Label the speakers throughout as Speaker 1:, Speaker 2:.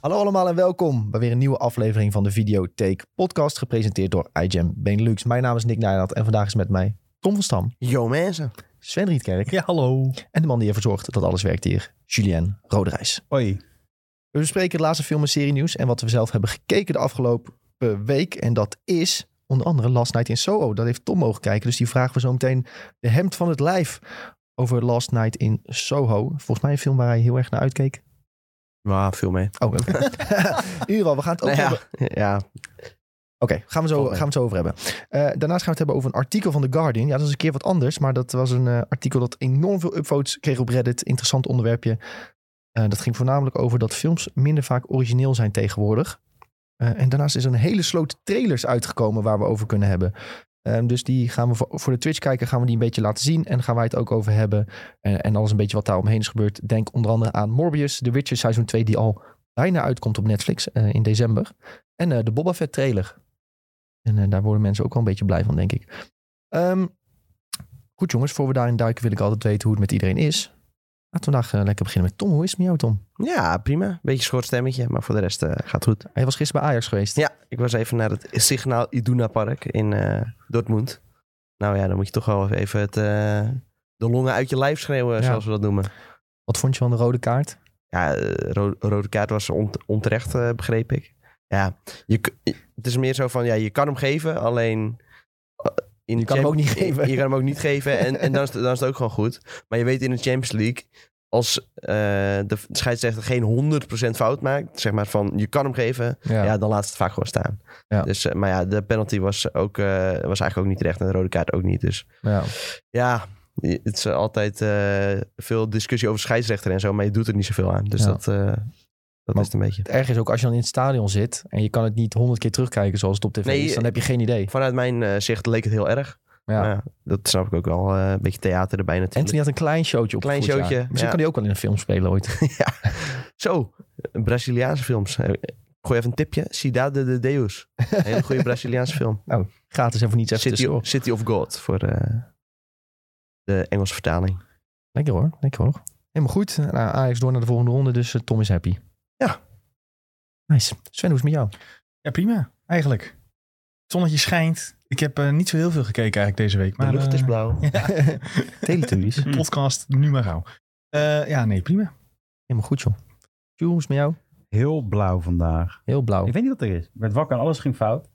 Speaker 1: Hallo allemaal en welkom bij weer een nieuwe aflevering van de Videotheek Podcast, gepresenteerd door iGem Benelux. Mijn naam is Nick Nijland en vandaag is met mij Tom van Stam,
Speaker 2: Yo mensen.
Speaker 1: Sven Rietkerk
Speaker 3: Ja, hallo.
Speaker 1: en de man die ervoor zorgt dat alles werkt hier, Julien Roderijs.
Speaker 3: Hoi.
Speaker 1: We bespreken het laatste film en serie nieuws en wat we zelf hebben gekeken de afgelopen week. En dat is onder andere Last Night in Soho. Dat heeft Tom mogen kijken, dus die vragen we zo meteen de hemd van het lijf over Last Night in Soho. Volgens mij een film waar hij heel erg naar uitkeek.
Speaker 2: Maar veel mee.
Speaker 1: Oh, oké. in ieder geval, we gaan het ook
Speaker 2: Nou
Speaker 1: hebben
Speaker 2: ja, ja,
Speaker 1: Oké, gaan, we zo-
Speaker 2: Valt
Speaker 1: gaan
Speaker 2: mee.
Speaker 1: we het zo over hebben. Eh, daarnaast gaan we het hebben over een artikel van The Guardian. Ja, dat is een keer wat anders, maar dat was een eh, artikel dat enorm veel upvotes kreeg op Reddit. Interessant onderwerpje. Eh, dat ging voornamelijk over dat films minder vaak origineel zijn tegenwoordig. Eh, en daarnaast is er een hele sloot trailers uitgekomen waar we over kunnen hebben. Ehm, dus die gaan we voor, voor de Twitch-kijker gaan we die een beetje laten zien. En gaan wij het ook over hebben. Eh, en alles een beetje wat daar omheen is gebeurd. Denk onder andere aan Morbius, The Witcher seizoen 2, die al bijna uitkomt op Netflix eh, in december. En eh, de Boba Fett trailer. En eh, daar worden mensen ook wel een beetje blij van, denk ik. Ehm, goed jongens, voor we daarin duiken wil ik altijd weten hoe het met iedereen is. Laten we vandaag eh, lekker beginnen met Tom. Hoe is het met jou, Tom?
Speaker 2: ja, prima. Beetje schort stemmetje, maar voor de rest eh, gaat goed.
Speaker 1: Hij was gisteren bij Ajax geweest.
Speaker 2: Ja, ik was even naar het Signaal Iduna Park in eh, Dortmund. Nou ja, dan moet je toch wel even het, eh, de longen uit je lijf schreeuwen,
Speaker 1: Ja.
Speaker 2: zoals we dat noemen.
Speaker 1: Wat vond je van de rode kaart?
Speaker 2: Ja, eh, ro- rode kaart was on- onterecht, eh, begreep ik. Ja, je, k- het is meer zo van, ja, je kan hem geven, alleen... eh, In
Speaker 1: Je kan hem
Speaker 2: Champ-
Speaker 1: ook niet geven.
Speaker 2: Je, kan hem ook niet geven en, en dan, is het, dan is het ook gewoon goed. Maar je weet in de Champions League, als eh, de scheidsrechter geen 100% fout maakt, zeg maar van, je kan hem geven, ja, dan laat ze het vaak gewoon staan.
Speaker 1: Ja.
Speaker 2: Dus, eh, maar ja, de penalty was, ook, eh, was eigenlijk ook niet terecht en de rode kaart ook niet. Dus
Speaker 1: Ja.
Speaker 2: ja, je- het is eh, altijd eh, veel discussie over scheidsrechter en zo, maar je doet er niet zoveel aan. Dus
Speaker 1: Ja.
Speaker 2: dat, eh, dat
Speaker 1: Maar-
Speaker 2: is het een beetje.
Speaker 1: Het erg is ook als je dan in het stadion zit en je kan het niet honderd keer terugkijken zoals het op tv
Speaker 2: Nee,
Speaker 1: is, dan heb je geen idee.
Speaker 2: Vanuit mijn eh, zicht leek het heel erg.
Speaker 1: Ja.
Speaker 2: Maar ja, dat snap ik ook wel. eh, een beetje theater erbij natuurlijk.
Speaker 1: Anthony had een klein showtje op
Speaker 2: Klein
Speaker 1: het voet, ja.
Speaker 2: showtje,
Speaker 1: Misschien
Speaker 2: ja.
Speaker 1: kan hij ook wel in een film spelen ooit.
Speaker 2: Zo, Braziliaanse films. Eh, Gooi even een tipje. Cidade de Deus. Een hele goede Braziliaanse film.
Speaker 1: Gratis en voor niets even
Speaker 2: City,
Speaker 1: tussendoor.
Speaker 2: City of God voor eh, de Engelse vertaling.
Speaker 1: Lekker hoor, lekker hoor. Helemaal goed. Nou, Ajax door naar de volgende ronde, dus eh, Tom is happy.
Speaker 2: Ja.
Speaker 1: Nice. Sven, hoe is het met jou?
Speaker 3: Ja, prima. Eigenlijk. Het zonnetje schijnt. Ik heb eh, niet zo heel veel gekeken eigenlijk deze week. Maar,
Speaker 2: de lucht is
Speaker 3: eh,
Speaker 2: blauw.
Speaker 3: ja,
Speaker 1: Teletubbies.
Speaker 3: de podcast nu maar gauw. Eh, ja, nee, prima.
Speaker 1: Helemaal goed, joh. Jules, hoe is het met jou?
Speaker 4: Heel blauw vandaag.
Speaker 1: Heel blauw.
Speaker 4: Ik weet niet wat er is. Ik werd wakker en alles ging fout.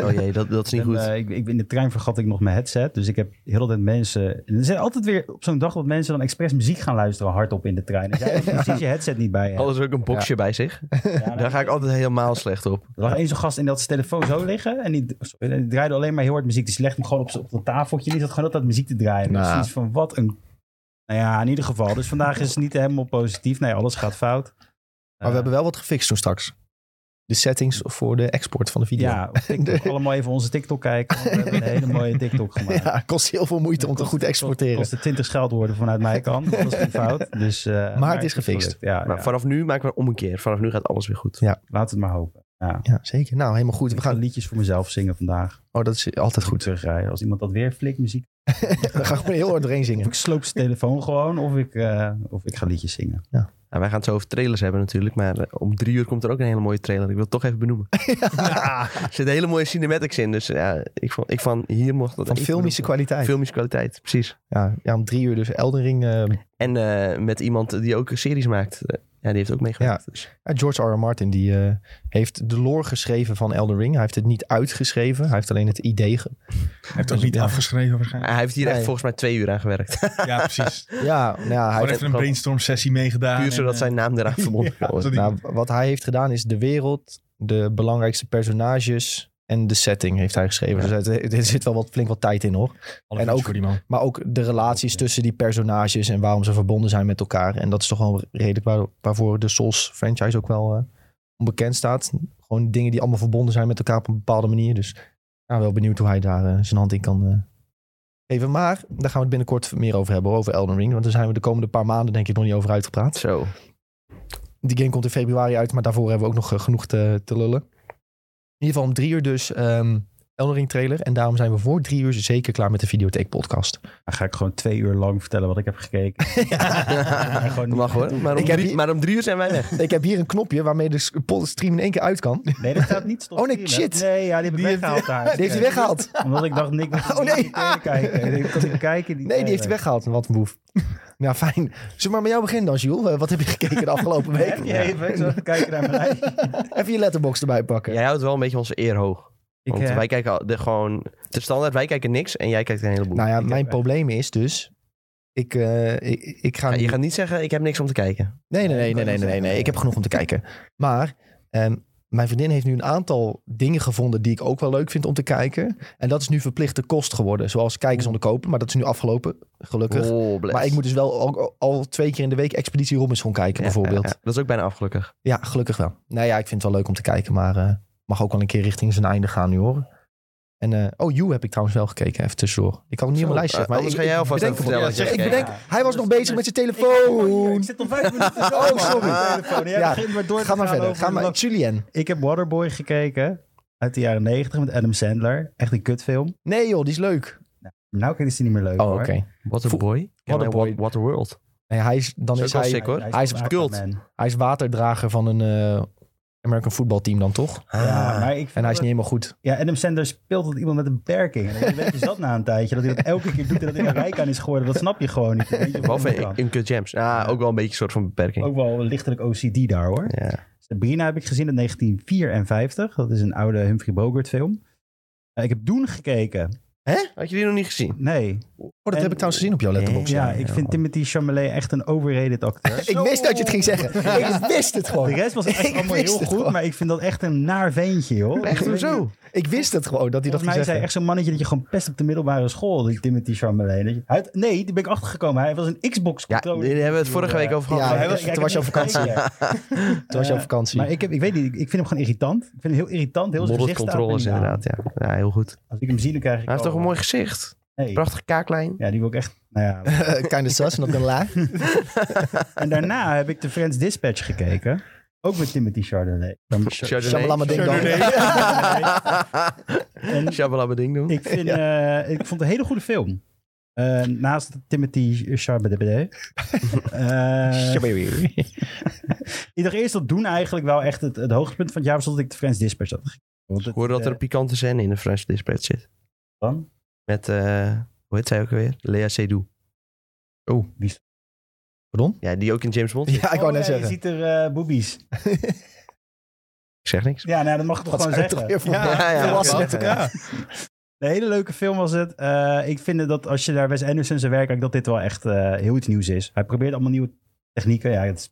Speaker 2: Oh jee, dat, dat is niet
Speaker 4: En,
Speaker 2: goed.
Speaker 4: eh, ik, ik, in de trein vergat ik nog mijn headset. Dus ik heb heel de tijd mensen... en Er zijn altijd weer op zo'n dag dat mensen dan expres muziek gaan luisteren hardop in de trein. En jij hebt precies je headset niet bij. hebt.
Speaker 2: Alles ook een boxje bij zich.
Speaker 4: Ja, nou,
Speaker 2: Oh, Daar ga ik altijd helemaal slecht op.
Speaker 4: Er lag één zo'n gast in dat zijn telefoon zo liggen. En die, sorry, en die draaide alleen maar heel hard muziek. Dus die legde hem gewoon op, z'n- op een tafeltje. En die zat gewoon altijd muziek te draaien.
Speaker 1: Nou.
Speaker 4: Dus zoiets van wat een... Nou ja, in ieder geval. Dus vandaag is het niet helemaal positief. Nee, alles gaat fout. Eh,
Speaker 1: Maar we hebben wel wat gefixt toen straks. De settings voor de export van de video.
Speaker 4: Ja, op TikTok allemaal even onze TikTok kijken. want We hebben een hele mooie TikTok gemaakt.
Speaker 1: Ja, kost heel veel moeite om te goed te exporteren.
Speaker 4: Kost de 20 scheldwoorden vanuit mij kan. Dat is geen fout. Dus, eh, maar,
Speaker 1: het is gefixt.
Speaker 4: gelukt. Ja,
Speaker 2: Maar
Speaker 4: ja.
Speaker 2: vanaf nu maken we om een keer. Vanaf nu gaat alles weer goed.
Speaker 4: laat het maar hopen. Ja.
Speaker 1: Ja, zeker. Nou, helemaal goed. We
Speaker 4: Ik ga
Speaker 1: gaan...
Speaker 4: liedjes voor mezelf zingen vandaag.
Speaker 1: Oh, dat is altijd
Speaker 4: Goed
Speaker 1: goed.
Speaker 4: terugrijden. Als iemand dat weer flikt, muziek.
Speaker 1: We gaan gewoon heel hard doorheen
Speaker 4: Of
Speaker 1: zingen.
Speaker 4: ik sloop zijn telefoon gewoon, of ik, eh, of ik ga liedjes zingen.
Speaker 2: Nou, wij gaan het zo over trailers hebben natuurlijk. Maar eh, om drie uur komt er ook een hele mooie trailer. Ik wil het toch even benoemen. Er zitten hele mooie cinematics in. Dus ja, ik van, ik van hier mocht dat
Speaker 1: Van
Speaker 2: even
Speaker 1: filmische
Speaker 2: benoemen.
Speaker 1: kwaliteit.
Speaker 2: Filmische kwaliteit, precies.
Speaker 1: Ja, ja, om drie uur dus Elden Ring. eh,
Speaker 2: En eh, met iemand die ook series maakt. Eh, Ja, die heeft ook meegewerkt. Dus,
Speaker 1: ja, George R. R. Martin die, eh, heeft de lore geschreven van Elden Ring. Hij heeft het niet uitgeschreven. Hij heeft alleen het idee. ge-
Speaker 3: Hij heeft ook niet
Speaker 1: Ja.
Speaker 3: afgeschreven waarschijnlijk.
Speaker 2: eh, hij heeft hier
Speaker 1: Nee.
Speaker 2: echt volgens mij twee uur aan gewerkt.
Speaker 1: Ah,
Speaker 3: Ja, precies.
Speaker 1: Ja, nou, ja, hij
Speaker 3: Gewoon
Speaker 1: heeft
Speaker 3: even een
Speaker 2: gewoon-
Speaker 3: brainstorm sessie meegedaan.
Speaker 2: Puur
Speaker 3: en,
Speaker 2: zodat
Speaker 3: eh,
Speaker 2: zijn naam eraan verbonden
Speaker 3: ja,
Speaker 2: wordt.
Speaker 3: zodat hij-
Speaker 1: Nou, wat hij heeft gedaan is de wereld, de belangrijkste personages en de setting heeft hij geschreven. Dus het- er zit wel wat, flink wat tijd in hoor.
Speaker 3: Alle
Speaker 1: en
Speaker 3: fiets
Speaker 1: ook-
Speaker 3: voor die man.
Speaker 1: Maar ook de relaties
Speaker 4: Ja.
Speaker 1: tussen die personages en waarom ze verbonden zijn met elkaar. En dat is toch wel redelijk waar, waarvoor de Souls franchise ook wel eh, onbekend staat. Gewoon dingen die allemaal verbonden zijn met elkaar op een bepaalde manier. Dus ja, wel benieuwd hoe hij daar eh, zijn hand in kan eh, geven. Maar daar gaan we het binnenkort meer over hebben, over Elden Ring. Want daar zijn we de komende paar maanden denk ik nog niet over uitgepraat.
Speaker 2: Zo.
Speaker 1: Die game komt in februari uit, maar daarvoor hebben we ook nog eh, genoeg te, te lullen. In ieder geval om drie uur dus ehm, Elden Ring trailer. En daarom zijn we voor drie uur zeker klaar met de Videotheek podcast.
Speaker 4: Dan ga ik gewoon twee uur lang vertellen wat ik heb gekeken. En gewoon
Speaker 2: Dat
Speaker 4: niet-
Speaker 2: mag hoor. Maar om,
Speaker 1: Ik heb
Speaker 2: drie,
Speaker 1: hier-
Speaker 2: maar om drie uur zijn wij weg.
Speaker 1: Ik heb hier een knopje waarmee de s- pod- stream in één keer uit kan. Die
Speaker 4: Nee, dat staat niet stop.
Speaker 1: Oh, nee,
Speaker 4: hier,
Speaker 1: shit.
Speaker 4: hè? Nee, ja, die heb ik
Speaker 3: Die
Speaker 4: weggehaald daar.
Speaker 1: heeft hij weggehaald.
Speaker 4: Omdat ik dacht, Nick moet
Speaker 1: Oh, nee.
Speaker 4: niet kijken. Ik dacht, ik kan kijken
Speaker 1: Nee, die heeft hij weggehaald. Wat een boef. Nou, fijn. Zullen we maar met jou beginnen dan, Jules? Eh, Wat heb je gekeken de afgelopen week?
Speaker 4: Ja, even zo kijken naar mijn lijst.
Speaker 1: Even je letterbox erbij pakken.
Speaker 2: Jij houdt wel een beetje onze eer hoog.
Speaker 4: Ik,
Speaker 2: Want
Speaker 4: eh,
Speaker 2: wij kijken al- de, gewoon... Het is standaard, wij kijken niks en jij kijkt een heleboel.
Speaker 1: Nou ja,
Speaker 4: heb,
Speaker 1: mijn
Speaker 4: eh,
Speaker 1: probleem is dus... Ik, eh, ik, ik ga...
Speaker 2: Ja,
Speaker 1: nu-
Speaker 2: je gaat niet zeggen, ik heb niks om te kijken.
Speaker 1: Nee, nee, nee, nee,
Speaker 4: ik wou
Speaker 1: nee,
Speaker 4: net
Speaker 1: nee,
Speaker 4: zeggen,
Speaker 1: nee. Ik heb genoeg om te kijken. Maar ehm, mijn vriendin heeft nu een aantal dingen gevonden die ik ook wel leuk vind om te kijken. En dat is nu verplichte kost geworden. Zoals kijken zonder kopen, maar dat is nu afgelopen, gelukkig.
Speaker 2: Oh, bless.
Speaker 1: Maar ik moet dus wel al, al twee keer in de week Expeditie Robinson kijken,
Speaker 2: Ja,
Speaker 1: bijvoorbeeld.
Speaker 2: ja,
Speaker 1: Ja,
Speaker 2: ja. dat is ook bijna afgelukkig.
Speaker 1: gelukkig wel. Nou ja, ik vind het wel leuk om te kijken, maar eh, mag ook al een keer richting zijn einde gaan nu hoor. En eh, oh, You heb ik trouwens wel gekeken, even tussendoor. Ik had hem niet op mijn lijstje.
Speaker 2: Eh,
Speaker 1: maar
Speaker 2: anders
Speaker 1: ik-
Speaker 2: ga jij alvast
Speaker 1: bedenk
Speaker 2: even vertellen.
Speaker 3: ja,
Speaker 2: wat je
Speaker 3: zeg,
Speaker 1: Ik
Speaker 2: hebt
Speaker 1: bedenk,
Speaker 2: gekeken.
Speaker 1: hij was nog bezig met zijn telefoon.
Speaker 4: Oh, Ik zit al vijf minuten zo.
Speaker 1: Oh, sorry.
Speaker 4: telefoon. Ja,
Speaker 1: Ja,
Speaker 4: begin maar door te
Speaker 1: Ga maar
Speaker 4: gaan
Speaker 1: verder.
Speaker 4: over
Speaker 1: Ga
Speaker 4: de
Speaker 1: maar.
Speaker 4: lach.
Speaker 1: Julien.
Speaker 4: Ik heb Waterboy gekeken. Uit de jaren negentig met Adam Sandler. Echt een kutfilm.
Speaker 1: Nee joh, die is leuk.
Speaker 4: Nou is die niet meer leuk
Speaker 1: Oh,
Speaker 4: hoor.
Speaker 1: oké.
Speaker 2: What a
Speaker 1: Vo-
Speaker 2: boy.
Speaker 1: What a
Speaker 2: What,
Speaker 1: boy.
Speaker 2: what a world.
Speaker 1: Nee, hij is, dan
Speaker 2: Zo
Speaker 1: is
Speaker 2: kan
Speaker 1: hij,
Speaker 2: zeker. hoor.
Speaker 1: Hij is
Speaker 4: van
Speaker 2: cult.
Speaker 4: Aquaman.
Speaker 1: hij is waterdrager van een eh, American voetbalteam dan toch?
Speaker 2: Ah.
Speaker 4: Ja, maar ik
Speaker 1: Ah. En hij is
Speaker 4: vond
Speaker 1: niet helemaal goed.
Speaker 4: Ja, Adam Sandler speelt dat iemand met een beperking. En dan weet je zat na een tijdje dat hij dat elke keer doet en dat hij er rijk aan is geworden. Dat snap je gewoon niet. Dat weet je
Speaker 2: Wel
Speaker 4: gewoon
Speaker 2: van
Speaker 4: niet.
Speaker 2: in Cut Jams. Ja, ook wel een beetje een soort van beperking.
Speaker 4: Ook wel lichtelijk OCD daar hoor.
Speaker 2: Ja.
Speaker 4: Sabrina heb ik gezien in 1954. Dat is een oude Humphrey Bogart film. Eh, ik heb Doen gekeken.
Speaker 2: Had je die nog niet gezien?
Speaker 4: Nee.
Speaker 1: Oh, dat
Speaker 4: En-
Speaker 1: heb ik trouwens gezien op jouw letterbox.
Speaker 4: Ja, ik vind Timothy Chalamet echt een overrated acteur.
Speaker 1: Ik wist dat je het ging zeggen. Ik wist het
Speaker 4: De
Speaker 1: gewoon.
Speaker 4: rest was
Speaker 1: Ik
Speaker 4: echt allemaal
Speaker 1: wist
Speaker 4: heel
Speaker 1: het
Speaker 4: goed,
Speaker 1: wel.
Speaker 4: maar ik vind dat echt een naar ventje, joh.
Speaker 2: Echt
Speaker 4: Ik weet niet.
Speaker 2: zo.
Speaker 1: Ik wist het gewoon dat hij dat ging
Speaker 4: Volgens mij is hij
Speaker 1: zeggen.
Speaker 4: echt zo'n mannetje dat je gewoon pest op de middelbare school, die Timothy Chalamet. Dat je- Hij had- Nee, die ben ik achtergekomen. Hij was een
Speaker 2: Ja,
Speaker 4: Xbox-controller.
Speaker 2: daar hebben we het vorige week over gehad.
Speaker 1: Ja,
Speaker 2: Ja,
Speaker 1: hij was-
Speaker 4: Ik- ik
Speaker 1: toen was je
Speaker 4: heb
Speaker 1: op
Speaker 4: niet
Speaker 1: vakantie.
Speaker 4: gekeken.
Speaker 1: Toen was je op
Speaker 4: Eh,
Speaker 1: vakantie.
Speaker 4: Maar ik, heb, ik weet niet, ik, ik vind hem gewoon irritant. Ik vind hem heel irritant, heel zijn
Speaker 2: Modded
Speaker 4: gezicht staat er
Speaker 2: controllers
Speaker 4: niet aan.
Speaker 2: inderdaad, ja. ja. Heel goed.
Speaker 4: Als ik hem zie, dan krijg ik
Speaker 2: Hij heeft
Speaker 4: al-
Speaker 2: toch een mooi gezicht.
Speaker 4: Nee.
Speaker 2: Prachtig kaaklijn.
Speaker 4: Ja, die wil ik echt... Nou ja,
Speaker 1: kind of sus, not gonna lie.
Speaker 4: En daarna heb ik de Friends Dispatch gekeken. Ook met Timothy Chardonnay. Dan-
Speaker 1: Shamalama ding dong.
Speaker 3: Chardonnay.
Speaker 4: En
Speaker 2: Shabalama ding doen.
Speaker 4: ik, vind, eh, ik vond het een hele goede film. Eh, naast Timothy Chardonnay. Eh ik dacht eerst dat Doen eigenlijk wel echt het, het hoogtepunt van het jaar was dat ik de Friends Dispatch had gekeken. Want
Speaker 2: Ik
Speaker 4: het- eh,
Speaker 2: hoorde dat er een pikante scène in de French Dispatch zit.
Speaker 4: Van?
Speaker 2: Met, eh, hoe heet zij ook alweer? Lea Seydoux.
Speaker 1: Pardon?
Speaker 2: Ja, die ook in James Bond zit.
Speaker 1: Ja, Oh. Ah, ik wou
Speaker 4: Oh,
Speaker 1: net
Speaker 4: ja, Je
Speaker 1: zeggen.
Speaker 4: ziet er eh boobies.
Speaker 2: Ik zeg niks.
Speaker 4: Ja, nou, dat mag ik toch
Speaker 1: Wat zou
Speaker 4: gewoon
Speaker 1: je toch
Speaker 4: zeggen.
Speaker 1: weer voor-
Speaker 2: Ja, ja,
Speaker 1: Dat was
Speaker 2: oké.
Speaker 1: het.
Speaker 3: Ja.
Speaker 4: Een hele leuke film was het. Eh, ik vind dat als je naar Wes Anderson zijn werk kijkt, dat dit wel echt eh, heel iets nieuws is. Hij probeert allemaal nieuwe technieken. Ja, het is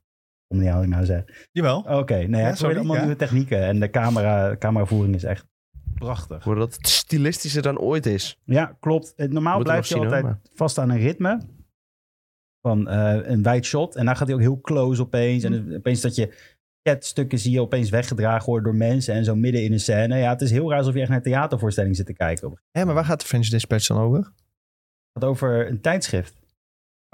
Speaker 4: om niet aan wat ik nou zeg.
Speaker 3: Jawel.
Speaker 4: Oké, nee, hij probeert
Speaker 3: sorry,
Speaker 4: allemaal
Speaker 3: ja.
Speaker 4: nieuwe technieken. En de camera, cameravoering is echt
Speaker 2: Ik
Speaker 4: prachtig.
Speaker 2: hoorde dat het stilistischer dan ooit is.
Speaker 4: Ja, klopt. Het- Normaal
Speaker 2: Moet
Speaker 4: Nou, blijft
Speaker 2: hem
Speaker 4: hij
Speaker 2: nog
Speaker 4: altijd
Speaker 2: zien,
Speaker 4: vast aan een ritme. Van eh, een wijd shot. En dan gaat hij ook heel close opeens. En
Speaker 3: Mm.
Speaker 4: dus opeens dat je stukken zie je opeens weggedragen worden door mensen. En zo midden in een scène. Ja, het is heel raar alsof je echt naar een theatervoorstelling zit te kijken. Het
Speaker 1: Hé, maar waar gaat de French Dispatch dan over?
Speaker 4: gaat over een tijdschrift.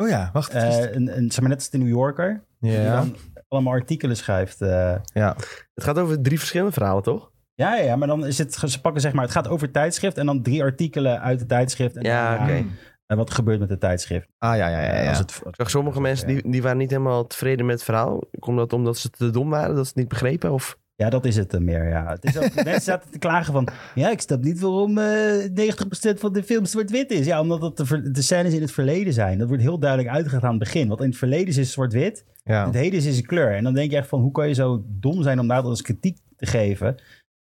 Speaker 3: Oh ja, wacht. het is-
Speaker 4: Eh, een, een, zeg maar net als de New Yorker. Die dan allemaal artikelen schrijft. eh.
Speaker 2: Het gaat over drie verschillende verhalen, toch?
Speaker 4: ja, ja, ja, maar dan is het, ge- ze pakken zeg maar, het gaat over tijdschrift en dan drie artikelen uit de tijdschrift. En
Speaker 2: Ja,
Speaker 4: dan,
Speaker 2: oké.
Speaker 4: en wat gebeurt met de tijdschrift?
Speaker 1: Ah, ja, ja, ja.
Speaker 4: Eh,
Speaker 1: ja.
Speaker 4: als het-
Speaker 2: Ik zag sommige mensen die, die waren niet helemaal tevreden met het verhaal. Komt dat omdat ze te dom waren, dat ze het niet begrepen? Of...
Speaker 4: Ja, dat is het eh, meer, ja. Het is ook, mensen zaten te klagen van, ja, ik snap niet waarom eh 90% van de film zwart-wit is. Ja, omdat dat de, ver- de scènes in het verleden zijn. Dat wordt heel duidelijk uitgegaan aan het begin. Want in het verleden is het zwart-wit
Speaker 1: ja.
Speaker 2: Oh.
Speaker 4: Het heden is, is een kleur. En dan denk je echt van, hoe kan je zo dom zijn om daar als kritiek te geven?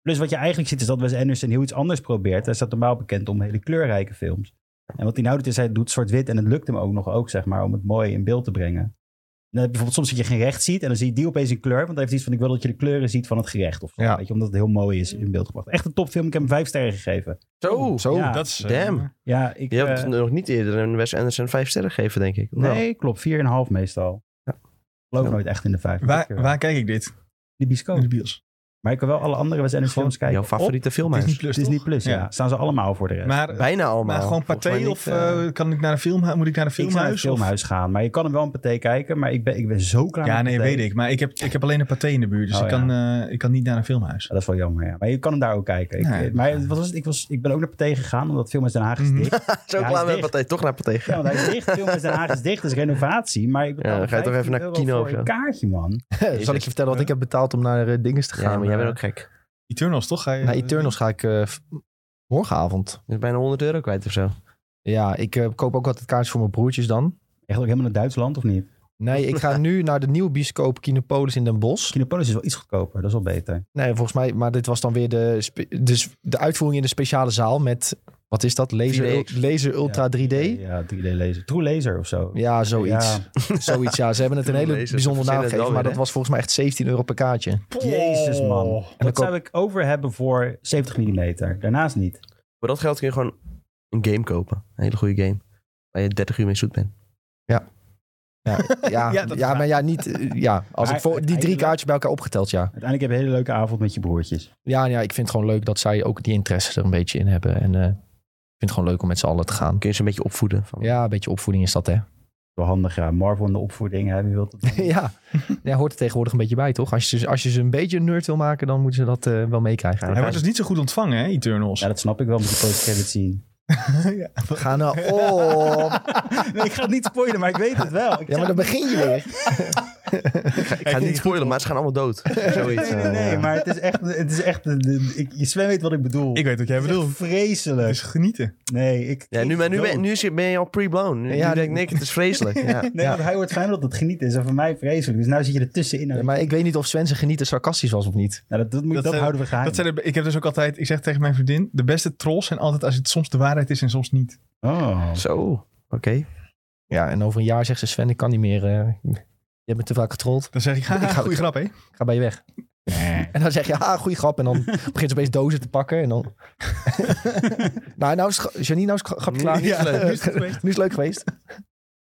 Speaker 4: Plus wat je eigenlijk ziet is dat Wes Anderson heel iets anders probeert. Hij staat normaal bekend om hele kleurrijke films. En wat hij nou doet is, hij doet zwart-wit en het lukt hem ook nog ook, zeg maar, om het mooi in beeld te brengen. En dan heb je bijvoorbeeld soms dat je geen recht ziet en dan zie je die opeens in kleur. Want hij heeft iets van, ik wil dat je de kleuren ziet van het gerecht. Of zo,
Speaker 1: Ja.
Speaker 4: weet je, omdat het heel mooi is in beeld gebracht. Echt een topfilm, ik heb hem vijf sterren gegeven.
Speaker 2: Zo!
Speaker 1: Zo.
Speaker 4: ja.
Speaker 3: dat is... eh,
Speaker 2: damn.
Speaker 4: Ja, ik...
Speaker 2: Je hebt
Speaker 4: eh,
Speaker 2: nog niet eerder een Wes Anderson vijf sterren gegeven, denk ik. Nou,
Speaker 4: nee, klopt, vier en een half meestal.
Speaker 2: Ja.
Speaker 4: Geloof
Speaker 2: Ja.
Speaker 4: nooit echt in de vijf.
Speaker 3: Waar, waar kijk ik dit?
Speaker 4: De bioscoop.
Speaker 3: In de bios.
Speaker 4: Maar ik kan wel alle andere Wes Anderson films kijken.
Speaker 2: Jouw favoriete film
Speaker 3: Disney
Speaker 2: is?
Speaker 3: Plus,
Speaker 4: Het is niet
Speaker 3: toch?
Speaker 4: plus, ja.
Speaker 3: Ja.
Speaker 4: Staan ze allemaal voor de rest.
Speaker 3: Maar,
Speaker 2: Bijna allemaal.
Speaker 3: maar gewoon
Speaker 2: Volgens mij
Speaker 3: paté
Speaker 2: niet,
Speaker 3: of
Speaker 2: eh,
Speaker 3: eh, kan ik naar een film, moet ik naar een
Speaker 4: ik zou naar het
Speaker 3: filmhuis? of-
Speaker 4: filmhuis gaan. Maar je kan hem wel een paté kijken. Maar ik ben, ik ben zo klaar
Speaker 3: Ja,
Speaker 4: met
Speaker 3: nee,
Speaker 4: paté.
Speaker 3: weet ik. Maar ik heb, ik heb alleen een paté in de buurt, dus
Speaker 4: Oh,
Speaker 3: ik, kan, eh, ik kan niet naar een filmhuis.
Speaker 4: Ja, dat is wel jammer, ja. Maar je kan hem daar ook kijken. Ik-
Speaker 3: Nee.
Speaker 4: maar wat was het? Ik, was, ik ben ook naar Pathé gegaan, omdat Filmhuis Den Haag is
Speaker 3: Mhm.
Speaker 4: dicht.
Speaker 2: Zo
Speaker 4: Ja, hij is
Speaker 2: klaar met
Speaker 4: dicht.
Speaker 2: partij, toch naar partij.
Speaker 4: Ja, want hij is dicht. Filmhuis Den Haag is dicht. Dat is renovatie. Maar ik betaal
Speaker 2: Ja, dan ga je toch even
Speaker 4: 15
Speaker 2: naar
Speaker 4: euro
Speaker 2: kino
Speaker 4: voor
Speaker 2: of zo.
Speaker 4: een kaartje, man.
Speaker 1: Zal ik je vertellen wat ik heb betaald om naar eh, dinges te gaan?
Speaker 2: Ja, maar jij bent
Speaker 1: eh,
Speaker 2: ook gek.
Speaker 3: Eternals, toch? Ga je,
Speaker 1: Naar Eternals ga ik eh, v- morgenavond.
Speaker 2: Je is bijna 100 euro kwijt of zo.
Speaker 1: Ja, ik eh, koop ook altijd kaartjes voor mijn broertjes dan.
Speaker 4: Echt ook helemaal naar Duitsland, of niet?
Speaker 1: Nee, ik ga nu naar de nieuwe bioscoop Kinopolis in Den Bosch.
Speaker 4: Kinopolis is wel iets goedkoper. Dat is wel beter.
Speaker 1: Nee, volgens mij, maar dit was dan weer de, spe- dus de uitvoering in de speciale zaal met, wat is dat? Laser,
Speaker 2: 4DX.
Speaker 1: laser Ultra 3D?
Speaker 4: Ja, 3D laser. True laser of zo.
Speaker 1: Ja, zoiets.
Speaker 4: Ja.
Speaker 1: Zoiets, ja. Ze hebben het een
Speaker 2: True
Speaker 1: hele
Speaker 2: laser,
Speaker 1: bijzondere
Speaker 2: dat
Speaker 1: naam
Speaker 2: verzinnen
Speaker 1: gegeven,
Speaker 2: dan
Speaker 1: maar
Speaker 2: weer,
Speaker 1: dat was volgens mij echt 17 euro per kaartje.
Speaker 4: Jezus, man.
Speaker 1: dan
Speaker 4: Dat zou ik over hebben voor 70 mm. Daarnaast niet.
Speaker 2: Voor dat geld kun je gewoon een game kopen. Een hele goede game. Waar je 30 uur mee zoet bent.
Speaker 1: Ja, ja,
Speaker 3: Ja,
Speaker 1: ja,
Speaker 3: dat is
Speaker 1: maar ja, niet, eh, ja, als
Speaker 4: Maar
Speaker 1: ik voor die drie
Speaker 4: uiteindelijk-
Speaker 1: kaartjes bij elkaar opgeteld, ja.
Speaker 4: Uiteindelijk heb je een hele leuke avond met je broertjes.
Speaker 1: Ja, ja, ik vind het gewoon leuk dat zij ook die interesse er een beetje in hebben. En eh, ik vind het gewoon leuk om met z'n allen te gaan.
Speaker 2: Kun je ze een beetje opvoeden. Van,
Speaker 1: Ja, een beetje opvoeding is dat, hè?
Speaker 4: Wel handig, ja. Marvel in de opvoeding, hè. Wie wilt dat?
Speaker 1: ja. ja, hoort er tegenwoordig een beetje bij, toch? Als je, ze- als je ze een beetje een nerd wil maken, dan moeten ze dat eh, wel meekrijgen.
Speaker 2: Ja.
Speaker 3: Hij wordt dus niet zo goed ontvangen, hè, Eternals.
Speaker 4: Ja, dat snap ik wel met die post-credit scene.
Speaker 3: Ja.
Speaker 1: Ga nou op!
Speaker 4: Nee, ik ga het niet spoilen, maar ik weet het wel. Ik
Speaker 1: Ja, maar dan begin je weer.
Speaker 2: Ik ga het niet spoilen, maar ze gaan allemaal dood. Zoiets.
Speaker 4: Nee, nee, nee,
Speaker 2: Ja.
Speaker 4: maar het is echt... Het is echt de- ik, je Sven weet wat ik bedoel.
Speaker 3: Ik weet wat jij
Speaker 4: Het is echt
Speaker 3: bedoelt. Dus- Het
Speaker 4: Vreselijk.
Speaker 3: is genieten.
Speaker 4: Nee, ik...
Speaker 2: Ja, nu, maar nu, ben, nu zit- ben je al pre-blown. Nu,
Speaker 1: Ja,
Speaker 2: nu denk ik, Nick, het is vreselijk. Ja.
Speaker 4: Nee,
Speaker 1: Ja.
Speaker 4: want hij hoort fijn dat het genieten is. En voor mij vreselijk. Dus nu zit je er tussenin.
Speaker 1: Ja, maar ik weet niet of Sven zijn genieten sarcastisch was of niet.
Speaker 4: nou, dat, dat, moet,
Speaker 3: Dat
Speaker 4: dat,
Speaker 3: zijn-
Speaker 4: houden we geheim.
Speaker 3: Dat zijn de- ik heb dus ook altijd, ik zeg tegen mijn vriendin, de beste trolls zijn altijd als het soms de waarheid is en soms niet.
Speaker 4: Oh.
Speaker 2: Zo, oké.
Speaker 1: Ja, en over een jaar zegt ze Sven, ik kan niet meer. eh, je hebt me te vaak getrold.
Speaker 3: Dan zeg ik,
Speaker 1: Ik
Speaker 3: haha,
Speaker 1: ga-
Speaker 3: goede grap, hè?
Speaker 1: Ik ga bij je weg. En dan zeg je, ah, goeie grap. En dan begint ze opeens dozen te pakken. En dan... nou, nou is het gra- Janine, nou is het gra- grapje klaar.
Speaker 3: Ja, nu is het
Speaker 1: nu
Speaker 3: geweest.
Speaker 1: is het leuk geweest.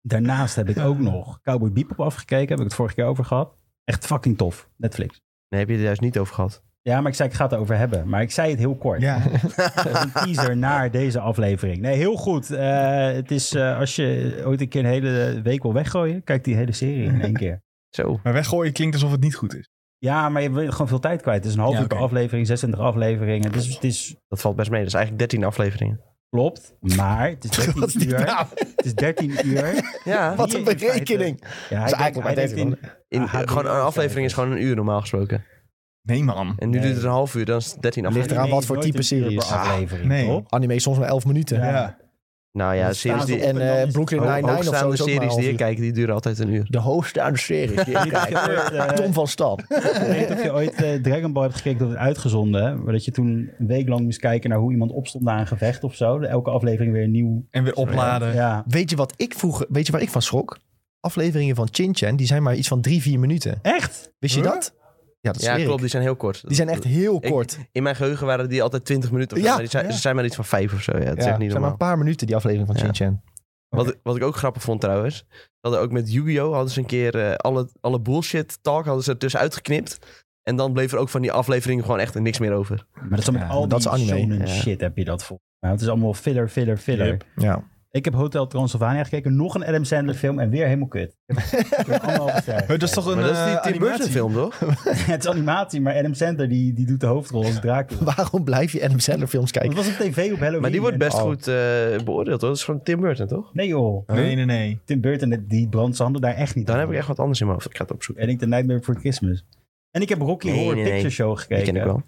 Speaker 4: Daarnaast heb ik ook nog Cowboy Bebop afgekeken. Heb ik het vorige keer over gehad. Echt fucking tof. Netflix.
Speaker 2: Nee, heb je er juist niet over gehad.
Speaker 4: Ja, maar ik zei ik ga het erover hebben. Maar ik zei het heel kort.
Speaker 3: Ja,
Speaker 4: een teaser naar deze aflevering. Nee, heel goed. Eh, het is eh, als je ooit een keer een hele week wil weggooien, kijk die hele serie in één keer.
Speaker 2: Zo.
Speaker 3: maar weggooien klinkt alsof het niet goed is.
Speaker 4: Ja, maar je bent gewoon veel tijd kwijt. Het is een half
Speaker 3: Ja,
Speaker 4: uur per
Speaker 3: oké.
Speaker 4: aflevering, 26 afleveringen. Dus het is
Speaker 2: Dat valt best mee. Dat is eigenlijk 13 afleveringen.
Speaker 4: klopt, maar het is 13
Speaker 1: Wat is dit
Speaker 4: uur.
Speaker 1: nou?
Speaker 4: Het is 13 uur.
Speaker 2: Ja,
Speaker 1: Wat een
Speaker 4: Hier in feite-
Speaker 1: berekening.
Speaker 4: Ja,
Speaker 1: is
Speaker 4: hij denkt-
Speaker 1: eigenlijk maar
Speaker 4: hij denkt
Speaker 1: 13
Speaker 4: in-
Speaker 2: in,
Speaker 4: Ah,
Speaker 2: gewoon een aflevering is gewoon een uur normaal gesproken.
Speaker 3: Nee, man.
Speaker 2: En nu
Speaker 4: Nee.
Speaker 2: duurt het een half uur, dan is het 13
Speaker 1: Ligt
Speaker 2: afleveringen.
Speaker 1: eraan wat
Speaker 4: is
Speaker 1: voor
Speaker 4: nooit
Speaker 1: type
Speaker 4: een uur
Speaker 1: serie is.
Speaker 4: per Aflevering,
Speaker 3: Ah, nee.
Speaker 4: toch?
Speaker 1: Anime is soms maar 11 minuten.
Speaker 4: Ja.
Speaker 2: Nou ja,
Speaker 4: Dan staan
Speaker 2: series
Speaker 4: ze
Speaker 2: die,
Speaker 4: op
Speaker 1: En
Speaker 4: dan is
Speaker 1: eh
Speaker 4: het
Speaker 1: Brooklyn Nine-Nine of zo
Speaker 2: hoogstaande
Speaker 1: is ook maar een
Speaker 2: series
Speaker 1: half
Speaker 2: die ik
Speaker 1: uur.
Speaker 2: kijk, die duren altijd een uur.
Speaker 1: De hoogstaande series die ik kijk.
Speaker 4: eh,
Speaker 1: Tom van Stam.
Speaker 4: Ik weet niet of je ooit eh, Dragon Ball hebt gekeken, dat werd uitgezonden. Maar dat je toen een week lang moest kijken naar hoe iemand opstond na een gevecht of zo. Elke aflevering weer een nieuw.
Speaker 3: En weer opladen.
Speaker 4: Ja.
Speaker 1: Weet je wat ik vroeger, weet je waar ik van schrok? Afleveringen van Chin Chan, die zijn maar iets van 3, 4 minuten.
Speaker 4: Echt?
Speaker 1: Wist je
Speaker 3: Huh?
Speaker 1: dat? Ja, dat is
Speaker 2: Ja, klopt.
Speaker 1: Die
Speaker 2: Die zijn heel kort.
Speaker 1: zijn echt heel
Speaker 2: Ik-
Speaker 1: kort. Ja,
Speaker 2: In mijn geheugen waren die altijd 20 minuten. Of zo,
Speaker 1: Ja,
Speaker 2: maar die zijn,
Speaker 3: ja.
Speaker 2: Ze zijn maar iets van 5 of zo. Ja, dat
Speaker 1: het
Speaker 2: is echt
Speaker 1: zijn
Speaker 2: niet
Speaker 1: maar
Speaker 2: normaal.
Speaker 1: een paar minuten die aflevering van
Speaker 2: Ja.
Speaker 1: Chin Chan.
Speaker 2: Wat, wat ik ook grappig vond trouwens. ze Hadden ook met Yu-Gi-Oh! hadden ze een keer eh, alle, alle bullshit talk hadden ze ertussen uitgeknipt. En dan bleef er ook van die afleveringen gewoon echt niks meer over.
Speaker 4: Maar dat is dan met
Speaker 3: Ja,
Speaker 4: al
Speaker 1: maar dat
Speaker 4: die
Speaker 1: is anime,
Speaker 4: shonen
Speaker 2: ja.
Speaker 4: shit heb je dat voor. Nou, het is allemaal filler, filler, filler.
Speaker 3: Yep.
Speaker 1: Ja.
Speaker 4: Ik heb Hotel Transylvania gekeken, nog een Adam Sandler film en weer helemaal kut. Ik heb een anderhalve ster.
Speaker 3: Maar Dat is toch een
Speaker 2: Maar dat is die
Speaker 3: eh,
Speaker 2: Tim Burton
Speaker 3: animatie?
Speaker 2: film, toch?
Speaker 4: Het is animatie, maar Adam Sandler die, die doet de hoofdrol als Dracula.
Speaker 1: Waarom blijf je Adam Sandler films
Speaker 4: Dat
Speaker 1: kijken?
Speaker 4: was op tv op Halloween.
Speaker 2: Maar die wordt
Speaker 4: en-
Speaker 2: best
Speaker 4: oh.
Speaker 2: goed eh, beoordeeld, hoor. Dat is gewoon Tim Burton, toch?
Speaker 4: Nee joh,
Speaker 3: Nee, nee, nee.
Speaker 4: Tim Burton die brandt zijn handen daar echt niet
Speaker 2: Dan
Speaker 4: aan.
Speaker 2: heb ik echt wat anders in mijn hoofd. Ik ga het opzoeken.
Speaker 4: En ik de Nightmare Before Christmas. En ik heb Rocky
Speaker 2: Nee,
Speaker 4: Horror
Speaker 2: nee, nee.
Speaker 4: Picture Show
Speaker 2: Die
Speaker 4: gekeken.
Speaker 2: ken ik wel.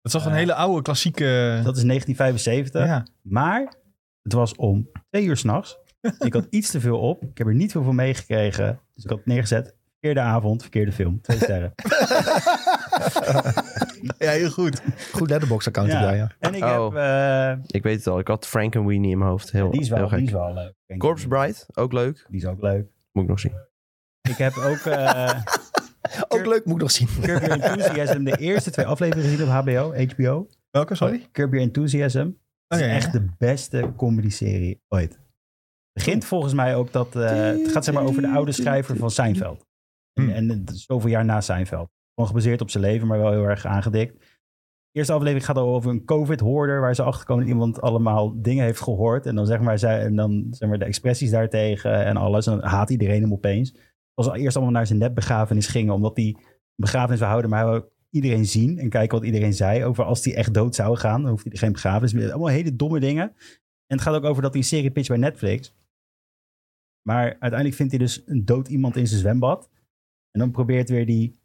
Speaker 3: Dat is toch een
Speaker 4: Ja.
Speaker 3: hele oude klassieke...
Speaker 4: Dat is 1975.
Speaker 3: ja.
Speaker 4: Maar het was om twee uur s'nachts. Ik had iets te veel op. Ik heb er niet veel van meegekregen. Dus ik had het neergezet. Verkeerde avond, verkeerde film. Twee sterren.
Speaker 3: ja, heel goed.
Speaker 1: Goed letterbox account
Speaker 4: Ja.
Speaker 1: erbij, ja.
Speaker 4: En ik
Speaker 2: Oh.
Speaker 4: heb... eh,
Speaker 2: Ik weet het al. Ik had Frank en Weenie in mijn hoofd. Heel,
Speaker 4: die, is wel,
Speaker 2: heel gek.
Speaker 4: die is wel leuk. denk ik.
Speaker 2: Corpse Bride, ook leuk.
Speaker 4: Die is ook leuk.
Speaker 2: Moet ik nog zien.
Speaker 4: Ik heb ook eh
Speaker 1: Ook leuk, moet ik nog zien.
Speaker 4: Curb Your Enthusiasm. De eerste twee afleveringen gezien op HBO. HBO.
Speaker 3: Welke, sorry?
Speaker 4: Curb Your
Speaker 3: Oh,
Speaker 4: Enthusiasm.
Speaker 3: ja,
Speaker 4: Het
Speaker 3: ja.
Speaker 4: is echt de beste comedy-serie ooit. Begint volgens mij ook dat. eh, het gaat zeg maar over de oude schrijver van Seinfeld. En,
Speaker 3: Hmm.
Speaker 4: en het is zoveel jaar na Seinfeld. Gewoon gebaseerd op zijn leven, maar wel heel erg aangedikt. De eerste aflevering gaat al over een COVID-hoorder waar ze achterkomen dat iemand allemaal dingen heeft gehoord. En dan zeg maar, zij, en dan, zeg maar de expressies daartegen en alles. En dan haat iedereen hem opeens. Als ze eerst allemaal naar zijn netbegrafenis gingen, omdat die een begrafenis zou houden, maar hij wou iedereen zien en kijken wat iedereen zei over als die echt dood zou gaan. Dan hoeft hij geen begrafenis meer. Allemaal hele domme dingen. En het gaat ook over dat hij een serie pitcht bij Netflix. Maar uiteindelijk vindt hij dus een dood iemand in zijn zwembad. En dan probeert weer die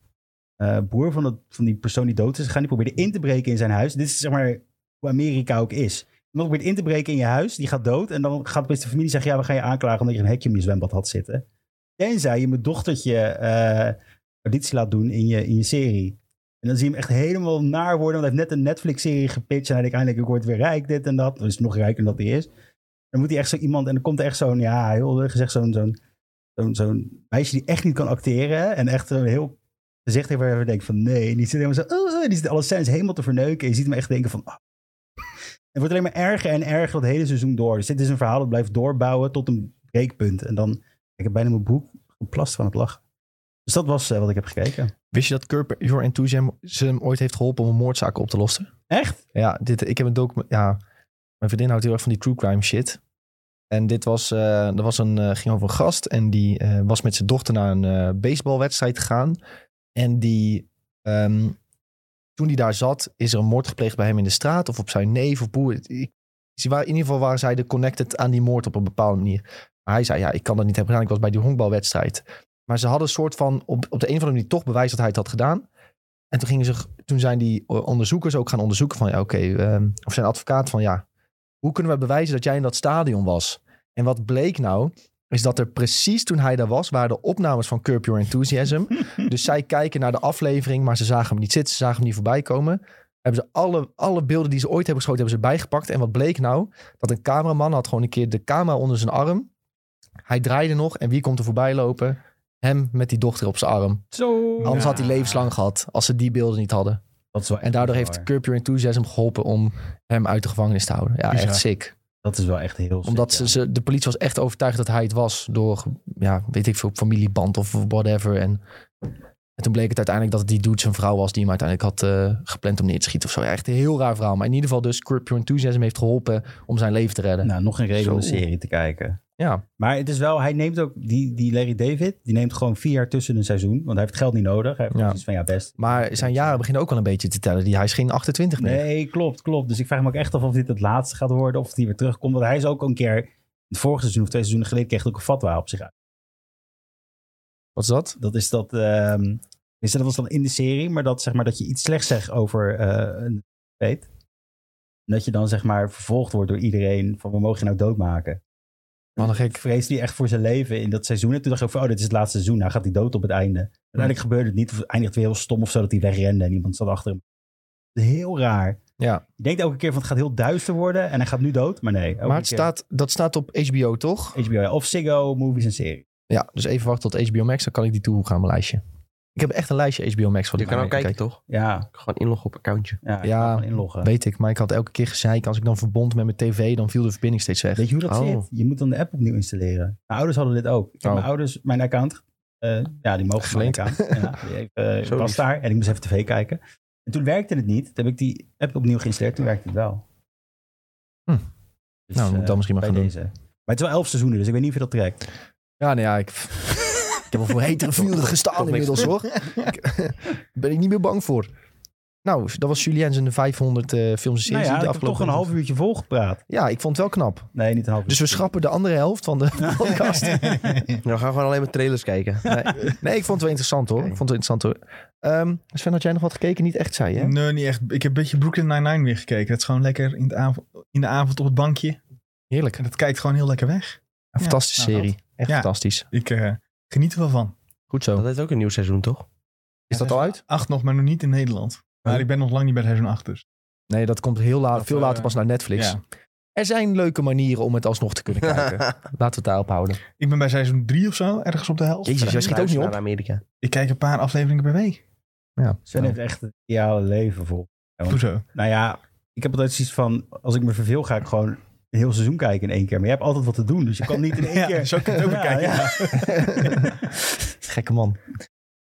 Speaker 4: eh, broer van, dat, van die persoon die dood is gegaan, die probeert in te breken in zijn huis. Dit is zeg maar hoe Amerika ook is. Iemand probeert in te breken in je huis, die gaat dood. En dan gaat opeens de familie zeggen, ja, we gaan je aanklagen omdat je een hekje in je zwembad had zitten. Tenzij je mijn dochtertje eh auditie laat doen in je, in je serie. En dan zie je hem echt helemaal naar worden. Want hij heeft net een Netflix-serie gepitcht. En hij denkt eindelijk, ik word weer rijk, dit en dat. Dus nog rijker dan dat hij is. Dan moet hij echt zo iemand... En dan komt er echt zo'n, ja, heel lullig gezegd, zo'n zo'n zo'n zo'n meisje die echt niet kan acteren. En echt een heel gezicht heeft waar je denkt van, nee. En die zit helemaal zo, oh, die zit alle scènes helemaal te verneuken. En je ziet hem echt denken van, ah. Het wordt alleen maar erger en erger dat hele seizoen door. Dus dit is een verhaal dat blijft doorbouwen tot een breekpunt. En dan, ik heb bijna mijn broek geplast van het lachen. Dus dat was eh, wat ik heb gekeken.
Speaker 1: Wist je dat Curb Your Enthusiasm ooit heeft geholpen om een moordzaak op te lossen?
Speaker 4: Echt?
Speaker 1: Ja, dit, ik heb een document. Ja, mijn vriendin houdt heel erg van die true crime shit. En dit was, eh er was een, eh, ging over een gast en die eh, was met zijn dochter naar een eh, baseballwedstrijd gegaan. En die, ehm, toen die daar zat, is er een moord gepleegd bij hem in de straat of op zijn neef of boer. Ik- Ze waren, in ieder geval waren zij de connected aan die moord op een bepaalde manier. Maar hij zei, ja, ik kan dat niet hebben gedaan. Ik was bij die honkbalwedstrijd. Maar ze hadden een soort van, op, op de een of andere manier toch bewijs dat hij het had gedaan. En toen, gingen ze, toen zijn die eh, onderzoekers ook gaan onderzoeken van, ja, oké, ehm, of zijn advocaat van, ja, hoe kunnen we bewijzen dat jij in dat stadion was? En wat bleek nou, is dat er precies toen hij daar was, waren de opnames van Curb Your Enthusiasm. dus zij kijken naar de aflevering, maar ze zagen hem niet zitten, ze zagen hem niet voorbij komen. Hebben ze alle, alle beelden die ze ooit hebben geschoten, hebben ze bijgepakt. En wat bleek nou? Dat een cameraman had gewoon een keer de camera onder zijn arm. Hij draaide nog en wie komt er voorbij lopen? Hem met die dochter op zijn arm.
Speaker 4: Zo.
Speaker 1: Anders had hij levenslang gehad als ze die beelden niet hadden.
Speaker 4: Dat is wel
Speaker 1: En
Speaker 4: echt
Speaker 1: daardoor
Speaker 4: bizar.
Speaker 1: heeft Curb Your Enthusiasm geholpen om hem uit de gevangenis te houden. Ja,
Speaker 3: Bizar.
Speaker 1: echt sick.
Speaker 4: Dat is wel echt heel
Speaker 1: Omdat
Speaker 4: sick,
Speaker 1: ze, ze, de politie was echt overtuigd dat hij het was door, ja, weet ik veel, familieband of whatever. En, en toen bleek het uiteindelijk dat het die dude zijn vrouw was die hem uiteindelijk had eh, gepland om neer te schieten of zo. Ja, echt een heel raar verhaal. Maar in ieder geval dus Curb Your Enthusiasm heeft geholpen om zijn leven te
Speaker 4: ja.
Speaker 1: redden.
Speaker 4: Nou, nog een reden om de
Speaker 1: Zo.
Speaker 4: serie te kijken.
Speaker 1: Ja,
Speaker 4: Maar het is wel, hij neemt ook, die, die Larry David, die neemt gewoon vier jaar tussen een seizoen. Want hij heeft het geld niet nodig. Hij heeft
Speaker 1: Ja.
Speaker 4: ja. van, ja best.
Speaker 1: maar zijn jaren beginnen ook wel een beetje te tellen. Die, hij is geen 28 meer.
Speaker 4: Nee, klopt, klopt. Dus ik vraag me ook echt af of dit het laatste gaat worden. Of die weer terugkomt. Want hij is ook een keer, het vorige seizoen of twee seizoenen geleden, kreeg hij ook een fatwa op zich uit.
Speaker 1: Wat is dat?
Speaker 4: Dat is dat, ehm is dat was dan in de serie, maar dat zeg maar dat je iets slechts zegt over eh, een weet. En dat je dan zeg maar vervolgd wordt door iedereen van we mogen je nou doodmaken.
Speaker 1: Wat een
Speaker 4: Ik
Speaker 1: gek.
Speaker 4: vrees die echt voor zijn leven in dat seizoen. En toen dacht ik ook van, oh, dit is het laatste seizoen. Nou gaat hij dood op het einde. Uiteindelijk gebeurde het niet. Of het eindigt weer heel stom of zo dat hij wegrende en iemand zat achter hem. Het is Heel raar.
Speaker 1: Ja.
Speaker 4: Je denkt elke keer van het gaat heel duister worden en hij gaat nu dood. Maar nee. elke
Speaker 1: Maar het
Speaker 4: keer
Speaker 1: staat, dat staat op HBO toch?
Speaker 4: HBO ja. of Ziggo, movies en series.
Speaker 1: Ja, dus even wachten tot HBO Max. Dan kan ik die toevoegen aan mijn lijstje. Ik heb echt een lijstje HBO Max van
Speaker 2: Je kan ook kijken, toch?
Speaker 4: Ja.
Speaker 2: Gewoon inloggen op accountje.
Speaker 4: Ja.
Speaker 1: Ja,
Speaker 4: ja. Inloggen.
Speaker 1: Weet ik, maar ik had elke keer gezeik. Als ik dan verbond met mijn tv, dan viel de verbinding steeds weg.
Speaker 4: Weet je hoe dat
Speaker 2: Oh.
Speaker 4: zit? Je moet dan de app opnieuw installeren. Mijn ouders hadden dit ook. Ik heb
Speaker 1: Oh.
Speaker 4: Mijn ouders, mijn account, eh, ja, die mogen mijn
Speaker 1: Geleend.
Speaker 4: account. Ja, die heeft, eh,
Speaker 2: Zo
Speaker 4: was
Speaker 2: lief.
Speaker 4: daar en ik moest even tv kijken. En toen werkte het niet. Toen heb ik die app opnieuw geïnstalleerd. Toen werkte het wel.
Speaker 1: Hm.
Speaker 4: Dus,
Speaker 1: Nou, dan moet ik
Speaker 4: eh,
Speaker 1: dat misschien maar
Speaker 4: bij
Speaker 1: gaan doen.
Speaker 4: deze. Maar het is wel elf seizoenen, dus ik weet niet of je dat trekt.
Speaker 1: Ja, nee, ja, ik, ik heb al voor hetere vuren gestaan
Speaker 2: Toch niks.
Speaker 1: inmiddels, hoor. Ik- ben ik niet meer bang voor. Nou, dat was Julien's en de 500 eh, films en
Speaker 4: Nou
Speaker 1: series
Speaker 4: ja,
Speaker 1: die
Speaker 4: ik
Speaker 1: de
Speaker 4: heb
Speaker 1: afgelopen...
Speaker 4: toch een half uurtje volgepraat.
Speaker 1: Ja, ik vond het wel knap.
Speaker 4: Nee, niet een half uur.
Speaker 1: Dus we schrappen de andere helft van de podcast.
Speaker 2: Nou, we gaan gewoon alleen maar trailers kijken.
Speaker 1: Nee, nee, ik vond het wel interessant, hoor. Ik vond het wel interessant, hoor. Ehm, Sven, had jij nog wat gekeken? Niet echt, zei je? hè?
Speaker 3: Nee, niet echt. Ik heb een beetje Brooklyn Nine-Nine weer gekeken. Dat is gewoon lekker in de, avond, in de avond op het bankje.
Speaker 1: Heerlijk.
Speaker 3: En dat kijkt gewoon heel lekker weg.
Speaker 1: Een fantastische
Speaker 3: nou,
Speaker 1: serie. Echt
Speaker 3: Ja.
Speaker 1: fantastisch.
Speaker 3: Ik eh, geniet er wel van.
Speaker 1: Goed zo.
Speaker 2: Dat heeft ook een nieuw seizoen, toch?
Speaker 1: Is dat al uit?
Speaker 3: Acht nog, maar nog niet in Nederland. Maar ik ben nog lang niet bij seizoen 8 dus.
Speaker 1: Nee, dat komt heel laat,
Speaker 3: Dat,
Speaker 1: veel
Speaker 3: eh,
Speaker 1: later pas naar Netflix.
Speaker 3: Ja.
Speaker 1: Er zijn leuke manieren om het alsnog te kunnen kijken. Laten we het daarop houden.
Speaker 3: Ik ben bij seizoen 3 of zo, ergens op de helft.
Speaker 1: Jezus, jij schiet ook niet
Speaker 2: Naar
Speaker 1: op.
Speaker 2: Amerika.
Speaker 3: Ik kijk een paar afleveringen per week.
Speaker 1: Ja.
Speaker 4: Sven heeft echt het ideale leven vol.
Speaker 3: Hoezo?
Speaker 4: Nou ja, ik heb altijd zoiets van, als ik me verveel ga ik gewoon een heel seizoen kijken in één keer. Maar je hebt altijd wat te doen, dus je kan niet in één
Speaker 3: Ja,
Speaker 4: keer...
Speaker 3: zo kun je het ook bekijken.
Speaker 4: Ja, ja.
Speaker 1: Gekke man.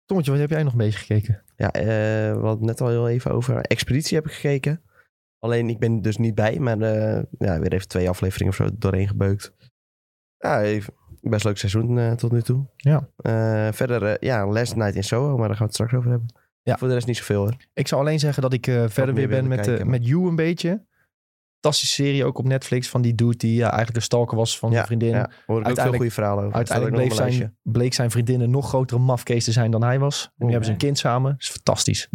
Speaker 1: Tommetje, wat heb jij nog een beetje gekeken?
Speaker 2: Ja, eh, we hadden het net al heel even over Expeditie heb ik gekeken. Alleen ik ben er dus niet bij, maar eh, ja, weer even twee afleveringen of zo doorheen gebeukt. Ja, even- best leuk seizoen eh, tot nu toe.
Speaker 1: Ja.
Speaker 2: Eh, verder, eh, ja, Last Night in Soho, maar daar gaan we het straks over hebben.
Speaker 1: Ja.
Speaker 2: Voor de rest niet zoveel hoor.
Speaker 1: Ik zou alleen zeggen dat ik eh, verder
Speaker 2: meer
Speaker 1: weer ben
Speaker 2: willen
Speaker 1: met,
Speaker 2: kijken,
Speaker 1: eh,
Speaker 2: maar-
Speaker 1: met You een beetje. Fantastische serie ook op Netflix van die dude die ja, eigenlijk een stalker was van
Speaker 2: Ja,
Speaker 1: een vriendin.
Speaker 2: ja, hoor ik ook veel
Speaker 1: uiteindelijk-
Speaker 2: goede verhalen over.
Speaker 1: Uiteindelijk bleef
Speaker 2: Staat ook nog op mijn
Speaker 1: zijn, bleek zijn vriendin een nog grotere mafkees te zijn dan hij was. En nu
Speaker 2: Oh,
Speaker 1: hebben ze een
Speaker 4: nee.
Speaker 1: kind samen. Dat is fantastisch.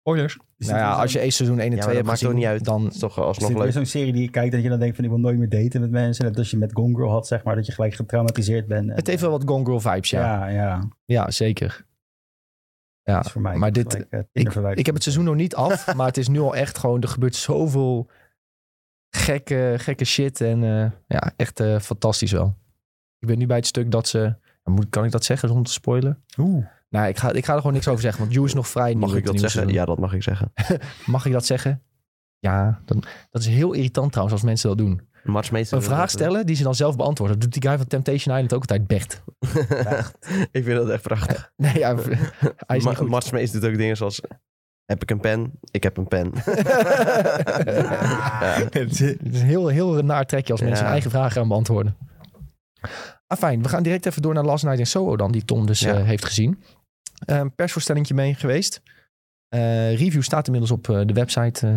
Speaker 3: Spoilers.
Speaker 4: Is
Speaker 1: nou
Speaker 4: dit
Speaker 1: ja,
Speaker 4: weer
Speaker 1: als je
Speaker 4: zo'n-
Speaker 1: één seizoen 1 en
Speaker 2: Ja,
Speaker 1: 2 hebt
Speaker 2: maar dat maakt ook
Speaker 1: gezien,
Speaker 2: niet uit.
Speaker 1: dan...
Speaker 2: lijstje. Is toch
Speaker 4: is
Speaker 2: alsnog
Speaker 4: dit weer
Speaker 2: leuk.
Speaker 4: zo'n serie die je kijkt dat je dan denkt van ik wil nooit meer daten met mensen. Net als je met Gone Girl had, zeg maar, dat je gelijk getraumatiseerd bent. En,
Speaker 1: Het heeft wel wat Gone Girl vibes, ja. Ja,
Speaker 4: ja, ja,
Speaker 1: zeker. Ja,
Speaker 4: dat is voor mij.
Speaker 1: maar dit...
Speaker 4: gelijk, eh,
Speaker 1: Ik,
Speaker 4: Tinder-verwijzing.
Speaker 1: ik heb het seizoen nog niet af, maar het is nu al echt gewoon... Er gebeurt zoveel gekke, gekke shit en eh, ja, echt eh, fantastisch wel. Ik ben nu bij het stuk dat ze... moet- Kan ik dat zeggen zonder te spoilen?
Speaker 3: Oeh.
Speaker 1: Nou, ik ga, ik ga er gewoon niks over zeggen, want You is nog vrij nieuw,
Speaker 2: Mag ik
Speaker 1: het
Speaker 2: dat
Speaker 1: nieuwe
Speaker 2: zeggen?
Speaker 1: seizoen.
Speaker 2: Ja, dat mag ik zeggen.
Speaker 1: Mag ik dat zeggen? Ja, dan, dat is heel irritant trouwens als mensen dat doen.
Speaker 2: Mats Meester
Speaker 1: Een vraag stellen die ze dan zelf beantwoorden. Dat doet die guy van Temptation Island ook altijd, Bert.
Speaker 2: ik vind dat echt prachtig.
Speaker 1: Nee, ja, hij is
Speaker 2: Ma-
Speaker 1: niet goed.
Speaker 2: Mats Mees doet ook dingen zoals... Heb ik een pen? Ik heb een pen. ja.
Speaker 1: Het is een heel, heel naar trekje als mensen
Speaker 2: Ja.
Speaker 1: hun eigen vragen gaan beantwoorden. Ah, fijn. We gaan direct even door naar Last Night in Soho dan, die Tom dus
Speaker 2: Ja.
Speaker 1: eh, heeft gezien. Eh, Een persvoorstellingje mee geweest. Eh, review staat inmiddels op eh, de website eh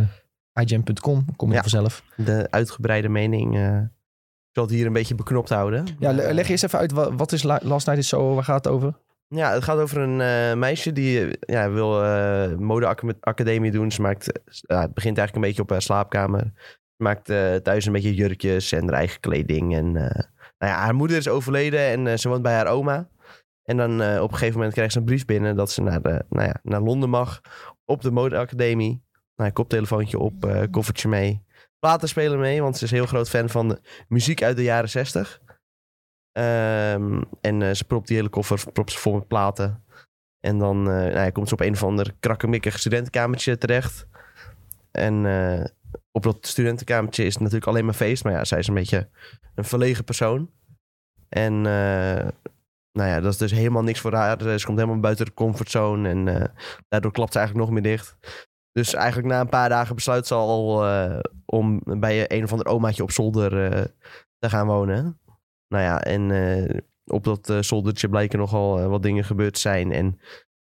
Speaker 1: igm.com. Kom je
Speaker 2: Ja.
Speaker 1: vanzelf.
Speaker 2: De uitgebreide mening... eh, ik zal het hier een beetje beknopt houden. eh,
Speaker 1: Ja, le- leg eerst even uit, wa- wat is La- Last Night in Soho? Waar gaat het over?
Speaker 2: Ja, het gaat over een eh, meisje die eh, ja, wil eh modeacademie doen. Ze maakt, eh, s- ja, het begint eigenlijk een beetje op haar slaapkamer. Ze maakt eh, thuis een beetje jurkjes en haar eigen kleding. En, eh, nou ja, haar moeder is overleden en eh, ze woont bij haar oma. En dan eh, op een gegeven moment krijgt ze een brief binnen dat ze naar, de, nou ja, naar Londen mag. Op de modeacademie. Nou, koptelefoontje op, eh, koffertje mee. Platen spelen mee, want ze is een heel groot fan van de muziek uit de jaren zestig. Ehm, en eh, ze propt die hele koffer propt ze vol met platen. En dan eh, nou ja, komt ze op een of ander krakkemikkig studentenkamertje terecht. En eh, op dat studentenkamertje is het natuurlijk alleen maar feest. Maar ja, zij is een beetje een verlegen persoon. En eh, nou ja, dat is dus helemaal niks voor haar. Ze komt helemaal buiten de comfortzone. En eh, daardoor klapt ze eigenlijk nog meer dicht. Dus eigenlijk na een paar dagen besluit ze al eh, om bij een of ander omaatje op zolder eh, te gaan wonen. Nou ja, en eh, op dat eh, zoldertje blijken nogal eh, wat dingen gebeurd te zijn. En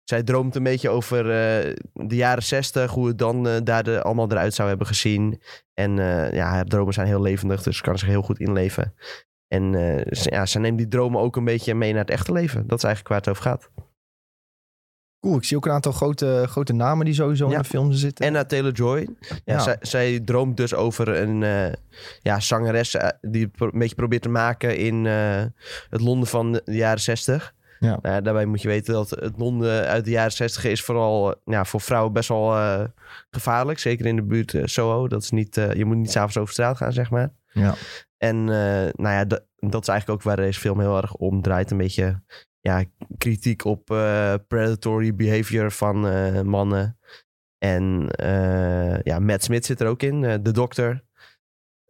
Speaker 2: zij droomt een beetje over eh, de jaren zestig, hoe het dan eh, daar de, allemaal eruit zou hebben gezien. En eh, ja, haar dromen zijn heel levendig, dus ze kan zich heel goed inleven. En eh, ze, ja, ze neemt die dromen ook een beetje mee naar het echte leven. Dat is eigenlijk waar het over gaat.
Speaker 1: Cool, ik zie ook een aantal grote, grote namen die sowieso
Speaker 2: Ja.
Speaker 1: in de film zitten.
Speaker 2: Anna Taylor-Joy. Ja,
Speaker 1: Ja.
Speaker 2: Zij, zij droomt dus over een eh, ja, zangeres eh, die het pro- een beetje probeert te maken in eh, het Londen van de jaren 60.
Speaker 1: Ja.
Speaker 2: Nou ja, daarbij moet je weten dat het Londen uit de jaren 60 is vooral eh, ja, voor vrouwen best wel eh, gevaarlijk. Zeker in de buurt eh, Soho. Dat is niet, eh, je moet niet s'avonds over straat gaan, zeg maar.
Speaker 1: Ja.
Speaker 2: En eh, nou ja, da- dat is eigenlijk ook waar deze film heel erg om draait. Een beetje ja, kritiek op eh, predatory behavior van eh, mannen. En eh, ja, Matt Smith zit er ook in. eh, de dokter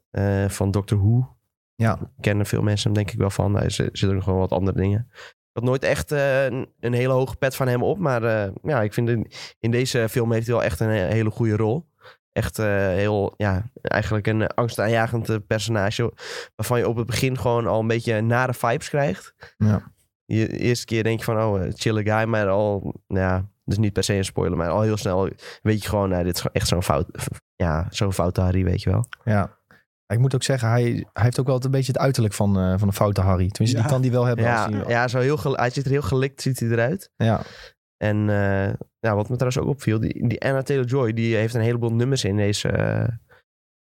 Speaker 2: eh, van Doctor Who.
Speaker 1: Ja.
Speaker 2: Kennen veel mensen hem denk ik wel van. Hij zit er nog wel wat andere dingen. Ik had nooit echt eh, een, een hele hoge pet van hem op. Maar eh, ja, ik vind in, in deze film heeft hij wel echt een he- hele goede rol. Echt eh, heel, ja, eigenlijk een eh, angstaanjagend eh, personage. Waarvan je op het begin gewoon al een beetje nare vibes krijgt.
Speaker 1: Ja.
Speaker 2: Je eerste keer denk je van, oh, eh, chille guy. Maar al, nou ja, dus niet per se een spoiler. Maar al heel snel weet je gewoon, nou, dit is gewoon echt zo'n fout. Ja, zo'n foute Harry, weet je wel.
Speaker 1: Ja. Ik moet ook zeggen, hij, hij heeft ook wel een beetje het uiterlijk van, eh, van een foute Harry. Tenminste, die
Speaker 4: Ja.
Speaker 1: kan die wel hebben.
Speaker 2: Ja,
Speaker 1: als die,
Speaker 2: ja zo heel gel- hij ziet er heel gelikt ziet hij eruit.
Speaker 1: ja.
Speaker 2: En eh, ja, wat me trouwens ook opviel, die, die Anna Taylor-Joy, die heeft een heleboel nummers in deze, eh,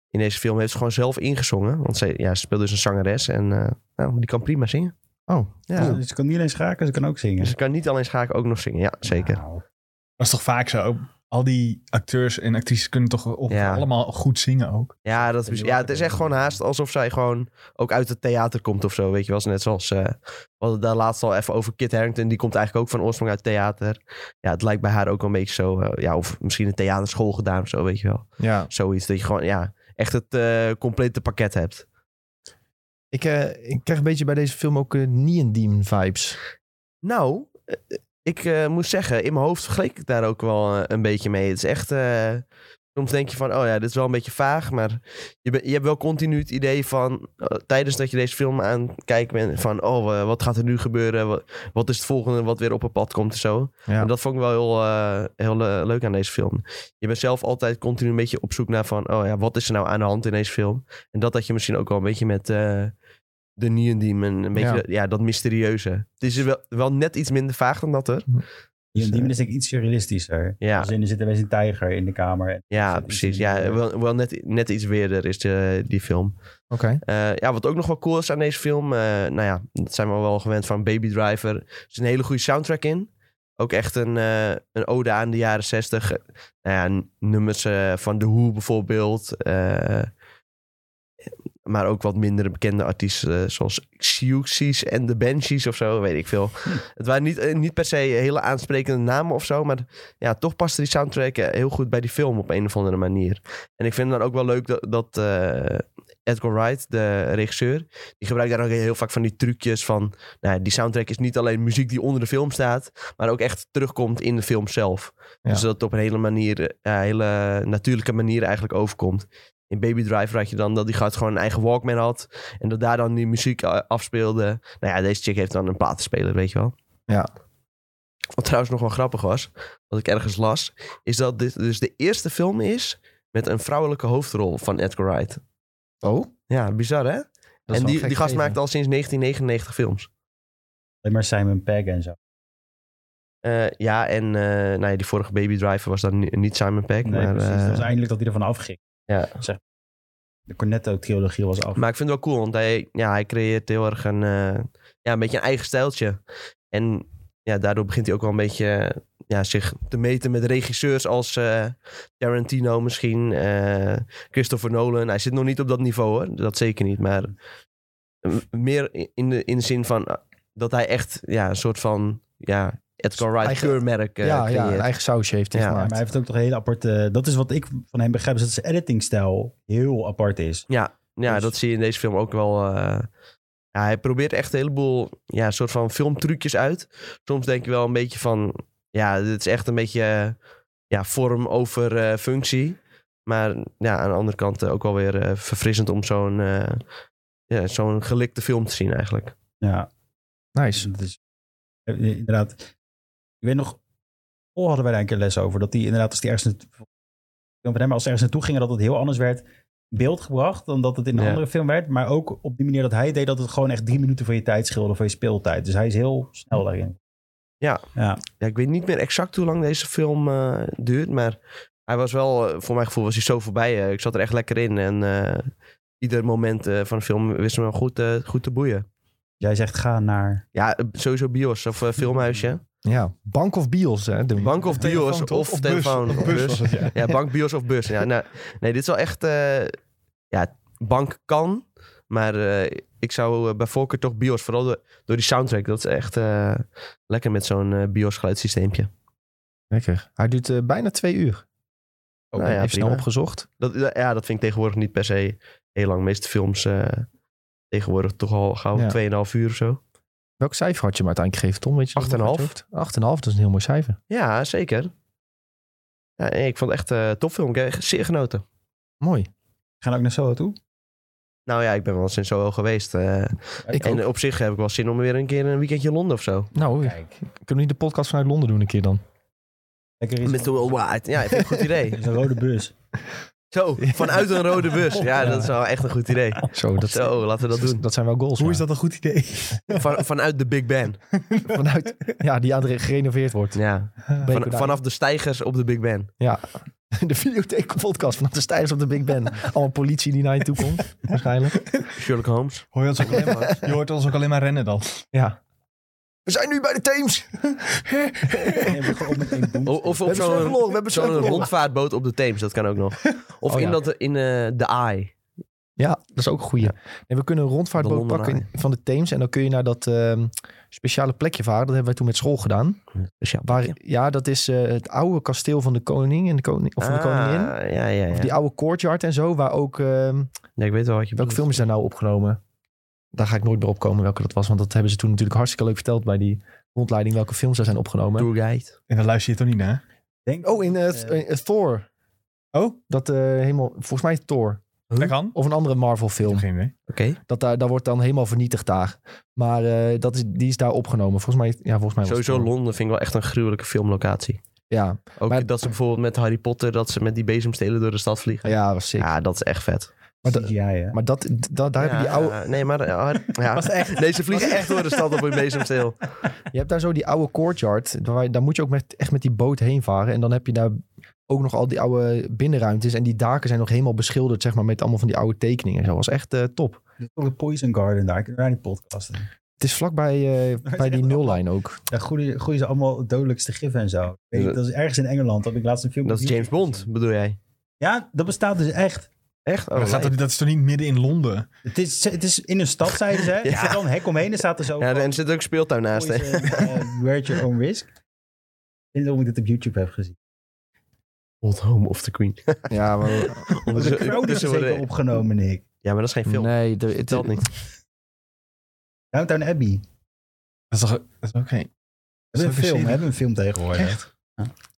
Speaker 2: in deze film. Heeft ze gewoon zelf ingezongen. Want ze, ja, ze speelt dus een zangeres en eh, nou, die kan prima zingen.
Speaker 1: Oh,
Speaker 2: ja.
Speaker 4: Dus ze kan niet alleen schaken, ze kan ook zingen.
Speaker 2: Dus ze kan niet alleen schaken, ook nog zingen. Ja, zeker.
Speaker 4: Nou,
Speaker 3: Dat is toch vaak zo? Al die acteurs en actrices kunnen toch op-
Speaker 2: Ja.
Speaker 3: allemaal goed zingen ook?
Speaker 2: Ja, dat is, ja, het is echt gewoon haast alsof zij gewoon ook uit het theater komt of zo. Weet je wel, net zoals. eh, we hadden daar laatst al even over Kit Harington. Die komt eigenlijk ook van oorsprong uit theater. Ja, het lijkt bij haar ook wel een beetje zo. eh, ja, of misschien een theaterschool gedaan of zo, weet je wel.
Speaker 1: ja.
Speaker 2: Zoiets dat je gewoon, ja, echt het eh, complete pakket hebt.
Speaker 1: Ik, eh, ik krijg een beetje bij deze film ook eh Neon Demon vibes.
Speaker 2: Nou, eh, ik eh, moet zeggen, in mijn hoofd vergeleek ik daar ook wel eh, een beetje mee. Het is echt. eh, soms denk je van, oh ja, dit is wel een beetje vaag. Maar je, be- je hebt wel continu het idee van. eh, tijdens dat je deze film aan het kijken bent. van, oh, eh, wat gaat er nu gebeuren? Wat, wat is het volgende wat weer op het pad komt en zo.
Speaker 1: Ja.
Speaker 2: En dat vond ik wel heel, eh, heel eh, leuk aan deze film. Je bent zelf altijd continu een beetje op zoek naar van, oh ja, wat is er nou aan de hand in deze film? En dat had je misschien ook wel een beetje met eh de Neon en een beetje
Speaker 1: Ja.
Speaker 2: dat- ja. dat mysterieuze. Het is wel, wel net iets minder vaag dan dat er.
Speaker 1: Dus,
Speaker 4: Die
Speaker 1: eh,
Speaker 4: manier is denk ik iets surrealistischer.
Speaker 2: Ja,
Speaker 4: Als in, er zit een tijger in de kamer.
Speaker 2: ja
Speaker 4: zit iets
Speaker 2: precies.
Speaker 4: in die-
Speaker 2: Ja, wel, wel net, net iets weerder is de, die film.
Speaker 1: Oké.
Speaker 2: Eh, ja, wat ook nog wel cool is aan deze film. eh, nou ja, dat zijn we wel gewend van Baby Driver. Er zit een hele goede soundtrack in. Ook echt een, eh, een ode aan de jaren zestig. Nou ja, n- nummers eh, van The Who bijvoorbeeld. eh, maar ook wat minder bekende artiesten eh, zoals Siouxsies en The Banshees of zo, weet ik veel. Het waren niet, eh, niet per se hele aansprekende namen of zo, maar ja, toch paste die soundtrack eh, heel goed bij die film op een of andere manier. En ik vind het dan ook wel leuk dat, dat eh, Edgar Wright, de regisseur, die gebruikt daar ook heel vaak van die trucjes van, nou, ja, die soundtrack is niet alleen muziek die onder de film staat, maar ook echt terugkomt in de film zelf.
Speaker 1: Ja.
Speaker 2: Dus dat het op een hele manier, eh, ja, hele natuurlijke manier eigenlijk overkomt. In Baby Driver had je dan dat die gast gewoon een eigen Walkman had. En dat daar dan die muziek eh, afspeelde. Nou ja, deze chick heeft dan een platenspeler, weet je wel.
Speaker 1: Ja.
Speaker 2: Wat trouwens nog wel grappig was, wat ik ergens las, is dat dit dus de eerste film is met een vrouwelijke hoofdrol van Edgar Wright.
Speaker 1: Oh,
Speaker 2: Ja, bizar hè?
Speaker 1: dat is
Speaker 2: en
Speaker 1: wel
Speaker 2: die,
Speaker 1: gek
Speaker 2: die gast
Speaker 1: gegeven.
Speaker 2: maakt al sinds 1999 films.
Speaker 4: Alleen maar Simon Pegg en zo.
Speaker 2: Eh, ja, en eh, nou ja, die vorige Baby Driver was dan ni- niet Simon Peck.
Speaker 4: Nee,
Speaker 2: maar,
Speaker 4: precies. Het
Speaker 2: eh,
Speaker 4: was eindelijk dat hij ervan afging.
Speaker 2: ja.
Speaker 4: De Cornetto-trilogie was af.
Speaker 2: Maar ik vind het wel cool, want hij, ja, hij creëert heel erg een, eh, ja, een beetje een eigen stijltje. En ja, daardoor begint hij ook wel een beetje eh, ja, zich te meten met regisseurs als eh, Tarantino misschien, eh, Christopher Nolan. Hij zit nog niet op dat niveau hoor, dat zeker niet. Maar eh, meer in de, in de zin van eh, dat hij echt ja, een soort van ja, Edgar Wright
Speaker 1: Eigen-
Speaker 2: keurmerk eh,
Speaker 1: ja, ja,
Speaker 2: creëert.
Speaker 1: een eigen sausje heeft hij
Speaker 2: Ja,
Speaker 4: Ja,
Speaker 1: gemaakt.
Speaker 4: maar hij heeft ook toch een hele aparte... Dat is wat ik van hem begrijp, is dat zijn editingstijl heel apart is.
Speaker 2: Ja, ja
Speaker 4: Dus-
Speaker 2: dat zie je in deze film ook wel. eh, ja, hij probeert echt een heleboel ja, soort van filmtrucjes uit. Soms denk je wel een beetje van... Ja, dit is echt een beetje eh, ja, vorm over eh, functie. Maar ja, aan de andere kant eh, ook wel weer eh, verfrissend om zo'n eh, ja, zo'n gelikte film te zien eigenlijk.
Speaker 4: Ja.
Speaker 1: Nice.
Speaker 4: Dat is, eh, inderdaad. Ik weet nog, oh, hadden wij daar een keer les over. Dat die inderdaad, als die ergens naartoe, film van hem, als ze ergens naartoe gingen, dat het heel anders werd in beeld gebracht dan dat het in een
Speaker 2: Ja.
Speaker 4: andere film werd. Maar ook op die manier dat hij deed, dat het gewoon echt drie minuten van je tijd scheelde, van je speeltijd. Dus hij is heel snel daarin.
Speaker 2: Ja.
Speaker 4: ja.
Speaker 2: Ja, ik weet niet meer exact hoe lang deze film eh, duurt, maar hij was wel, eh, voor mijn gevoel was hij zo voorbij. eh, ik zat er echt lekker in en eh, ieder moment eh, van de film wist me wel goed, eh, goed te boeien.
Speaker 4: Jij Dus zegt, ga naar...
Speaker 2: Ja, eh, sowieso bios of eh, filmhuisje.
Speaker 1: Ja, bank of bios. Hè, de-
Speaker 2: Bank of bios
Speaker 3: Telefoon, toch?
Speaker 2: of
Speaker 3: bus.
Speaker 2: telefoon.
Speaker 3: Of
Speaker 2: of
Speaker 3: bus
Speaker 2: bus.
Speaker 3: was het, ja.
Speaker 2: Ja, bank, bios of bus. Ja, nou, nee, dit is wel echt... eh, ja, bank kan, maar eh, ik zou eh, bij voorkeur toch bios. Vooral door, door die soundtrack. Dat is echt eh, lekker met zo'n eh, bios geluidssysteempje.
Speaker 1: Lekker. Hij duurt eh, bijna twee uur.
Speaker 2: Nou
Speaker 1: Even
Speaker 2: ja,
Speaker 1: snel
Speaker 2: prima.
Speaker 1: opgezocht.
Speaker 2: Dat, ja, dat vind ik tegenwoordig niet per se heel lang. De meeste films eh, tegenwoordig toch al
Speaker 1: Ja.
Speaker 2: gauw 2,5 uur of zo.
Speaker 1: Welk cijfer had je hem uiteindelijk gegeven, Tom? Weet je dat
Speaker 2: Acht en
Speaker 1: nog uit je
Speaker 2: half.
Speaker 1: hoofd? Acht en een half, dat is een heel mooi cijfer.
Speaker 2: Ja, zeker. Ja, nee, ik vond het echt een topfilm. Ik heb echt zeer genoten.
Speaker 1: Mooi.
Speaker 4: Gaan ook naar Soho toe?
Speaker 2: Nou ja, ik ben wel eens in Soho geweest. eh,
Speaker 1: Ik
Speaker 2: en op zich heb ik wel zin om weer een keer een weekendje in Londen of zo.
Speaker 1: Nou, ik-
Speaker 4: Kijk,
Speaker 1: kunnen we niet de podcast vanuit Londen doen een keer dan?
Speaker 4: lekker is
Speaker 2: Met de Worldwide. Ja, ik vind ik een goed idee.
Speaker 4: een rode bus.
Speaker 2: Zo, vanuit een rode bus. Ja, dat is wel echt een goed idee.
Speaker 1: Zo, dat,
Speaker 2: Zo, laten we dat doen.
Speaker 1: dat zijn wel goals.
Speaker 3: Hoe
Speaker 1: ja.
Speaker 3: is dat een goed idee?
Speaker 2: Van, vanuit de Big Ben.
Speaker 1: Vanuit, ja, die aan de- gerenoveerd wordt.
Speaker 2: Ja,
Speaker 1: Breken
Speaker 2: van,
Speaker 1: daar-
Speaker 2: vanaf de stijgers op de Big Ben.
Speaker 1: Ja. De videotheek podcast vanaf de stijgers op de Big Ben. Allemaal politie die naar je toe komt, waarschijnlijk.
Speaker 2: Sherlock Holmes.
Speaker 3: Hoor je, ons ook alleen maar, je hoort ons ook alleen maar rennen dan.
Speaker 1: Ja. We zijn nu bij de Thames.
Speaker 4: Nee, maar gewoon met één boem.
Speaker 2: O- of op
Speaker 1: hebben
Speaker 2: zo'n
Speaker 1: sleutelon, we hebben
Speaker 2: zo'n
Speaker 1: sleutelon.
Speaker 2: rondvaartboot op de Theems, dat kan ook nog. Of
Speaker 1: Oh,
Speaker 2: in,
Speaker 1: ja.
Speaker 2: dat, in eh, de Eye.
Speaker 1: Ja, dat is ook een goeie. En we kunnen een
Speaker 2: De
Speaker 1: rondvaartboot
Speaker 2: Londen
Speaker 1: pakken in- van de Thames. En dan kun je naar dat ehm, speciale plekje varen. Dat hebben wij toen met school gedaan.
Speaker 2: Dus ja,
Speaker 1: Waar, ja, dat is eh, het oude kasteel van de koning en de, koning, of van de koningin.
Speaker 2: Ah, ja, ja, ja.
Speaker 1: Of die oude courtyard en zo. Waar ook, ehm
Speaker 2: ja. Ik weet wel wat
Speaker 1: welke
Speaker 2: je bedoelt.
Speaker 1: film is daar nou opgenomen? Daar ga ik nooit meer op komen welke dat was. Want dat hebben ze toen natuurlijk hartstikke leuk verteld bij die rondleiding welke films er zijn opgenomen.
Speaker 2: Tourguide.
Speaker 3: En dan luister je toch niet naar?
Speaker 4: Denk,
Speaker 1: Oh, in eh,
Speaker 4: Eh.
Speaker 1: th- eh, Thor.
Speaker 3: Oh,
Speaker 1: Dat eh, helemaal, volgens mij Thor.
Speaker 3: dat kan.
Speaker 1: Of een andere Marvel
Speaker 3: Ik
Speaker 1: film.
Speaker 3: heb geen idee.
Speaker 2: Oké.
Speaker 1: Dat daar, daar wordt dan helemaal vernietigd daar. Maar eh, dat is, die is daar opgenomen. Volgens mij, ja, volgens mij was het
Speaker 2: Sowieso
Speaker 1: Thor.
Speaker 2: Londen vind ik wel echt een gruwelijke filmlocatie.
Speaker 1: Ja,
Speaker 2: Ook
Speaker 1: Maar-
Speaker 2: dat ze bijvoorbeeld met Harry Potter, dat ze met die bezemstelen door de stad vliegen.
Speaker 1: ja, was sick.
Speaker 2: Ja, dat is echt vet.
Speaker 1: Maar, da-
Speaker 4: CGI, hè?
Speaker 1: maar dat, da- daar heb je die oude...
Speaker 2: Nee, maar... eh, Har- ja.
Speaker 4: Was echt.
Speaker 2: Nee, ze vliegen echt door de stad op hun bezemsteel.
Speaker 1: Je hebt daar zo die oude courtyard. Daar, daar moet je ook met, echt met die boot heen varen. En dan heb je daar ook nog al die oude binnenruimtes. En die daken zijn nog helemaal beschilderd, zeg maar, met allemaal van die oude tekeningen. en Zo was echt eh, top.
Speaker 4: Er is ook een Poison Garden daar. Kunnen we daar niet podcasten?
Speaker 1: Het is vlakbij eh bij die nullijn ook.
Speaker 4: Daar groeien, groeien ze allemaal het dodelijkste gif en zo. Ik weet niet,
Speaker 2: Dus-
Speaker 4: dat is ergens in Engeland. Dat heb ik laatst een film
Speaker 2: Dat
Speaker 4: op
Speaker 2: is James
Speaker 4: YouTube
Speaker 2: Bond,
Speaker 4: gezien.
Speaker 2: bedoel jij?
Speaker 4: Ja, dat bestaat dus echt.
Speaker 2: Echt?
Speaker 1: Oh,
Speaker 3: Maar dat, gaat toch, niet- dat is toch niet midden in Londen?
Speaker 4: Het is, het is in een stad, zeiden ze. Er
Speaker 2: Ja.
Speaker 4: zit dan een hek omheen en staat er zo.
Speaker 2: Ja,
Speaker 4: van,
Speaker 2: en er zit ook een speeltuin naast. hè?
Speaker 4: poison, eh, wear at your own risk. Ik vind dat ik dit op YouTube heb gezien.
Speaker 2: Old Home of the Queen.
Speaker 1: Ja, maar...
Speaker 4: Dus, de Crown is
Speaker 2: dus-
Speaker 4: zeker opgenomen, Nick.
Speaker 2: Ja, maar dat is geen film.
Speaker 1: Nee, de- het
Speaker 2: Telt niet.
Speaker 4: Downtown Abbey.
Speaker 3: Dat is toch dat is ook geen...
Speaker 4: We
Speaker 3: Dat is ook
Speaker 4: hebben een film,
Speaker 3: serie.
Speaker 4: we hebben een film tegenwoordig.
Speaker 3: Echt?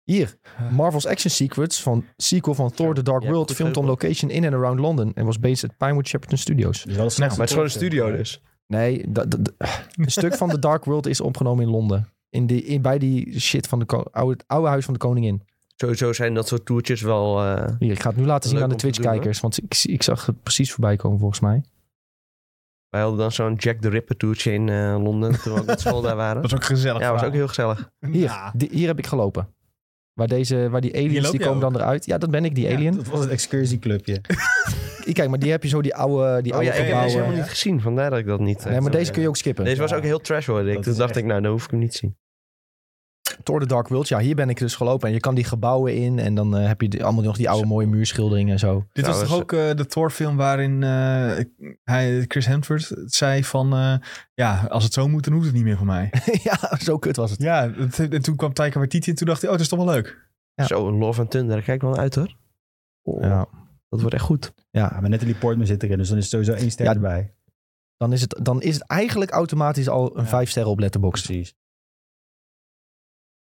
Speaker 1: Hier, Marvel's Action Secrets van sequel van Thor The Dark
Speaker 2: Ja,
Speaker 1: World,
Speaker 2: goed
Speaker 1: filmed on
Speaker 2: geregeld.
Speaker 1: location in and around London en was based at Pinewood Shepperton Studios.
Speaker 4: Dus wel een
Speaker 2: Maar
Speaker 3: Nou,
Speaker 2: het is gewoon een studio
Speaker 4: dus.
Speaker 2: dus.
Speaker 1: Nee, dat- dat- een stuk van The Dark World is opgenomen in Londen. In die, in, bij die shit van de ko- oude, het oude huis van de koningin.
Speaker 2: Sowieso zijn dat soort toertjes wel... eh,
Speaker 1: Hier, ik ga het nu laten zien
Speaker 2: Leuk
Speaker 1: aan de
Speaker 2: om te doen,
Speaker 1: Twitch-kijkers, want ik, ik zag het precies voorbij komen volgens mij.
Speaker 2: wij hadden dan zo'n Jack the Ripper toertje in eh, Londen toen we ook met school daar waren.
Speaker 3: Dat is ook gezellig.
Speaker 2: Ja, was
Speaker 3: verhaal.
Speaker 2: ook heel gezellig.
Speaker 1: Hier,
Speaker 3: Ja.
Speaker 1: di- hier heb ik gelopen. Waar, deze, waar die aliens,
Speaker 3: loop
Speaker 1: die
Speaker 3: je
Speaker 1: komen dan eruit. Ja, dat ben ik, die
Speaker 4: Ja,
Speaker 1: alien.
Speaker 4: dat was het excursieclubje.
Speaker 1: Kijk, maar die heb je zo die oude, die oude
Speaker 2: Oh ja, ik heb deze
Speaker 1: gebouwen.
Speaker 2: helemaal niet gezien. Vandaar dat ik dat niet... eh,
Speaker 1: Nee, maar deze
Speaker 4: ja.
Speaker 1: kun je ook skippen.
Speaker 2: Deze was
Speaker 4: Ja.
Speaker 2: ook heel trash hoor. Ik.
Speaker 4: Dat
Speaker 2: Toen
Speaker 4: is
Speaker 2: dacht
Speaker 4: echt-
Speaker 2: ik, nou, dan hoef ik hem niet te zien.
Speaker 1: Thor The Dark World, ja, hier ben ik dus gelopen. En je kan die gebouwen in en dan eh, heb je die- allemaal nog die oude mooie muurschilderingen en zo.
Speaker 3: Dit was toch
Speaker 2: Trouwens,
Speaker 3: ook eh, de Thor-film waarin eh, hij, Chris Hemsworth zei van... eh, ja, als het zo moet, dan hoeft het niet meer van mij.
Speaker 1: ja, zo kut was het.
Speaker 3: ja, dat- en toen kwam Taika Waititi en toen dacht hij... Oh, dat is toch wel leuk.
Speaker 1: Ja.
Speaker 2: Zo, een Love and Thunder. Daar kijk ik wel naar uit hoor. Oh,
Speaker 1: Ja,
Speaker 2: Dat wordt echt goed.
Speaker 4: Ja, maar Natalie Portman zit erin, dus dan is sowieso één ster
Speaker 1: Ja,
Speaker 4: erbij.
Speaker 1: dan, is het, dan is het eigenlijk automatisch al een
Speaker 4: Ja.
Speaker 1: vijf sterren op Letterboxd.
Speaker 4: Precies.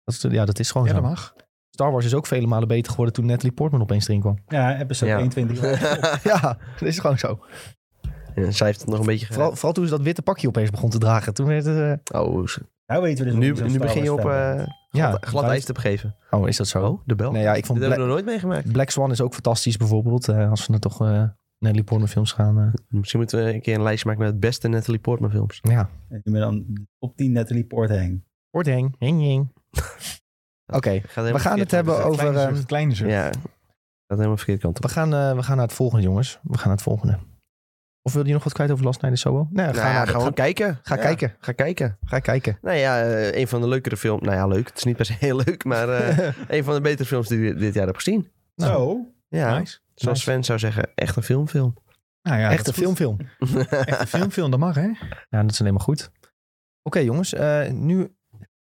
Speaker 1: Dat is, ja, dat
Speaker 2: Oh,
Speaker 1: is gewoon
Speaker 3: Ja,
Speaker 1: zo.
Speaker 3: dat mag.
Speaker 1: Star Wars is ook vele malen beter geworden toen Natalie Portman opeens erin kwam.
Speaker 4: Ja, episode
Speaker 2: Ja.
Speaker 4: 1, 22.
Speaker 1: Ja, dat is gewoon zo.
Speaker 2: Ja, zij heeft het nog een beetje
Speaker 1: Vooral, vooral toen ze dat witte pakje opeens begon te dragen. Toen werd het... eh,
Speaker 2: Oh, ze-
Speaker 4: Nou weten we dus
Speaker 2: nu,
Speaker 4: waarom ik
Speaker 2: nu
Speaker 4: zo'n
Speaker 2: begin je
Speaker 4: Star
Speaker 2: op
Speaker 4: Wars fan
Speaker 2: eh
Speaker 4: ben.
Speaker 1: ja,
Speaker 2: glad, glad ijs te begeven.
Speaker 1: Oh, is dat zo?
Speaker 2: Oh, de bel.
Speaker 1: Nee, ja, ik
Speaker 2: Dat
Speaker 1: vond
Speaker 2: hebben we
Speaker 1: Black,
Speaker 2: nog nooit meegemaakt.
Speaker 1: Black Swan is ook fantastisch bijvoorbeeld. eh, als we dan toch eh Natalie Portman films gaan... eh,
Speaker 2: Misschien moeten we een keer een lijstje maken met de beste Natalie Portman films.
Speaker 1: ja.
Speaker 4: En nu ben dan op 10 Natalie Portman.
Speaker 1: Hoort heng, heng, heng. Oké, we gaan het hebben
Speaker 3: Het
Speaker 1: over...
Speaker 3: kleine
Speaker 1: ehm,
Speaker 3: zucht, het kleine zucht.
Speaker 2: Ja, dat helemaal verkeerd kant op.
Speaker 1: We gaan, eh, we gaan naar het volgende, jongens. We gaan naar het volgende. Of wil je nog wat kwijt over Last Night in Soho? Nee,
Speaker 2: Nou
Speaker 1: ga,
Speaker 2: ja,
Speaker 1: naar de-
Speaker 2: gewoon
Speaker 1: ga,
Speaker 2: kijken.
Speaker 1: ga
Speaker 2: Ja,
Speaker 1: kijken.
Speaker 2: Ga kijken.
Speaker 1: Ga kijken.
Speaker 2: Nou ja, eh, een van de leukere films. Nou ja, leuk. Het is niet per se heel leuk, maar eh, een van de betere films die we dit jaar heb gezien.
Speaker 1: Nou,
Speaker 4: Zo.
Speaker 2: Ja,
Speaker 3: Nice.
Speaker 2: zoals
Speaker 1: nice.
Speaker 2: Sven zou zeggen, echt een filmfilm.
Speaker 3: Nou ja,
Speaker 1: Echt
Speaker 3: dat
Speaker 1: een
Speaker 3: is goed.
Speaker 1: filmfilm.
Speaker 3: Echt een filmfilm, dat mag hè.
Speaker 1: Ja, dat is alleen maar goed. Oké, jongens. eh, nu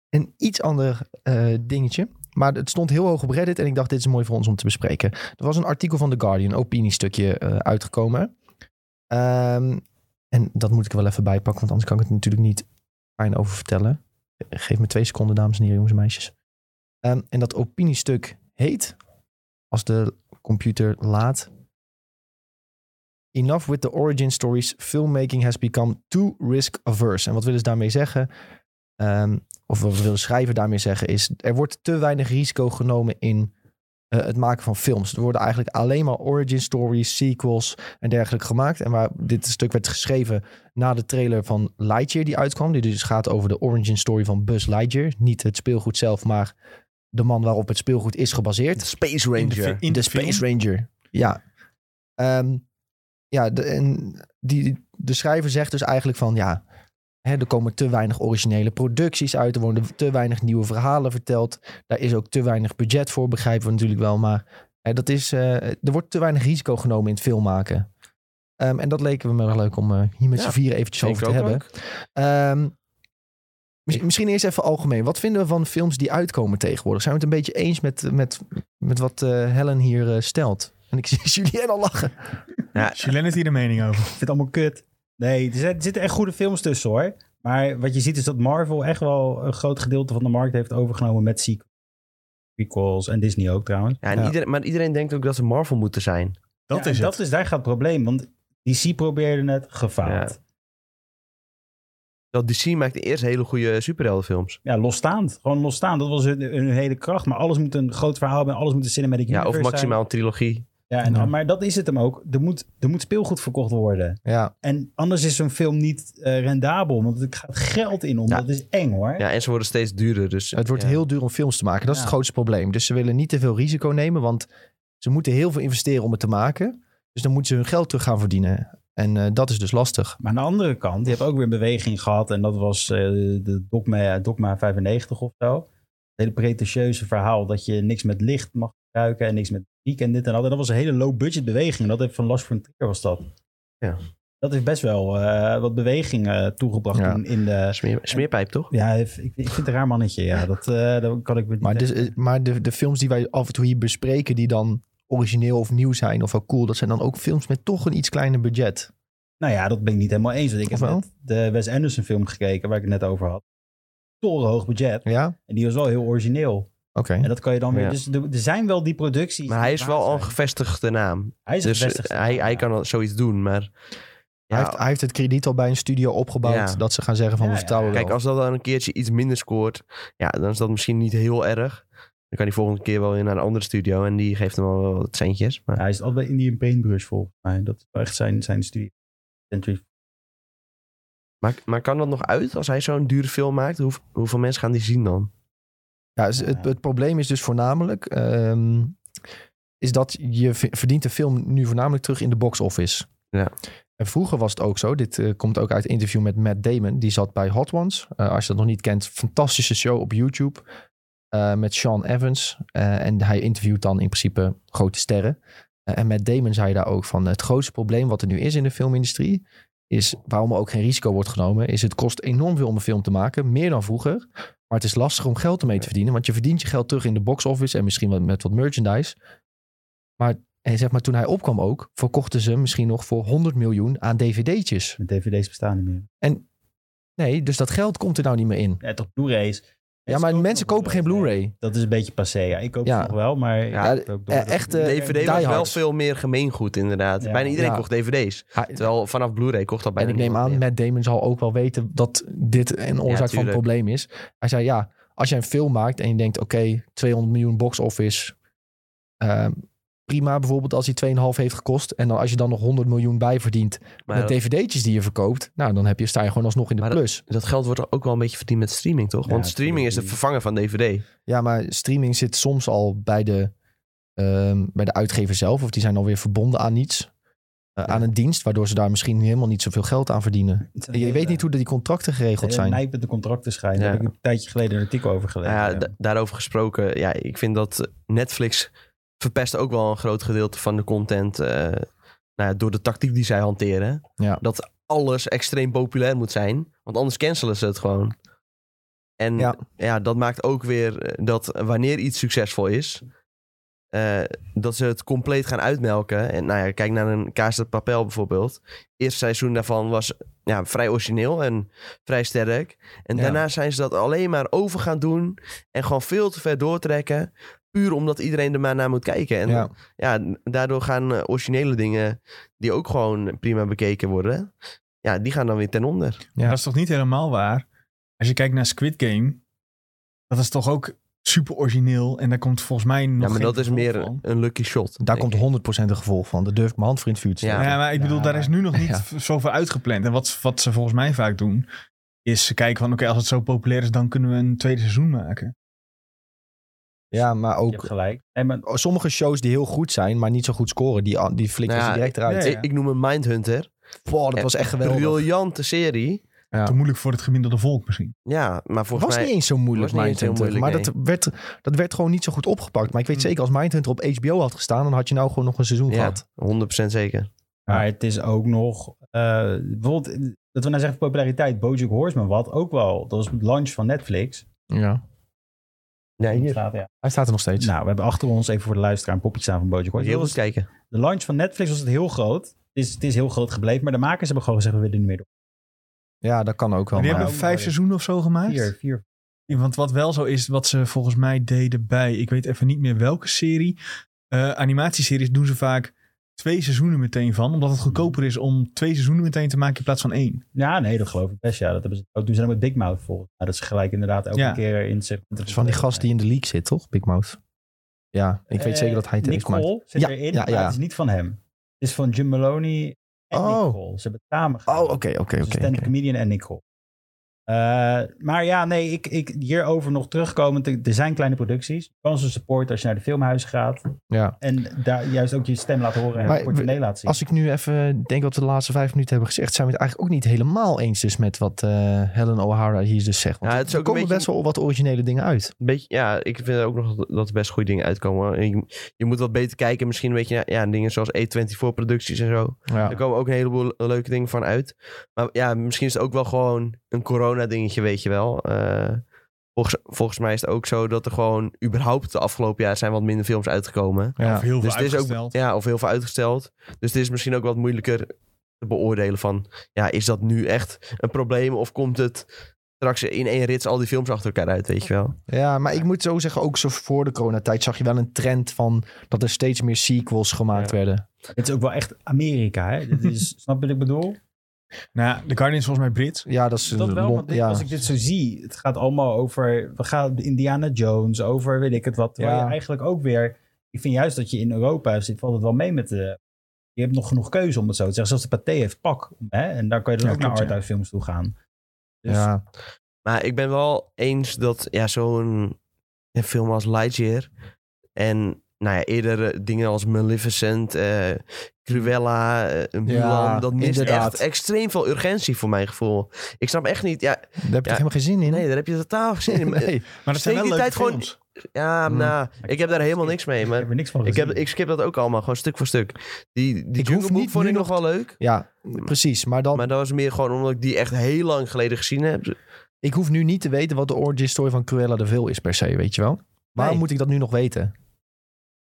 Speaker 1: een iets ander eh, dingetje. Maar het stond heel hoog op Reddit en ik dacht, dit is mooi voor ons om te bespreken. Er was een artikel van The Guardian, een opiniestukje eh, uitgekomen. Ehm, en dat moet ik er wel even bijpakken, want anders kan ik het natuurlijk niet fijn over vertellen. Geef me twee seconden, dames en heren, jongens en meisjes. Ehm, en dat opiniestuk heet, als de computer laat, Enough with the origin stories. Filmmaking has become too risk averse. En wat willen ze daarmee zeggen? Ehm, of wat wil de schrijver daarmee zeggen is... er wordt te weinig risico genomen in eh, het maken van films. Er worden eigenlijk alleen maar origin stories, sequels en dergelijke gemaakt. En waar dit stuk werd geschreven na de trailer van Lightyear die uitkwam. Die dus gaat over de origin story van Buzz Lightyear. Niet het speelgoed zelf, maar de man waarop het speelgoed is gebaseerd.
Speaker 2: Space
Speaker 3: In de fi-
Speaker 2: Ranger.
Speaker 3: in
Speaker 1: de
Speaker 3: film.
Speaker 1: Space Ranger. Ja. Ehm, ja, de, en die, de schrijver zegt dus eigenlijk van ja. Hè, er komen te weinig originele producties uit. Er worden te weinig nieuwe verhalen verteld. Daar is ook te weinig budget voor, begrijpen we natuurlijk wel. Maar hè, dat is, eh, er wordt te weinig risico genomen in het filmmaken. Ehm, en dat leken we me wel leuk om eh, hier met
Speaker 2: Ja,
Speaker 1: z'n vieren eventjes
Speaker 2: Vind ik
Speaker 1: over te
Speaker 2: ook
Speaker 1: hebben.
Speaker 2: leuk.
Speaker 1: Ehm, mis- misschien eerst even algemeen. Wat vinden we van films die uitkomen tegenwoordig? Zijn we het een beetje eens met, met, met wat eh, Helen hier eh, stelt? En ik zie Julien al lachen.
Speaker 2: Ja,
Speaker 3: Julien heeft hier de mening over.
Speaker 4: Ik vind het allemaal kut. Nee, er, zijn- er zitten echt goede films tussen hoor. Maar wat je ziet is dat Marvel echt wel een groot gedeelte van de markt heeft overgenomen met sequels. Sequels en Disney ook trouwens.
Speaker 2: Ja, en Iedereen, maar iedereen denkt ook dat ze Marvel moeten zijn.
Speaker 3: Dat
Speaker 4: Ja,
Speaker 3: is
Speaker 4: en
Speaker 3: het.
Speaker 4: dat is daar gaat het probleem, want DC probeerde het gefaald.
Speaker 2: Dat DC maakte eerst hele goede superheldenfilms.
Speaker 4: Ja. losstaand. Gewoon losstaand. Dat was hun, hun hele kracht. Maar alles moet een groot verhaal hebben. Alles moet een cinematic
Speaker 2: Ja,
Speaker 4: universe
Speaker 2: of maximaal
Speaker 4: zijn.
Speaker 2: een trilogie.
Speaker 4: Ja, en,
Speaker 3: Ja.
Speaker 4: Maar dat is het hem ook. Er moet, er moet speelgoed verkocht worden.
Speaker 1: Ja,
Speaker 4: En anders is zo'n film niet eh, rendabel. Want er gaat geld in om.
Speaker 2: Ja.
Speaker 4: Dat is eng hoor.
Speaker 2: Ja, en ze worden steeds duurder. Dus,
Speaker 1: het wordt
Speaker 2: ja.
Speaker 1: heel duur om films te maken. Dat is
Speaker 4: Ja.
Speaker 1: het grootste probleem. Dus ze willen niet te veel risico nemen, want ze moeten heel veel investeren om het te maken. Dus dan moeten ze hun geld terug gaan verdienen. En eh, dat is dus lastig.
Speaker 4: Maar aan de andere kant, je hebt ook weer een beweging gehad. En dat was eh, de dogma, dogma 95 of zo. Het hele pretentieuze verhaal dat je niks met licht mag gebruiken. En niks met muziek en dit en dat. En dat was een hele low budget beweging. Dat heeft van Last Frontier was dat.
Speaker 2: Ja.
Speaker 4: Dat heeft best wel eh, wat beweging eh, toegebracht
Speaker 1: Ja.
Speaker 4: toen in de...
Speaker 2: Smeer- smeerpijp, toch?
Speaker 4: Ja, ik, ik vind het een raar mannetje. Ja, dat, eh daar kan ik me niet
Speaker 1: Maar,
Speaker 4: tegen.
Speaker 1: dus, eh, maar de, de films die wij af en toe hier bespreken, die dan origineel of nieuw zijn of wel cool, dat zijn dan ook films met toch een iets kleiner budget.
Speaker 4: Nou ja, dat ben ik niet helemaal eens. Want ik
Speaker 1: Of
Speaker 4: heb
Speaker 1: wel?
Speaker 4: net de Wes Anderson film gekeken, waar ik het net over had. Torenhoog budget.
Speaker 1: Ja? Oké.
Speaker 4: En die was wel heel origineel. En dat kan je dan weer.
Speaker 2: Ja.
Speaker 4: Dus er, er zijn wel die producties.
Speaker 2: Maar hij
Speaker 4: die
Speaker 2: is
Speaker 4: waard
Speaker 2: wel al een
Speaker 4: zijn.
Speaker 2: gevestigde naam.
Speaker 4: Hij is
Speaker 2: Dus
Speaker 4: een gevestigd.
Speaker 2: hij, hij
Speaker 4: Ja.
Speaker 2: kan al zoiets doen, maar...
Speaker 1: Hij,
Speaker 2: Ja,
Speaker 1: heeft, hij heeft het krediet al bij een studio opgebouwd
Speaker 2: Ja.
Speaker 1: dat ze gaan zeggen van
Speaker 4: Ja,
Speaker 1: we
Speaker 4: ja.
Speaker 1: vertrouwen
Speaker 2: kijk,
Speaker 1: wel.
Speaker 2: als dat dan een keertje iets minder scoort... Ja, dan is dat misschien niet heel erg. Dan kan hij volgende keer wel weer naar een andere studio... en die geeft hem al wel wat centjes. Maar
Speaker 4: Hij is altijd bij Indian Paintbrush volgens mij. Dat is wel echt zijn, zijn studie. Century.
Speaker 2: Maar, maar kan dat nog uit als hij zo'n dure film maakt? Hoe, hoeveel mensen gaan die zien dan?
Speaker 1: Ja, dus het, het probleem is dus voornamelijk... ehm, is dat je v- verdient de film nu voornamelijk terug in de box office.
Speaker 2: Ja.
Speaker 1: En vroeger was het ook zo. Dit eh, komt ook uit een interview met Matt Damon. Die zat bij Hot Ones. Eh, als je dat nog niet kent, fantastische show op YouTube. eh, met Sean Evans. Eh, en hij interviewt dan in principe grote sterren. Eh, en Matt Damon zei daar ook van... het grootste probleem wat er nu is in de filmindustrie... is waarom er ook geen risico wordt genomen... is het kost enorm veel om een film te maken. Meer dan vroeger. Maar het is lastig om geld ermee te verdienen. Want je verdient je geld terug in de box office en misschien wat, met wat merchandise. Maar, en zeg maar toen hij opkwam ook, verkochten ze misschien nog voor 100 miljoen aan dvd'tjes.
Speaker 4: Met DVD's bestaan niet meer.
Speaker 1: Nee, dus dat geld komt er nou niet meer in.
Speaker 4: Ja, toch Blu-rays.
Speaker 1: Ja,
Speaker 4: Mensen
Speaker 1: maar
Speaker 4: kopen
Speaker 1: mensen
Speaker 4: nog
Speaker 1: kopen geen Blu-ray.
Speaker 4: Dat is een beetje passé. Ja, ik koop
Speaker 1: Ja.
Speaker 4: het nog wel, maar...
Speaker 1: Ja,
Speaker 4: ik koop het ook
Speaker 1: eh, echt,
Speaker 4: nog.
Speaker 1: eh,
Speaker 4: Ik-
Speaker 2: DVD
Speaker 1: Die
Speaker 2: was wel
Speaker 1: Hard.
Speaker 2: veel meer gemeengoed inderdaad.
Speaker 4: Ja.
Speaker 2: Bijna iedereen
Speaker 1: Ja.
Speaker 2: kocht DVD's. Terwijl vanaf Blu-ray kocht dat
Speaker 1: En
Speaker 2: bijna
Speaker 1: ik neem aan,
Speaker 2: niemand
Speaker 1: Matt Damon zal ook wel weten dat dit een oorzaak van het
Speaker 2: tuurlijk.
Speaker 1: probleem is. Hij zei ja, als jij een film maakt en je denkt oké, 200 miljoen box office. ehm, prima bijvoorbeeld als hij 2,5 heeft gekost. En dan als je dan nog 100 miljoen bijverdient
Speaker 2: meer.
Speaker 1: met
Speaker 2: Maar dat,
Speaker 1: dvd'tjes die je verkoopt. Nou, dan heb je, sta je gewoon alsnog in de
Speaker 2: Maar dat-
Speaker 1: plus.
Speaker 2: dat geld wordt ook wel een beetje verdiend met streaming, toch?
Speaker 4: Ja,
Speaker 2: Want streaming is het vervangen van DVD.
Speaker 1: Ja, maar streaming zit soms al bij de, ehm, bij de uitgever zelf. Of die zijn alweer verbonden aan iets. eh, Aan een dienst, waardoor ze daar misschien helemaal niet zoveel geld aan verdienen.
Speaker 4: Het is een
Speaker 1: Je
Speaker 4: hele-
Speaker 1: weet niet hoe die contracten geregeld
Speaker 4: hele
Speaker 1: zijn.
Speaker 4: nijpende contracten schijnen.
Speaker 2: Ja.
Speaker 4: Daar heb ik een tijdje geleden een artikel over gelezen.
Speaker 2: Nou ja, da- daarover gesproken, ja, ik vind dat eh, Netflix verpest ook wel een groot gedeelte van de content eh, nou, ja, door de tactiek die zij hanteren.
Speaker 1: Ja.
Speaker 2: Dat alles extreem populair moet zijn, want anders cancelen ze het gewoon. En
Speaker 1: Ja.
Speaker 2: ja, dat maakt ook weer eh, dat wanneer iets succesvol is, eh, dat ze het compleet gaan uitmelken. En nou ja, kijk naar een Kaas de Papel bijvoorbeeld. Eerste seizoen daarvan was ja, vrij origineel en vrij sterk. En
Speaker 1: Ja.
Speaker 2: daarna zijn ze dat alleen maar over gaan doen. En gewoon veel te ver doortrekken. Puur omdat iedereen er maar naar moet kijken. En
Speaker 1: Ja.
Speaker 2: ja. daardoor gaan eh, originele dingen die ook gewoon prima bekeken worden. Ja, die gaan dan weer ten onder.
Speaker 1: Ja.
Speaker 3: Dat is toch niet helemaal waar? Als je kijkt naar Squid Game, dat is toch ook super origineel. En daar komt volgens mij nog
Speaker 2: Ja, maar
Speaker 3: geen
Speaker 2: dat is
Speaker 3: gevolg
Speaker 2: meer
Speaker 3: van.
Speaker 2: een, lucky shot.
Speaker 1: Daar
Speaker 2: denk
Speaker 1: komt
Speaker 2: ik.
Speaker 1: 100% een gevolg van. Daar durf ik mijn hand voor in het vuur te
Speaker 2: Ja.
Speaker 1: steken.
Speaker 3: Ja, maar ik bedoel,
Speaker 4: Ja,
Speaker 3: daar
Speaker 4: maar-
Speaker 3: is nu nog niet
Speaker 1: Ja.
Speaker 3: v- zoveel uitgepland. En wat, wat ze volgens mij vaak doen, is ze kijken van... oké, als het zo populair is, dan kunnen we een tweede seizoen maken.
Speaker 1: Ja, maar
Speaker 4: Je
Speaker 1: ook
Speaker 4: hebt gelijk. En maar,
Speaker 1: sommige shows die heel goed zijn, maar niet zo goed scoren, die, die flikkeren
Speaker 2: Nou
Speaker 1: ze
Speaker 2: ja,
Speaker 1: direct eruit.
Speaker 3: nee.
Speaker 2: Ik, ik noem een Mindhunter.
Speaker 1: Boah, dat was echt geweldig.
Speaker 2: Briljante serie.
Speaker 1: Ja.
Speaker 3: Te moeilijk voor het gemiddelde volk misschien.
Speaker 2: Ja, maar
Speaker 1: Het
Speaker 2: volgens
Speaker 1: was niet
Speaker 2: mij...
Speaker 1: eens zo moeilijk,
Speaker 2: was niet eens heel
Speaker 1: Mindhunter. maar
Speaker 2: moeilijk, Mm.
Speaker 1: dat, werd, dat werd gewoon niet zo goed opgepakt. Maar ik weet
Speaker 3: Hm.
Speaker 1: zeker, als Mindhunter op HBO had gestaan, dan had je nou gewoon nog een seizoen
Speaker 2: Ja,
Speaker 1: gehad.
Speaker 2: 100% zeker.
Speaker 4: maar het is ook nog... eh, bijvoorbeeld, eh, dat we nou zeggen populariteit. Bojack Horseman, wat ook wel. Dat was het launch van Netflix.
Speaker 1: Ja.
Speaker 2: Ja, hier.
Speaker 4: Staat, ja.
Speaker 1: Hij staat er nog steeds.
Speaker 4: Nou, we hebben achter ons even voor de luisteraar een popje staan van Bojack
Speaker 2: Moet je heel
Speaker 4: Horseman.
Speaker 2: goed kijken.
Speaker 4: De launch van Netflix was het heel groot. is, het is heel groot gebleven, maar de makers hebben gewoon gezegd, we willen niet meer door.
Speaker 1: Ja, dat kan ook wel.
Speaker 3: Maar die
Speaker 1: maar-
Speaker 2: eh,
Speaker 3: hebben vijf seizoenen of zo gemaakt.
Speaker 4: Vier, vier.
Speaker 3: Ja, Want wat wel zo is, wat ze volgens mij deden bij, ik weet even niet meer welke serie. eh, animatieseries doen ze vaak twee seizoenen meteen van, omdat het goedkoper is om twee seizoenen meteen te maken in plaats van één.
Speaker 4: Ja, nee, dat geloof ik best. Ja, dat hebben ze ook toen ze dan met Big Mouth volgens mij. Dat ze gelijk inderdaad elke
Speaker 3: Ja.
Speaker 4: keer in zijn.
Speaker 1: Dat is dus van die gast die in de league zit, toch? Big Mouth. Ja, ik
Speaker 2: Eh,
Speaker 1: weet zeker dat hij het heeft
Speaker 4: Eh, Nicole
Speaker 1: gemaakt.
Speaker 4: zit
Speaker 1: Ja,
Speaker 4: erin,
Speaker 1: ja,
Speaker 4: maar
Speaker 1: ja.
Speaker 4: het is niet van hem. Het is van Jim Maloney en
Speaker 1: Oh.
Speaker 4: Nicole. Ze hebben het
Speaker 1: Oh,
Speaker 4: samen gedaan.
Speaker 1: oké, oké, oké.
Speaker 4: Dus stand-up
Speaker 1: oké.
Speaker 4: comedian en Nicole. Eh, maar ja, nee, ik, ik, hierover nog terugkomend. Er er zijn kleine producties. Je kan ze supporten als je naar de filmhuis gaat.
Speaker 1: Ja.
Speaker 4: En daar juist ook je stem laat horen en
Speaker 1: Maar
Speaker 4: het portemonnee laat zien.
Speaker 1: Als ik nu even denk wat we de laatste vijf minuten hebben gezegd, zijn we het eigenlijk ook niet helemaal eens dus met wat eh, Helen O'Hara hier dus zegt. Want
Speaker 2: Ja, het is
Speaker 1: er
Speaker 2: ook een
Speaker 1: komen
Speaker 2: beetje-
Speaker 1: best wel wat originele dingen uit.
Speaker 2: Een beetje, ja, ik vind ook nog dat- dat er best goede dingen uitkomen. En Je, je moet wat beter kijken. Misschien een beetje naar ja, dingen zoals E E24-producties en zo.
Speaker 1: Ja.
Speaker 2: Er komen ook een heleboel le- leuke dingen van uit. Maar ja, misschien is het ook wel gewoon een corona-dingetje, weet je wel. Eh, volgens, volgens mij is het ook zo dat er gewoon... überhaupt de afgelopen jaar zijn wat minder films uitgekomen.
Speaker 1: Ja.
Speaker 3: Of heel
Speaker 2: Dus
Speaker 3: veel
Speaker 2: het is ook,
Speaker 3: uitgesteld.
Speaker 2: ja, of heel veel uitgesteld. Dus het is misschien ook wat moeilijker te beoordelen van... ja, is dat nu echt een probleem of komt het straks in één rits al die films achter elkaar uit, weet je wel?
Speaker 1: Ja, maar ik moet zo zeggen, ook zo voor de coronatijd zag je wel een trend van dat er steeds meer sequels gemaakt
Speaker 2: Ja.
Speaker 1: werden.
Speaker 4: Het is ook wel echt Amerika, hè? Dit is, snap je wat ik bedoel?
Speaker 3: Nou, de Guardian is volgens mij Brits.
Speaker 1: Ja, dat is
Speaker 4: Dat wel,
Speaker 1: Lon-
Speaker 4: want dit-
Speaker 1: ja.
Speaker 4: als ik dit zo zie, het gaat allemaal over, we gaan op Indiana Jones, over weet ik het wat. Terwijl
Speaker 1: Ja.
Speaker 4: je eigenlijk ook weer, ik vind juist dat je in Europa zit, valt het wel mee met de, je hebt nog genoeg keuze om het zo te zeggen. Zelfs de Pathé heeft pak, hè? en daar kan je dan
Speaker 3: Ja,
Speaker 4: ook
Speaker 3: klopt,
Speaker 4: naar
Speaker 3: ja.
Speaker 4: arthouse films toe gaan. Dus ja.
Speaker 1: ja.
Speaker 2: Maar ik ben wel eens dat ja, zo'n een film als Lightyear en nou ja, eerder eh, dingen als Maleficent, eh Cruella, eh, Mulan,
Speaker 1: Ja,
Speaker 2: dat mist
Speaker 1: inderdaad.
Speaker 2: echt extreem veel urgentie voor mijn gevoel. Ik snap echt niet, ja,
Speaker 1: daar heb je toch helemaal geen zin in?
Speaker 2: nee, daar heb je totaal geen zin in.
Speaker 1: Nee.
Speaker 3: Maar dat
Speaker 2: Steek
Speaker 3: zijn wel
Speaker 2: die
Speaker 3: leuke
Speaker 2: tijd gewoon-
Speaker 3: films.
Speaker 2: Ja,
Speaker 1: Hmm.
Speaker 2: nou, ik heb daar helemaal niks mee,
Speaker 4: ik heb
Speaker 2: maar
Speaker 4: er niks van
Speaker 2: ik,
Speaker 4: gezien.
Speaker 2: heb, ik skip dat ook allemaal, gewoon stuk voor stuk. Die, die
Speaker 1: Ik
Speaker 2: Jungle
Speaker 1: hoef
Speaker 2: Book
Speaker 1: niet
Speaker 2: vond
Speaker 1: nu
Speaker 2: ik nog wel leuk,
Speaker 1: Ja, precies. Maar dan,
Speaker 2: maar dat was meer gewoon omdat ik die echt heel lang geleden gezien heb.
Speaker 1: ik hoef nu niet te weten wat de origin story van Cruella de Vil is per se, weet je wel? Waarom
Speaker 2: Nee.
Speaker 1: moet ik dat nu nog weten?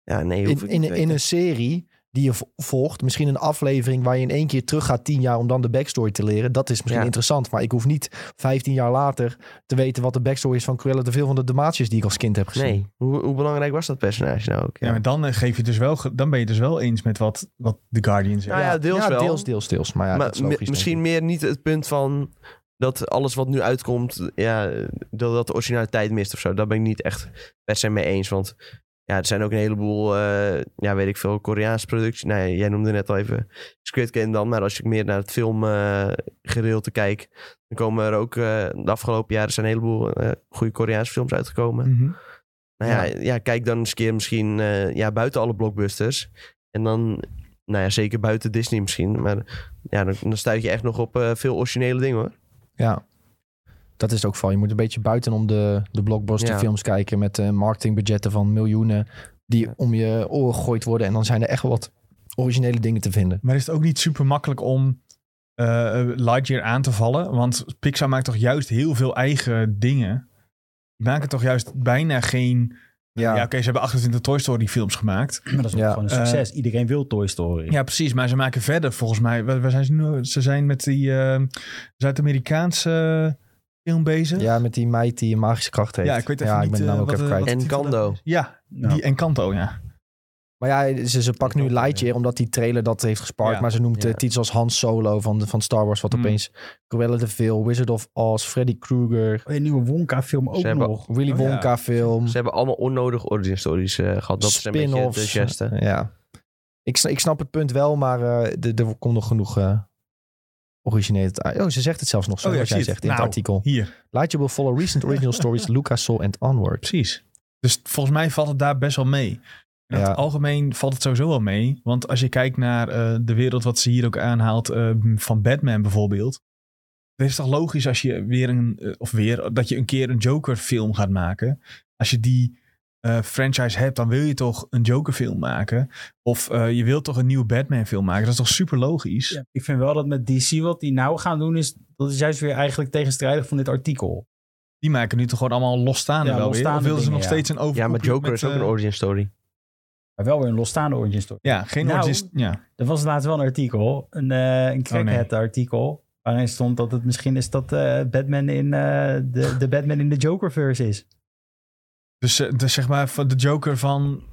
Speaker 2: Ja, nee, hoef
Speaker 1: In,
Speaker 2: ik
Speaker 1: in,
Speaker 2: niet te
Speaker 1: in
Speaker 2: weten.
Speaker 1: een serie die je vo- volgt, misschien een aflevering waar je in één keer terug gaat tien jaar om dan de backstory te leren, dat is misschien
Speaker 2: Ja.
Speaker 1: interessant. Maar ik hoef niet vijftien jaar later te weten wat de backstory is van Cruella de Vil van de Dalmatiërs die ik als kind heb gezien.
Speaker 2: Nee, hoe, hoe belangrijk was dat personage nou ook?
Speaker 3: Ja, maar dan, eh, geef je dus wel, ge- dan ben je dus wel eens met wat, wat The Guardian zegt.
Speaker 2: Nou ja, deels wel.
Speaker 1: deels, deels, deels. Maar ja,
Speaker 2: maar
Speaker 1: dat is logisch,
Speaker 2: mi-
Speaker 1: denk
Speaker 2: misschien
Speaker 1: ik.
Speaker 2: meer niet het punt van dat alles wat nu uitkomt, ja, dat, dat de originaliteit mist of zo. Daar ben ik niet echt per se mee eens. Want ja, er zijn ook een heleboel, eh, ja, weet ik veel, Koreaanse producties. Nou, ja, jij noemde net al even Squid Game dan. Maar als ik meer naar het filmgedeelte kijk, dan komen er ook eh, de afgelopen jaren zijn een heleboel eh, goede Koreaanse films uitgekomen.
Speaker 3: Mhm.
Speaker 2: Nou ja, ja. kijk dan eens een keer misschien eh, ja, buiten alle blockbusters. En dan, nou ja, zeker buiten Disney misschien. Maar ja, dan, dan stuit je echt nog op eh, veel originele dingen hoor.
Speaker 1: Ja. Dat is het ook van. Je moet een beetje buitenom de, de blockbusterfilms films kijken met eh, marketingbudgetten van miljoenen die om je oren gegooid worden. En dan zijn er echt wel wat originele dingen te vinden.
Speaker 3: Maar is het ook niet super makkelijk om eh Lightyear aan te vallen? Want Pixar maakt toch juist heel veel eigen dingen. Die maken toch juist bijna geen... Ja, oké, ze hebben 28 Toy Story films gemaakt.
Speaker 4: Maar dat is
Speaker 1: Ja.
Speaker 4: gewoon een succes. Iedereen wil Toy Story.
Speaker 3: Ja, precies. Maar ze maken verder volgens mij... Waar, waar zijn ze nu? Ze zijn met die eh, Zuid-Amerikaanse film bezig.
Speaker 1: Ja, met die meid die een magische kracht heeft.
Speaker 3: Ja, ik weet even
Speaker 1: ik
Speaker 3: niet,
Speaker 1: ben de naam
Speaker 3: eh,
Speaker 1: ook
Speaker 3: wat
Speaker 1: even
Speaker 3: de-
Speaker 1: kwijt.
Speaker 3: wat-
Speaker 2: En
Speaker 3: die
Speaker 2: Kando.
Speaker 3: ja
Speaker 4: Ja.
Speaker 3: die Encanto, ja.
Speaker 1: Maar ja, ze, ze pakt nu
Speaker 2: ook, ja.
Speaker 1: Lightyear omdat die trailer dat heeft gespaard.
Speaker 3: Ja.
Speaker 1: Maar ze noemt
Speaker 2: Ja.
Speaker 1: eh, titels als Han Solo van, de- van Star Wars. Wat
Speaker 3: Hmm.
Speaker 1: opeens Cruella de Vil, Wizard of Oz, Freddy Krueger,
Speaker 4: Een Oh, nieuwe Wonka-film ook
Speaker 2: Ze hebben-
Speaker 4: nog.
Speaker 1: Willy
Speaker 3: Oh, ja.
Speaker 1: Wonka film.
Speaker 2: Ze hebben allemaal onnodige origin stories eh, gehad. Dat is een beetje het
Speaker 1: Spin-offs.
Speaker 2: juiste.
Speaker 1: Ja. Ik, sna- ik snap het punt wel, maar eh, de- er komt nog genoeg eh origineel uit. Oh, ze zegt het zelfs nog zo,
Speaker 3: Oh ja,
Speaker 1: wat
Speaker 3: ik
Speaker 1: jij
Speaker 3: zie
Speaker 1: zegt
Speaker 3: het.
Speaker 1: in
Speaker 3: Nou.
Speaker 1: het artikel.
Speaker 3: Hier,
Speaker 1: Lightyear will follow recent original stories, Lucas Soul and Onward.
Speaker 3: precies. Dus volgens mij valt het daar best wel mee. In
Speaker 1: Ja.
Speaker 3: het algemeen valt het sowieso wel mee. Want als je kijkt naar eh, de wereld wat ze hier ook aanhaalt eh, van Batman bijvoorbeeld. Het is toch logisch als je weer een, eh, of weer, dat je een keer een Joker film gaat maken. Als je die eh, franchise hebt, dan wil je toch een Joker film maken. Of eh, je wilt toch een nieuwe Batman film maken. Dat is toch super logisch.
Speaker 4: Ja, ik vind wel dat met DC wat die nou gaan doen is... dat is juist weer eigenlijk tegenstrijdig van dit artikel.
Speaker 3: Die maken nu toch gewoon allemaal losstaande
Speaker 4: Ja,
Speaker 3: wel
Speaker 4: losstaande
Speaker 3: weer. Of wilden ze
Speaker 4: dingen,
Speaker 3: nog
Speaker 4: ja.
Speaker 3: steeds een over
Speaker 2: Ja, maar Joker is ook een origin story.
Speaker 4: Maar wel weer een losstaande origin story.
Speaker 3: Ja, geen
Speaker 4: Nou,
Speaker 3: origin- Ja,
Speaker 4: Er was laatst wel een artikel, een, eh een crackhead artikel, waarin stond dat het misschien is dat eh, Batman in eh, de, de Batman in de Jokerverse is.
Speaker 3: dus, eh, dus zeg maar van de Joker van Joaquin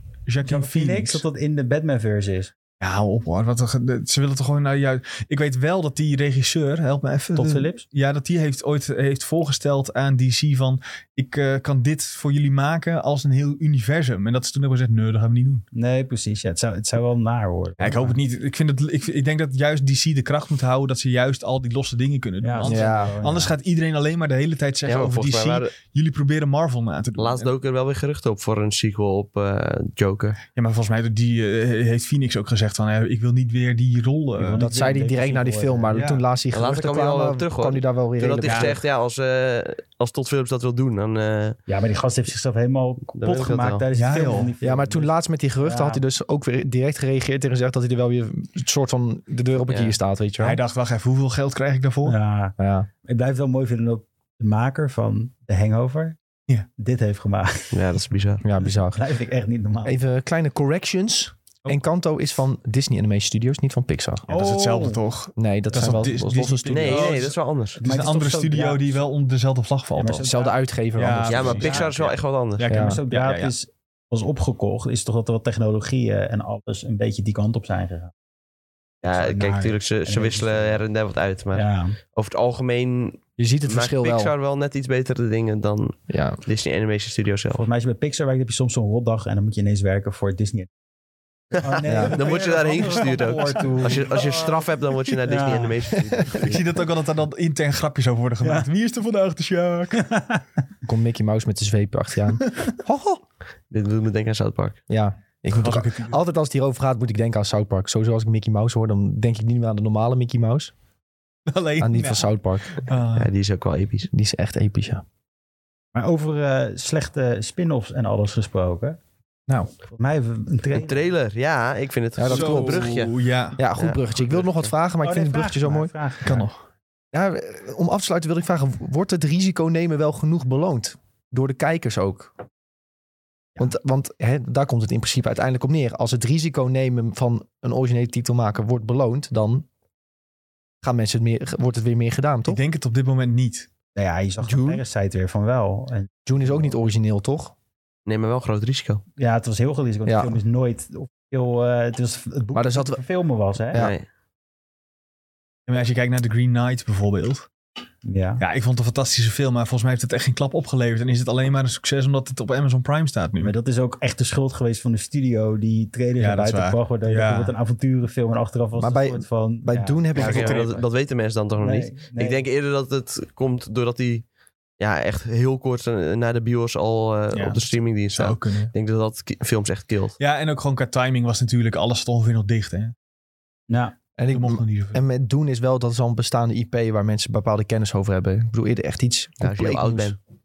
Speaker 4: Joaquin Phoenix,
Speaker 3: Phoenix.
Speaker 4: dat dat in de Batmanverse is.
Speaker 3: Ja, hou op hoor. Wat, een ge- ze willen toch gewoon naar jou. Ik weet wel dat die regisseur, help me even.
Speaker 4: Todd
Speaker 3: de-
Speaker 4: Phillips.
Speaker 3: Ja, dat die heeft ooit eh, heeft voorgesteld aan DC van... ik eh, kan dit voor jullie maken als een heel universum. En dat is toen ook gezegd, nee, dat gaan we niet doen.
Speaker 4: Nee, precies. Ja, het, zou, het zou wel naar worden.
Speaker 3: Ja, ik hoop het niet. Ik, vind het, ik, ik denk dat juist DC de kracht moet houden... dat ze juist al die losse dingen kunnen doen.
Speaker 4: Ja,
Speaker 3: anders
Speaker 1: Ja.
Speaker 3: anders gaat iedereen alleen maar de hele tijd
Speaker 2: Ja,
Speaker 3: zeggen
Speaker 2: maar
Speaker 3: over
Speaker 2: volgens
Speaker 3: DC...
Speaker 2: mij waren
Speaker 3: jullie proberen Marvel na te doen.
Speaker 2: laatst ook er wel weer geruchten op voor een sequel op eh, Joker.
Speaker 3: Ja, maar volgens mij doet die, eh, heeft Phoenix ook gezegd van... eh, ik wil niet weer Eh, die rollen.
Speaker 4: Ik wil niet-
Speaker 1: Dat zei hij direct na die film, maar
Speaker 3: Ja.
Speaker 1: toen laatst die
Speaker 2: En later
Speaker 1: geruchten
Speaker 2: kwam hij wel
Speaker 1: kwamen,
Speaker 2: op terug, hoor.
Speaker 1: kwam hij daar wel weer
Speaker 2: Toen had hij
Speaker 1: redelijk
Speaker 2: gezegd, ja, als, eh als Todd Phillips dat wil doen, dan... eh,
Speaker 4: Ja, maar die gast heeft zichzelf helemaal
Speaker 2: weet ik
Speaker 4: kapot
Speaker 2: dat
Speaker 4: gemaakt
Speaker 2: wel.
Speaker 4: tijdens de
Speaker 3: Ja,
Speaker 4: film.
Speaker 3: joh.
Speaker 4: van die film.
Speaker 1: Ja, maar toen laatst met die geruchten
Speaker 4: Ja.
Speaker 1: had hij dus ook weer direct gereageerd en gezegd dat hij er wel weer een soort van de deur op het
Speaker 2: Ja.
Speaker 1: kier staat, weet je wel.
Speaker 3: Hij dacht, wacht even, hoeveel geld krijg ik daarvoor?
Speaker 4: Ja,
Speaker 1: Ja.
Speaker 4: ik blijf het wel mooi vinden dat de maker van The Hangover
Speaker 3: Ja.
Speaker 4: dit heeft gemaakt.
Speaker 2: ja, dat is bizar.
Speaker 1: ja, bizar.
Speaker 4: Dat vind ik echt niet normaal.
Speaker 1: Even kleine corrections.
Speaker 3: Oh.
Speaker 1: Encanto is van Disney Animation Studios, niet van Pixar.
Speaker 3: Ja, dat is hetzelfde toch?
Speaker 1: Nee, dat,
Speaker 3: Dat is
Speaker 1: zijn wel
Speaker 3: toch Dis-
Speaker 1: los- losse
Speaker 3: Disney-
Speaker 1: studios.
Speaker 2: Nee,
Speaker 3: Oh,
Speaker 2: nee,
Speaker 3: dus-
Speaker 2: dat is wel anders.
Speaker 3: Het is een
Speaker 4: toch
Speaker 3: andere
Speaker 4: zo
Speaker 3: studio
Speaker 4: draad?
Speaker 3: die wel onder dezelfde vlag
Speaker 1: Ja,
Speaker 3: valt.
Speaker 1: maar
Speaker 3: dan.
Speaker 4: zo-
Speaker 1: Dezelfde uitgever.
Speaker 3: Ja,
Speaker 1: anders.
Speaker 2: Ja, maar
Speaker 4: precies.
Speaker 2: Pixar is wel echt wat anders.
Speaker 3: Ja, ik
Speaker 1: Ja.
Speaker 3: heb
Speaker 4: Maar
Speaker 3: hem
Speaker 4: zo
Speaker 3: zo- ja, ja, ja.
Speaker 4: is was opgekocht, is toch dat er wat technologieën en alles een beetje die kant op zijn gegaan.
Speaker 2: Ja,
Speaker 4: Zo
Speaker 2: kijk,
Speaker 4: naar.
Speaker 2: natuurlijk, ze, ze
Speaker 4: En-
Speaker 2: wisselen her en der wat uit. Maar
Speaker 4: Ja.
Speaker 2: over het algemeen
Speaker 1: Je ziet het
Speaker 2: maakt
Speaker 1: verschil wel.
Speaker 2: Pixar wel. net iets betere dingen dan
Speaker 1: Ja.
Speaker 2: Disney Animation Studios zelf.
Speaker 4: Volgens mij is het bij Pixar werkt, heb je soms zo'n rotdag en dan moet je ineens werken voor Disney. Oh, nee,
Speaker 1: Ja.
Speaker 2: Dan word je daarheen gestuurd ook.
Speaker 4: Toe.
Speaker 2: Als je, als je een straf hebt, dan word je naar Disney
Speaker 4: Ja.
Speaker 2: Animation Studios.
Speaker 3: Ik zie dat ook wel dat er dan intern grapjes over worden gemaakt. Wie is er vandaag de Sjaak?
Speaker 1: Komt Mickey Mouse met de zweep achter je aan. Ho, ho.
Speaker 2: Dit doet me denken aan South Park.
Speaker 1: Ja. Ik moet ook- altijd als het hierover gaat, moet ik denken aan South Park. Sowieso als ik Mickey Mouse hoor, dan denk ik niet meer aan de normale Mickey Mouse.
Speaker 3: Alleen.
Speaker 1: Aan die van
Speaker 3: Ja.
Speaker 1: South Park.
Speaker 3: Ah.
Speaker 2: Ja, die is ook wel episch.
Speaker 1: Die is echt episch, ja.
Speaker 4: Maar over eh, slechte spin-offs en alles gesproken.
Speaker 1: Nou.
Speaker 4: Volgens mij hebben we een trailer.
Speaker 2: Een trailer, ja, ik vind het
Speaker 1: Ja, dat
Speaker 2: zo'n
Speaker 1: klopt.
Speaker 2: brugje.
Speaker 3: Ja.
Speaker 1: Ja, goed
Speaker 2: Ja,
Speaker 1: bruggetje. Ik
Speaker 2: goed Oh,
Speaker 1: wilde nog wat Oh, vragen, maar ik vind het bruggetje zo mooi.
Speaker 4: Kan nog.
Speaker 3: nog.
Speaker 1: Ja, eh, om af te sluiten wil ik vragen, wordt het risico nemen wel genoeg beloond? Door de kijkers ook? Want, want hè, daar komt het in principe uiteindelijk op neer. Als het risico nemen van een originele titel maken wordt beloond, dan gaan mensen het meer, wordt het weer meer gedaan, toch?
Speaker 3: Ik denk het op dit moment niet.
Speaker 4: Nou ja, je zag de
Speaker 1: June?
Speaker 4: Parasite weer van wel. En
Speaker 1: June is ook niet origineel, toch?
Speaker 2: Neem maar wel een groot risico.
Speaker 4: ja, het was heel geliefd, want
Speaker 1: Ja.
Speaker 4: de film is nooit officieel... eh, het was het boek
Speaker 1: Maar er zat
Speaker 4: dat te filmen was, hè?
Speaker 1: Ja.
Speaker 2: Nee.
Speaker 3: Ja, maar als je kijkt naar The Green Knight bijvoorbeeld.
Speaker 4: Ja.
Speaker 3: Ja, ik vond het een fantastische film, maar volgens mij heeft het echt geen klap opgeleverd. En is het alleen maar een succes omdat het op Amazon Prime staat nu.
Speaker 4: Maar dat is ook echt de schuld geweest van de studio die trailers
Speaker 3: Ja,
Speaker 4: ja,
Speaker 3: dat is
Speaker 4: eruit
Speaker 3: waar.
Speaker 4: bracht. Waardoor
Speaker 3: Ja.
Speaker 4: ja. wordt een avonturenfilm en achteraf was
Speaker 1: Maar
Speaker 4: het een
Speaker 1: bij-
Speaker 4: soort van...
Speaker 1: Bij
Speaker 4: ja.
Speaker 1: Dune heb
Speaker 2: Ja,
Speaker 1: ik...
Speaker 2: oké, maar dat,
Speaker 4: trippen.
Speaker 2: dat weten mensen dan toch nog
Speaker 4: Nee,
Speaker 2: niet.
Speaker 4: nee.
Speaker 2: Ik denk
Speaker 1: eh,
Speaker 2: eerder dat het komt doordat hij ja, echt heel kort eh, na de bios al eh,
Speaker 3: Ja.
Speaker 2: op de streamingdienst
Speaker 3: zou
Speaker 2: staat.
Speaker 3: ook kunnen.
Speaker 2: Ik denk dat dat ki- films echt killt.
Speaker 3: Ja, en ook gewoon qua timing was natuurlijk alles zat ongeveer nog dicht. Hè?
Speaker 4: Nou,
Speaker 1: En,
Speaker 3: Ik
Speaker 1: ik,
Speaker 3: mocht nog niet zoveel.
Speaker 1: en met Dune is wel, dat is al een bestaande IP waar mensen bepaalde kennis over hebben. Ik bedoel, eerder echt iets
Speaker 2: Ja, als je heel
Speaker 1: compleet
Speaker 2: oud
Speaker 1: nieuws.
Speaker 2: bent.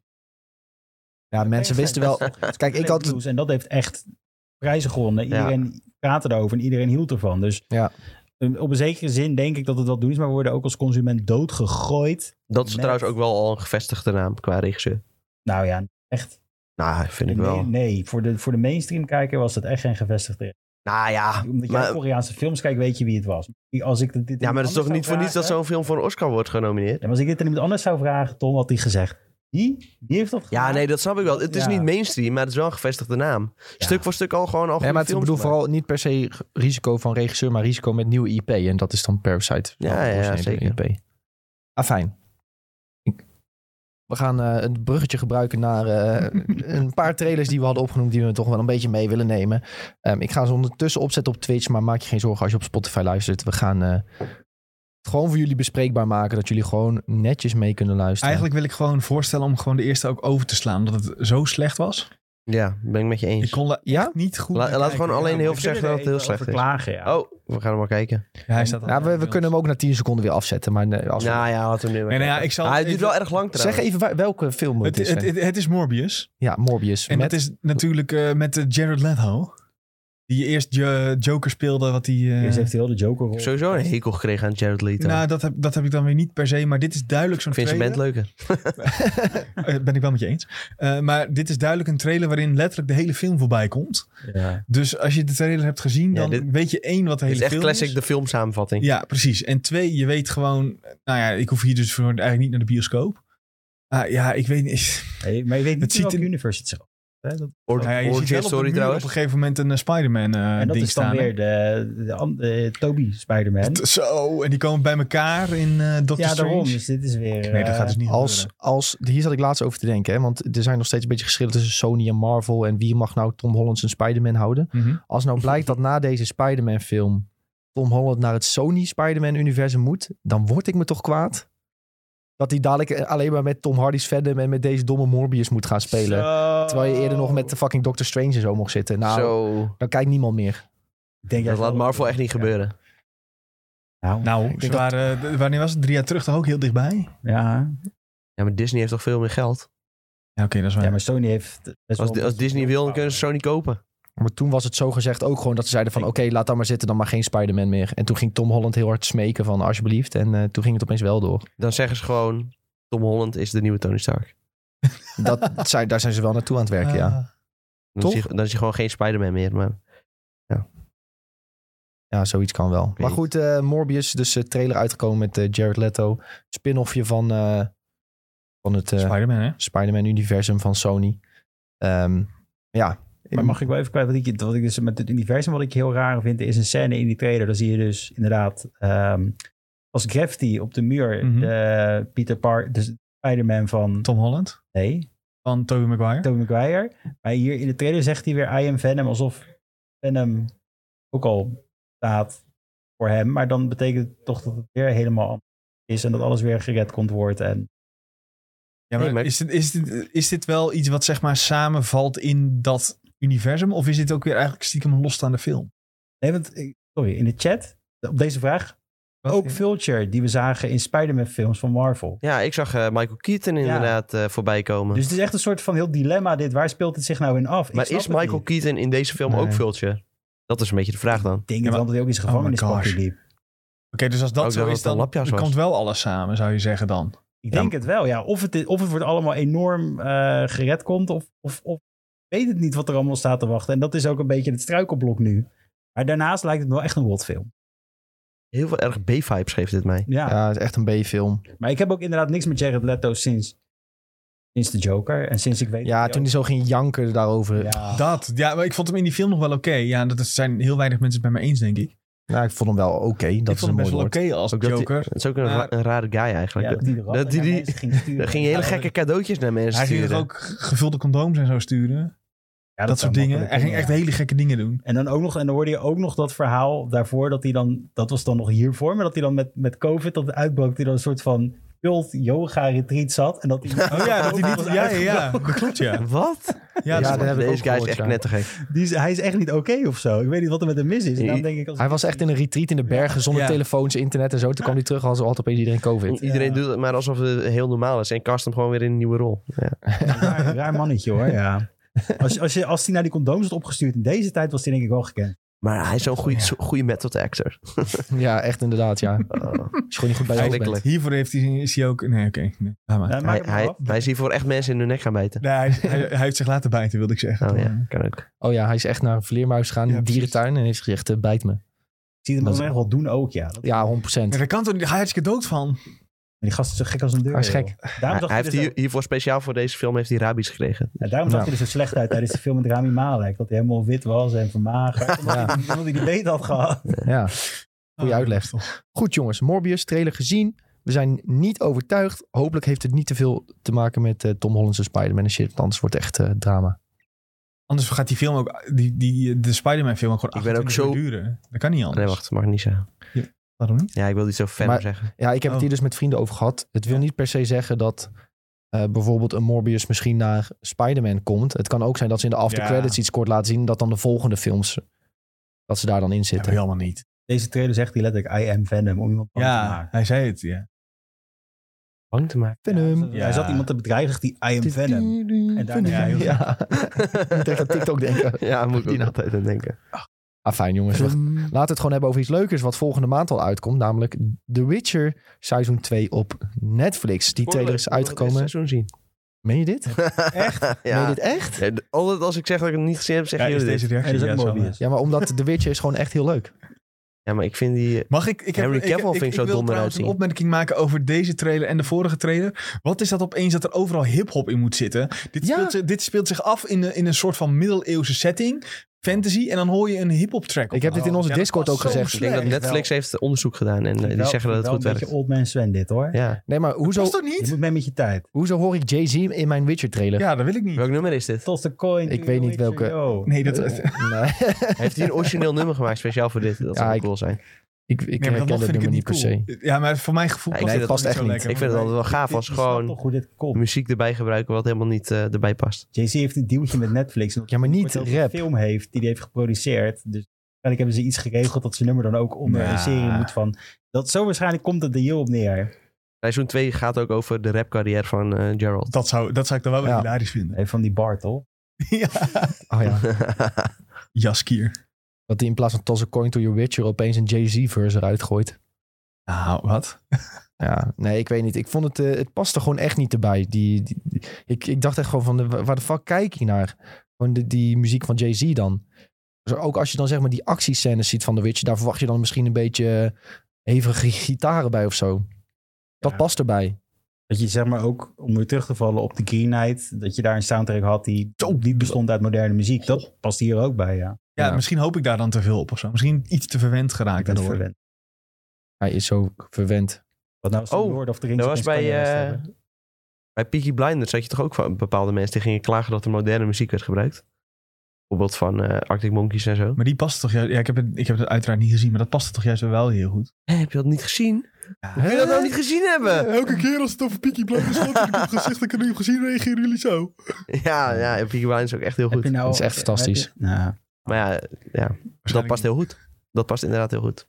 Speaker 1: Ja, mensen wisten wel... Kijk, ik had...
Speaker 4: En dat heeft echt prijzen gewonnen.
Speaker 2: Ja.
Speaker 4: Iedereen praatte erover en iedereen hield ervan. Dus
Speaker 1: Ja.
Speaker 4: um, op een zekere zin denk ik dat het wel doen is. Maar we worden ook als consument doodgegooid.
Speaker 2: Dat is
Speaker 4: Net.
Speaker 2: trouwens ook wel al een gevestigde naam qua regisseur.
Speaker 4: Nou ja, echt.
Speaker 2: Nou, vind ik
Speaker 4: nee,
Speaker 2: wel.
Speaker 4: nee. Voor, de, voor de mainstream kijker was dat echt geen gevestigde.
Speaker 2: Nou ja,
Speaker 4: Omdat jij
Speaker 2: maar,
Speaker 4: Koreaanse films kijkt, weet je wie het was. Als ik dit, dit
Speaker 2: ja, maar
Speaker 4: iemand
Speaker 2: dat is toch
Speaker 4: anders
Speaker 2: niet voor
Speaker 4: zou
Speaker 2: niets dat
Speaker 4: vragen-
Speaker 2: zo'n film voor een Oscar wordt genomineerd?
Speaker 4: Ja, maar als ik dit aan iemand anders zou vragen, Tom, had hij gezegd. Die? Die heeft dat
Speaker 2: Ja,
Speaker 4: gedaan?
Speaker 2: nee, dat snap ik wel. Het is
Speaker 4: Ja.
Speaker 2: niet mainstream, maar het is wel een gevestigde naam. Stuk voor stuk al gewoon al
Speaker 1: Nee,
Speaker 2: goede
Speaker 1: maar ik
Speaker 2: films
Speaker 1: bedoel
Speaker 2: gemaakt.
Speaker 1: vooral niet per se g- risico van regisseur, maar risico met nieuwe IP. En dat is dan Parasite.
Speaker 2: Ja,
Speaker 1: Wel
Speaker 2: ja, ja,
Speaker 1: originele
Speaker 2: zeker.
Speaker 1: IP. Ah, fijn. Ik- We gaan eh, een bruggetje gebruiken naar eh, een paar trailers die we hadden opgenoemd, die we toch wel een beetje mee willen nemen. Ehm, ik ga ze ondertussen opzetten op Twitch, maar maak je geen zorgen als je op Spotify luistert. We gaan eh, het gewoon voor jullie bespreekbaar maken, dat jullie gewoon netjes mee kunnen luisteren.
Speaker 3: Eigenlijk wil ik gewoon voorstellen om gewoon de eerste ook over te slaan. Omdat het zo slecht was.
Speaker 2: Ja, ben ik met je
Speaker 3: Ik
Speaker 2: eens.
Speaker 3: kon la-
Speaker 1: Ja?
Speaker 3: niet goed.
Speaker 2: La-
Speaker 3: naar
Speaker 2: laten we
Speaker 3: kijken.
Speaker 2: gewoon alleen heel veel zeggen dat het heel
Speaker 4: Even
Speaker 2: slecht
Speaker 4: over
Speaker 2: is.
Speaker 4: klagen, ja.
Speaker 2: Oh, we gaan hem maar kijken.
Speaker 3: Ja, hij staat al-
Speaker 1: Ja, we, we kunnen hem ook na 10 seconden weer afzetten, maar nee, als we-
Speaker 2: Nou ja, had hem nu. maar
Speaker 3: Nee, nou ja,
Speaker 2: kijken.
Speaker 3: ik zal
Speaker 2: Ah, het
Speaker 3: even-
Speaker 2: duurt wel erg lang
Speaker 1: Zeg
Speaker 2: trouwens.
Speaker 1: even waar- welke film het,
Speaker 3: Het,
Speaker 1: is.
Speaker 3: het,
Speaker 1: Sven.
Speaker 3: het, het is Morbius.
Speaker 1: ja, Morbius.
Speaker 3: En
Speaker 1: met-
Speaker 3: dat is natuurlijk eh, met eh, Jared Leto. Die eerst Jo- Joker speelde, wat die... eh,
Speaker 4: Eerst heeft hij wel de Joker rol.
Speaker 2: heb sowieso een hekel gekregen aan Jared Leto.
Speaker 3: nou, dat heb, dat heb ik dan weer niet per se, maar dit is duidelijk zo'n
Speaker 2: ik vind zijn
Speaker 3: trailer.
Speaker 2: band leuker.
Speaker 3: Eh, ben ik wel met je eens. Eh, maar dit is duidelijk een trailer waarin letterlijk de hele film voorbij komt.
Speaker 4: Ja.
Speaker 3: Dus als je de trailer hebt gezien,
Speaker 2: Ja,
Speaker 3: dan
Speaker 2: dit-
Speaker 3: weet je één wat de
Speaker 2: Het
Speaker 3: hele
Speaker 2: is echt
Speaker 3: film
Speaker 2: classic
Speaker 3: is.
Speaker 2: de filmsamenvatting.
Speaker 3: Ja, precies. En twee, je weet gewoon... Nou ja, ik hoef hier dus voor eigenlijk niet naar de bioscoop. Ah, ja, ik weet niet.
Speaker 4: Hey, maar je weet
Speaker 3: Het
Speaker 4: niet
Speaker 3: ziet
Speaker 4: ziet welke
Speaker 3: er-
Speaker 4: universe het zo. Hè, dat-
Speaker 2: Or,
Speaker 3: Nou ja, je
Speaker 2: or Jay
Speaker 3: ziet wel op, de
Speaker 2: Story
Speaker 3: muur op
Speaker 2: trouwens.
Speaker 3: een gegeven moment een eh, Spider-Man eh,
Speaker 4: en dat
Speaker 3: ding
Speaker 4: is dan
Speaker 3: staan. hè?
Speaker 4: weer de, de, an- de Toby Spider-Man.
Speaker 3: T- Zo, en die komen bij elkaar in eh Doctor
Speaker 4: Ja,
Speaker 3: Strange.
Speaker 4: daarom. Dus dit is weer...
Speaker 3: Nee, dat
Speaker 4: eh,
Speaker 3: gaat dus niet
Speaker 1: Als,
Speaker 3: gebeuren.
Speaker 1: als, hier zat ik laatst over te denken, hè, want er zijn nog steeds een beetje geschillen tussen Sony en Marvel en wie mag nou Tom Holland zijn Spider-Man houden.
Speaker 3: Mhm.
Speaker 1: Als nou blijkt dat na deze Spider-Man film Tom Holland naar het Sony Spider-Man universum moet, dan word ik me toch kwaad. Dat hij dadelijk eh, alleen maar met Tom Hardy's Venom en met deze domme Morbius moet gaan spelen.
Speaker 3: Zo.
Speaker 1: Terwijl je eerder nog met de fucking Doctor Strange en zo mocht zitten. Nou,
Speaker 2: Zo.
Speaker 1: dan kijkt niemand meer.
Speaker 4: ik denk
Speaker 2: Dat
Speaker 4: juist
Speaker 2: laat
Speaker 4: wel-
Speaker 2: Marvel echt niet
Speaker 4: Ja.
Speaker 2: gebeuren.
Speaker 4: Nou,
Speaker 3: Nou, ze
Speaker 1: dat-
Speaker 3: waren, eh, d- wanneer was het? Drie jaar terug toch ook heel dichtbij? Ja,
Speaker 4: ja.
Speaker 2: Ja, maar Disney heeft toch veel meer geld.
Speaker 3: oké, dat is waar.
Speaker 4: ja, maar Sony heeft... best
Speaker 2: Als,
Speaker 4: wel-
Speaker 2: als Disney wil, dan kunnen ze Sony kopen.
Speaker 1: Maar toen was het zo gezegd ook gewoon dat ze zeiden van... oké, laat dat maar zitten, dan maar geen Spider-Man meer. En toen ging Tom Holland heel hard smeken van alsjeblieft. En eh, toen ging het opeens wel door.
Speaker 2: Dan zeggen ze gewoon... Tom Holland is de nieuwe Tony Stark.
Speaker 1: Dat zijn, daar zijn ze wel naartoe aan het werken, ja.
Speaker 3: Ah.
Speaker 2: Dan
Speaker 1: Toch?
Speaker 2: is, hij, dan is hij gewoon geen Spider-Man meer. Maar
Speaker 1: Ja, zoiets kan wel. Maar
Speaker 2: niet.
Speaker 1: goed, eh, Morbius, dus eh, trailer uitgekomen met eh, Jared Leto. Spin-offje van, eh, van het eh,
Speaker 3: Spider-Man, hè?
Speaker 1: Spider-Man-universum van Sony. Ehm, ja.
Speaker 4: Maar mag ik wel even kwijt, wat ik, wat ik dus met het universum wat ik heel raar vind, is een scène in die trailer. Dan zie je dus inderdaad ehm, als Gravity op de muur
Speaker 3: Mhm.
Speaker 4: de Peter Parker, dus de Spider-Man van
Speaker 3: Tom Holland
Speaker 4: nee,
Speaker 3: van Tobey Maguire.
Speaker 4: Tobey Maguire. Maar hier in de trailer zegt hij weer I am Venom, alsof Venom ook al staat voor hem. Maar dan betekent het toch dat het weer helemaal anders is en dat alles weer gered komt wordt. En
Speaker 3: ja, maar
Speaker 2: Nee, maar-
Speaker 3: Is, dit, is, dit, is dit wel iets wat zeg maar samenvalt in dat universum? Of is dit ook weer eigenlijk stiekem een losstaande film?
Speaker 4: nee, want ik- sorry, in de chat op deze vraag
Speaker 3: Wat?
Speaker 4: ook Vulture die we zagen in Spider-Man films van Marvel.
Speaker 2: ja, ik zag eh, Michael Keaton inderdaad eh, voorbij komen.
Speaker 4: Dus het is echt een soort van heel dilemma dit. Waar speelt het zich nou in af? Ik
Speaker 2: maar
Speaker 4: snap
Speaker 2: is
Speaker 4: het
Speaker 2: Michael
Speaker 4: niet.
Speaker 2: Keaton in deze film
Speaker 3: Nee.
Speaker 2: ook Vulture? Dat is een beetje de vraag dan.
Speaker 4: Ik denk
Speaker 3: Ja,
Speaker 4: dat
Speaker 3: maar-
Speaker 4: wel dat hij ook iets
Speaker 3: my
Speaker 4: gevangenis
Speaker 3: gosh.
Speaker 4: liep.
Speaker 3: Oké, dus als dat
Speaker 2: Ook
Speaker 3: zo
Speaker 2: dat
Speaker 3: is,
Speaker 2: het een
Speaker 3: dan,
Speaker 2: lapjas
Speaker 3: dan
Speaker 2: was.
Speaker 3: komt wel alles samen, zou je zeggen dan.
Speaker 4: Ik denk het wel, ja. Of het, is- of het wordt allemaal enorm eh, gered komt, of, of, of ik weet het niet wat er allemaal staat te wachten. En dat is ook een beetje het struikelblok nu. Maar daarnaast lijkt het me wel echt een rotfilm.
Speaker 2: Heel veel erg B-vibes geeft dit mij.
Speaker 3: Ah.
Speaker 4: Ja.
Speaker 1: Ja, het is echt een B-film.
Speaker 4: Maar ik heb ook inderdaad niks met Jared Leto sinds, sinds de Joker. En sinds ik weet...
Speaker 1: Ja,
Speaker 4: dat
Speaker 1: toen
Speaker 4: hij
Speaker 1: hij zo ging janken daarover.
Speaker 4: ook- Ja.
Speaker 3: Dat, ja, maar ik vond hem in die film nog wel oké. Ja, dat is- zijn heel weinig mensen het bij me eens, denk ik.
Speaker 1: Nou, ik vond hem wel oké. Dat
Speaker 3: ik
Speaker 1: is
Speaker 3: vond
Speaker 1: een
Speaker 3: hem
Speaker 1: mooi
Speaker 3: best wel
Speaker 1: woord.
Speaker 3: oké als
Speaker 2: Ook dat die-
Speaker 3: Joker.
Speaker 2: Het is ook een,
Speaker 3: Maar-
Speaker 2: ra- een rare guy eigenlijk.
Speaker 4: Ja, dat hij de rat
Speaker 2: dat die-
Speaker 4: naar
Speaker 2: die-
Speaker 4: mensen ging sturen.
Speaker 2: Er gingen hele gekke cadeautjes naar mensen
Speaker 3: Hij ging er
Speaker 2: sturen.
Speaker 3: ook gevulde condooms en zo sturen.
Speaker 4: Ja,
Speaker 3: Dat, soort
Speaker 4: zou
Speaker 3: dingen.
Speaker 4: makkelijk
Speaker 3: Hij ging echt
Speaker 4: kunnen, ja.
Speaker 3: hele gekke dingen doen.
Speaker 4: En dan ook nog, en dan hoorde je ook nog dat verhaal daarvoor dat hij dan, dat was dan nog hiervoor, maar dat hij dan met, met COVID, dat het uitbrak, die dan een soort van cult yoga retreat zat. En dat hij,
Speaker 3: Oh ja, dat hij niet...
Speaker 4: was
Speaker 3: Ja, ja,
Speaker 4: uitge-
Speaker 3: ja, dat klopt, ja.
Speaker 2: Wat?
Speaker 3: Ja, dus- dat
Speaker 1: Ja,
Speaker 3: is-
Speaker 1: dat heb ik
Speaker 2: Deze
Speaker 1: ook
Speaker 2: guy is
Speaker 1: gehoord,
Speaker 2: echt
Speaker 1: ja.
Speaker 2: knettergek.
Speaker 4: Die is, hij is echt niet oké of zo. Ik weet niet wat er met hem mis is. En dan denk ik als,
Speaker 1: Hij was echt in een retreat in de bergen zonder
Speaker 3: Ja.
Speaker 1: telefoons, internet en zo. Toen kwam hij terug als altijd opeens iedereen COVID.
Speaker 2: Iedereen doet het maar alsof het heel normaal is. En cast hem gewoon weer in een nieuwe rol. Ja.
Speaker 4: een raar, raar mannetje hoor. Ja. Als, als, je, als hij naar die condooms had opgestuurd in deze tijd, was hij denk ik wel gekend.
Speaker 2: Maar hij is zo'n goede, zo- goede method actor.
Speaker 1: Ja, echt inderdaad, ja. Is gewoon niet goed bij je hoofd bent.
Speaker 2: Eigenlijk.
Speaker 3: Hiervoor heeft hij, is hij ook... Nee, oké. nee, laat maar.
Speaker 4: Ja, maak
Speaker 2: Hij,
Speaker 4: hem maar
Speaker 2: hij,
Speaker 4: af.
Speaker 2: hij is hiervoor echt mensen in hun nek gaan bijten.
Speaker 3: Nee, hij, hij, hij heeft zich laten bijten, wilde ik zeggen.
Speaker 2: Oh ja, kan ook.
Speaker 1: Oh ja, hij is echt naar een vleermuis gegaan in
Speaker 3: Ja,
Speaker 1: een
Speaker 3: precies.
Speaker 1: dierentuin en heeft gezegd, eh, bijt me.
Speaker 4: Ik zie hem dat echt wel doen ook, ja. Dat-
Speaker 1: Ja, 100%.
Speaker 3: Ja, daar kan toch niet hij is er dood van.
Speaker 4: die gast is zo gek als een deur.
Speaker 1: Hij is
Speaker 4: joh.
Speaker 1: gek.
Speaker 4: Daarom dus
Speaker 2: Hij,
Speaker 4: zag
Speaker 2: hij
Speaker 4: hij
Speaker 2: heeft
Speaker 4: er zo-
Speaker 2: hier- hiervoor speciaal voor deze film heeft hij rabies gekregen.
Speaker 4: Ja, Nou, daarom zag
Speaker 1: Ja.
Speaker 4: hij er zo slecht uit tijdens de film met Rami Malek. Dat hij helemaal wit was en vermagerd. Omdat,
Speaker 1: Ja.
Speaker 4: hij, omdat hij die beet had gehad.
Speaker 1: Ja. Goeie
Speaker 3: Oh,
Speaker 1: uitleg.
Speaker 3: toch.
Speaker 1: Goed jongens, Morbius trailer gezien. We zijn niet overtuigd. Hopelijk heeft het niet te veel te maken met eh, Tom Holland's Spider-Man en shit. want Anders wordt het echt eh, drama.
Speaker 3: Anders gaat die film ook... Die, die, de Spider-Man film ook gewoon
Speaker 2: Ik ben ook
Speaker 3: 28 uur
Speaker 2: zo-
Speaker 3: duren. Dat kan niet anders.
Speaker 2: Nee, wacht, mag ik niet zeggen.
Speaker 3: Waarom niet?
Speaker 2: Ja, ik wil iets over verder
Speaker 1: Maar-
Speaker 2: zeggen.
Speaker 1: Ja, ik heb
Speaker 3: Oh.
Speaker 1: het hier dus met vrienden over gehad. Het wil niet per se zeggen dat eh, bijvoorbeeld een Morbius misschien naar Spider-Man komt. Het kan ook zijn dat ze in de after
Speaker 3: Ja.
Speaker 1: credits iets kort laten zien. en Dat dan de volgende films, dat ze daar dan in
Speaker 3: Ja,
Speaker 1: zitten.
Speaker 3: helemaal niet.
Speaker 4: Deze trailer zegt hij letterlijk I am Venom om iemand bang te
Speaker 3: Ja,
Speaker 4: maken.
Speaker 3: hij zei het, ja.
Speaker 2: Bang te maken.
Speaker 1: Venom.
Speaker 4: dus Hij zat iemand te bedreigen, die I am Venom. En daarna
Speaker 3: Ja, heel
Speaker 1: Ja, ik denk dat TikTok denken.
Speaker 2: Ja, moet ik
Speaker 1: Die
Speaker 2: ook altijd aan denken.
Speaker 1: Ah, fijn jongens. we-
Speaker 3: Vroom.
Speaker 1: Laten we het gewoon hebben over iets leukers wat volgende maand al uitkomt. Namelijk The Witcher seizoen 2 op Netflix. Die trailer is uitgekomen.
Speaker 2: seizoen zien.
Speaker 1: Meen je dit?
Speaker 2: Echt?
Speaker 1: Meen je
Speaker 2: ja.
Speaker 1: dit echt?
Speaker 2: Ja, d- Altijd als ik zeg dat ik het niet gezien heb,
Speaker 3: Ja,
Speaker 2: zeggen
Speaker 3: is
Speaker 2: jullie
Speaker 3: deze
Speaker 2: dit.
Speaker 3: reactie.
Speaker 4: dus dat is ook
Speaker 3: ja, zo.
Speaker 4: Morbius.
Speaker 1: Ja, maar omdat The Witcher is gewoon echt heel leuk.
Speaker 2: Ja, maar ik vind die...
Speaker 3: Mag ik? ik heb,
Speaker 2: Henry
Speaker 3: ik-
Speaker 2: Cavill
Speaker 3: ik,
Speaker 2: vind ik zo
Speaker 3: wil
Speaker 2: dom eruit
Speaker 3: trouwens een
Speaker 2: zien.
Speaker 3: opmerking maken over deze trailer en de vorige trailer. Wat is dat opeens dat er overal hip-hop in moet zitten? Dit,
Speaker 1: Ja.
Speaker 3: speelt, zich- dit speelt zich af in een, in een soort van middeleeuwse setting, fantasy, en dan hoor je een hip-hop track. op. Oh,
Speaker 1: Ik heb dit in onze
Speaker 3: Ja, dat
Speaker 1: Discord
Speaker 3: past
Speaker 1: ook
Speaker 3: zo
Speaker 1: gezegd.
Speaker 2: Ik denk dat
Speaker 3: slecht.
Speaker 2: Netflix heeft onderzoek gedaan en eh, die
Speaker 4: Wel-
Speaker 2: zeggen dat het
Speaker 4: wel
Speaker 2: goed
Speaker 4: een
Speaker 2: werkt.
Speaker 4: beetje old man Sven dit hoor.
Speaker 2: Ja.
Speaker 1: Nee, maar hoezo,
Speaker 3: Past toch
Speaker 4: Je
Speaker 3: niet?
Speaker 4: moet mee met je tijd.
Speaker 1: hoezo hoor ik Jay-Z in mijn Witcher trailer?
Speaker 3: Ja, dat wil ik niet.
Speaker 2: Welk nummer is dit?
Speaker 4: Tot de coin.
Speaker 1: Ik
Speaker 4: to
Speaker 1: weet
Speaker 4: the
Speaker 1: niet
Speaker 4: Witcher,
Speaker 1: welke-
Speaker 4: yo.
Speaker 3: Nee, dat,
Speaker 1: Eh, nee.
Speaker 2: Heeft hij een origineel nummer gemaakt speciaal voor dit? Dat
Speaker 1: Ja,
Speaker 2: zou
Speaker 1: ik-
Speaker 2: ook cool zijn.
Speaker 1: ik ik
Speaker 3: Nee, maar
Speaker 1: herken
Speaker 3: dan nog
Speaker 1: dat
Speaker 3: vind ik
Speaker 1: nummer
Speaker 3: het
Speaker 1: niet
Speaker 3: niet
Speaker 1: per
Speaker 3: cool.
Speaker 1: se.
Speaker 3: Ja, maar voor mijn gevoel
Speaker 2: Ja, ik
Speaker 3: past
Speaker 2: denk
Speaker 3: het
Speaker 1: dat past
Speaker 3: gewoon niet
Speaker 1: echt
Speaker 3: zo
Speaker 1: niet.
Speaker 2: Ik
Speaker 3: lekker.
Speaker 2: vind het altijd wel gaaf
Speaker 4: Ik
Speaker 2: als ze
Speaker 4: snap
Speaker 2: gewoon
Speaker 4: toch hoe dit komt.
Speaker 2: muziek erbij gebruiken wat helemaal niet eh, erbij past.
Speaker 4: Jay-Z heeft een dealtje met Netflix. omdat
Speaker 1: Ja, maar
Speaker 4: hij
Speaker 1: niet
Speaker 4: heel veel
Speaker 1: rap.
Speaker 4: film heeft die hij heeft geproduceerd. Dus waarschijnlijk hebben ze iets geregeld dat zijn nummer dan ook onder
Speaker 3: Ja.
Speaker 4: een serie moet van. Dat, zo waarschijnlijk komt het er hierop neer.
Speaker 2: Seizoen 2 gaat ook over de rapcarrière van eh, Gerald.
Speaker 3: Dat zou, dat zou ik dan wel weer
Speaker 1: Ja.
Speaker 3: hilarisch vinden.
Speaker 4: Even van die Bartel.
Speaker 3: ja.
Speaker 1: Oh ja,
Speaker 3: Jaskier.
Speaker 1: dat hij in plaats van Toss a Coin to Your Witcher opeens een Jay-Z-verse eruit gooit.
Speaker 3: Nou, wat?
Speaker 1: Ja, nee, ik weet niet. Ik vond het, eh, het paste gewoon echt niet erbij. Die, die- die- ik, ik dacht echt gewoon van, de, waar de fuck kijk je naar? Gewoon de, die muziek van Jay-Z dan. Dus ook als je dan zeg maar die actiescènes ziet van The Witcher, daar verwacht je dan misschien een beetje hevige gitaren bij of zo. Dat
Speaker 4: Ja.
Speaker 1: past erbij.
Speaker 4: Dat je zeg maar ook, om weer terug te vallen op de Green Knight, dat je daar een soundtrack had die niet bestond uit moderne muziek. Dat past hier ook bij, ja.
Speaker 3: Ja,
Speaker 1: Ja.
Speaker 3: misschien hoop ik daar dan te veel op of zo. Misschien iets te verwend geraakt
Speaker 4: Ik ben
Speaker 3: daardoor.
Speaker 4: verwend.
Speaker 1: Hij is zo verwend.
Speaker 4: Wat nou als de
Speaker 2: Oh,
Speaker 4: Lord of the Rings
Speaker 2: Dat
Speaker 4: het
Speaker 2: was
Speaker 4: in
Speaker 2: bij,
Speaker 4: Spanje
Speaker 2: eh,
Speaker 4: hebben?
Speaker 2: bij Peaky Blinders had je toch ook van bepaalde mensen die gingen klagen dat er moderne muziek werd gebruikt. Bijvoorbeeld van eh, Arctic Monkeys en zo.
Speaker 3: Maar die past toch juist... Ja, ik heb, het, ik heb het uiteraard niet gezien, maar dat past toch juist wel heel goed.
Speaker 2: Hé, heb je dat niet gezien? Hoe kun je dat nou niet gezien hebben?
Speaker 3: Eh, Elke keer als het over Peaky Blinders gaat en ik heb gezegd dat ik het nu heb gezien, reageren jullie zo.
Speaker 2: Ja, ja, Peaky Blinders is ook echt heel
Speaker 4: Heb
Speaker 2: goed.
Speaker 4: je nou-
Speaker 1: Het is echt
Speaker 4: heb
Speaker 1: fantastisch.
Speaker 4: je- nou,
Speaker 2: Maar ja, ja dat past heel goed. Dat past inderdaad heel goed.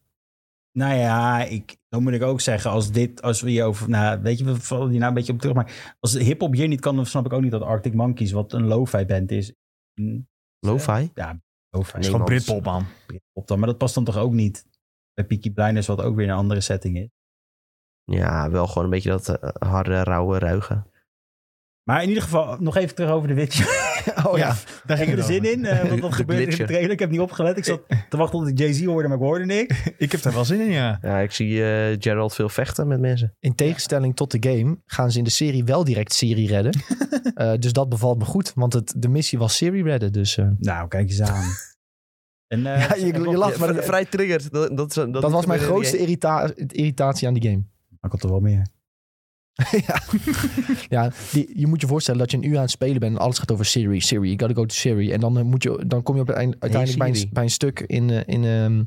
Speaker 4: Nou ja, ik, dan moet ik ook zeggen, als dit, als we hier over, nou, weet je, we vallen hier nou een beetje op terug, maar als hip-hop hier niet kan, dan snap ik ook niet dat Arctic Monkeys, wat een lo-fi band is. Mm,
Speaker 2: Lo-fi?
Speaker 4: Lo-fi
Speaker 2: Nee,
Speaker 4: is
Speaker 3: Van
Speaker 2: man.
Speaker 3: Britpop, man.
Speaker 4: op dan, maar dat past dan toch ook niet bij Peaky Blinders, wat ook weer een andere setting is.
Speaker 2: Ja, wel gewoon een beetje dat eh, harde, rauwe, ruige.
Speaker 4: Maar in ieder geval, nog even terug over de Witcher.
Speaker 3: Oh
Speaker 4: ja.
Speaker 3: daar
Speaker 4: Heb
Speaker 3: ging
Speaker 4: je er
Speaker 3: het
Speaker 4: zin
Speaker 3: over.
Speaker 4: in? Eh, want
Speaker 2: De
Speaker 4: wat gebeurde er in de
Speaker 2: glitcher.
Speaker 4: trailer? Ik heb niet opgelet. Ik zat te wachten tot ik Jay-Z hoorde, maar ik hoorde niks.
Speaker 3: Ik heb daar wel zin in, ja.
Speaker 2: Ja, ik zie eh, Gerald veel vechten met mensen.
Speaker 1: In tegenstelling tot de game gaan ze in de serie wel direct Siri redden. Eh, dus dat bevalt me goed, want het, de missie was Siri redden. Dus eh,
Speaker 4: Nou, kijk eens aan. En, eh,
Speaker 1: Ja, je-
Speaker 4: en
Speaker 1: je
Speaker 4: wat-
Speaker 1: lacht,
Speaker 2: Ja,
Speaker 1: maar
Speaker 2: vri-
Speaker 1: dat-
Speaker 2: vrij triggered. Dat, dat, is- dat,
Speaker 1: dat was mijn
Speaker 2: dat-
Speaker 1: grootste irrita- irritatie aan die game.
Speaker 4: Maar komt er wel meer.
Speaker 1: ja, ja die, je moet je voorstellen dat je een uur aan het spelen bent en alles gaat over Siri, Siri, you gotta go to Siri. En dan, eh, moet je, dan kom je op het eind, uiteindelijk bij, een,
Speaker 2: Siri.
Speaker 1: bij een stuk in, eh, in, ehm,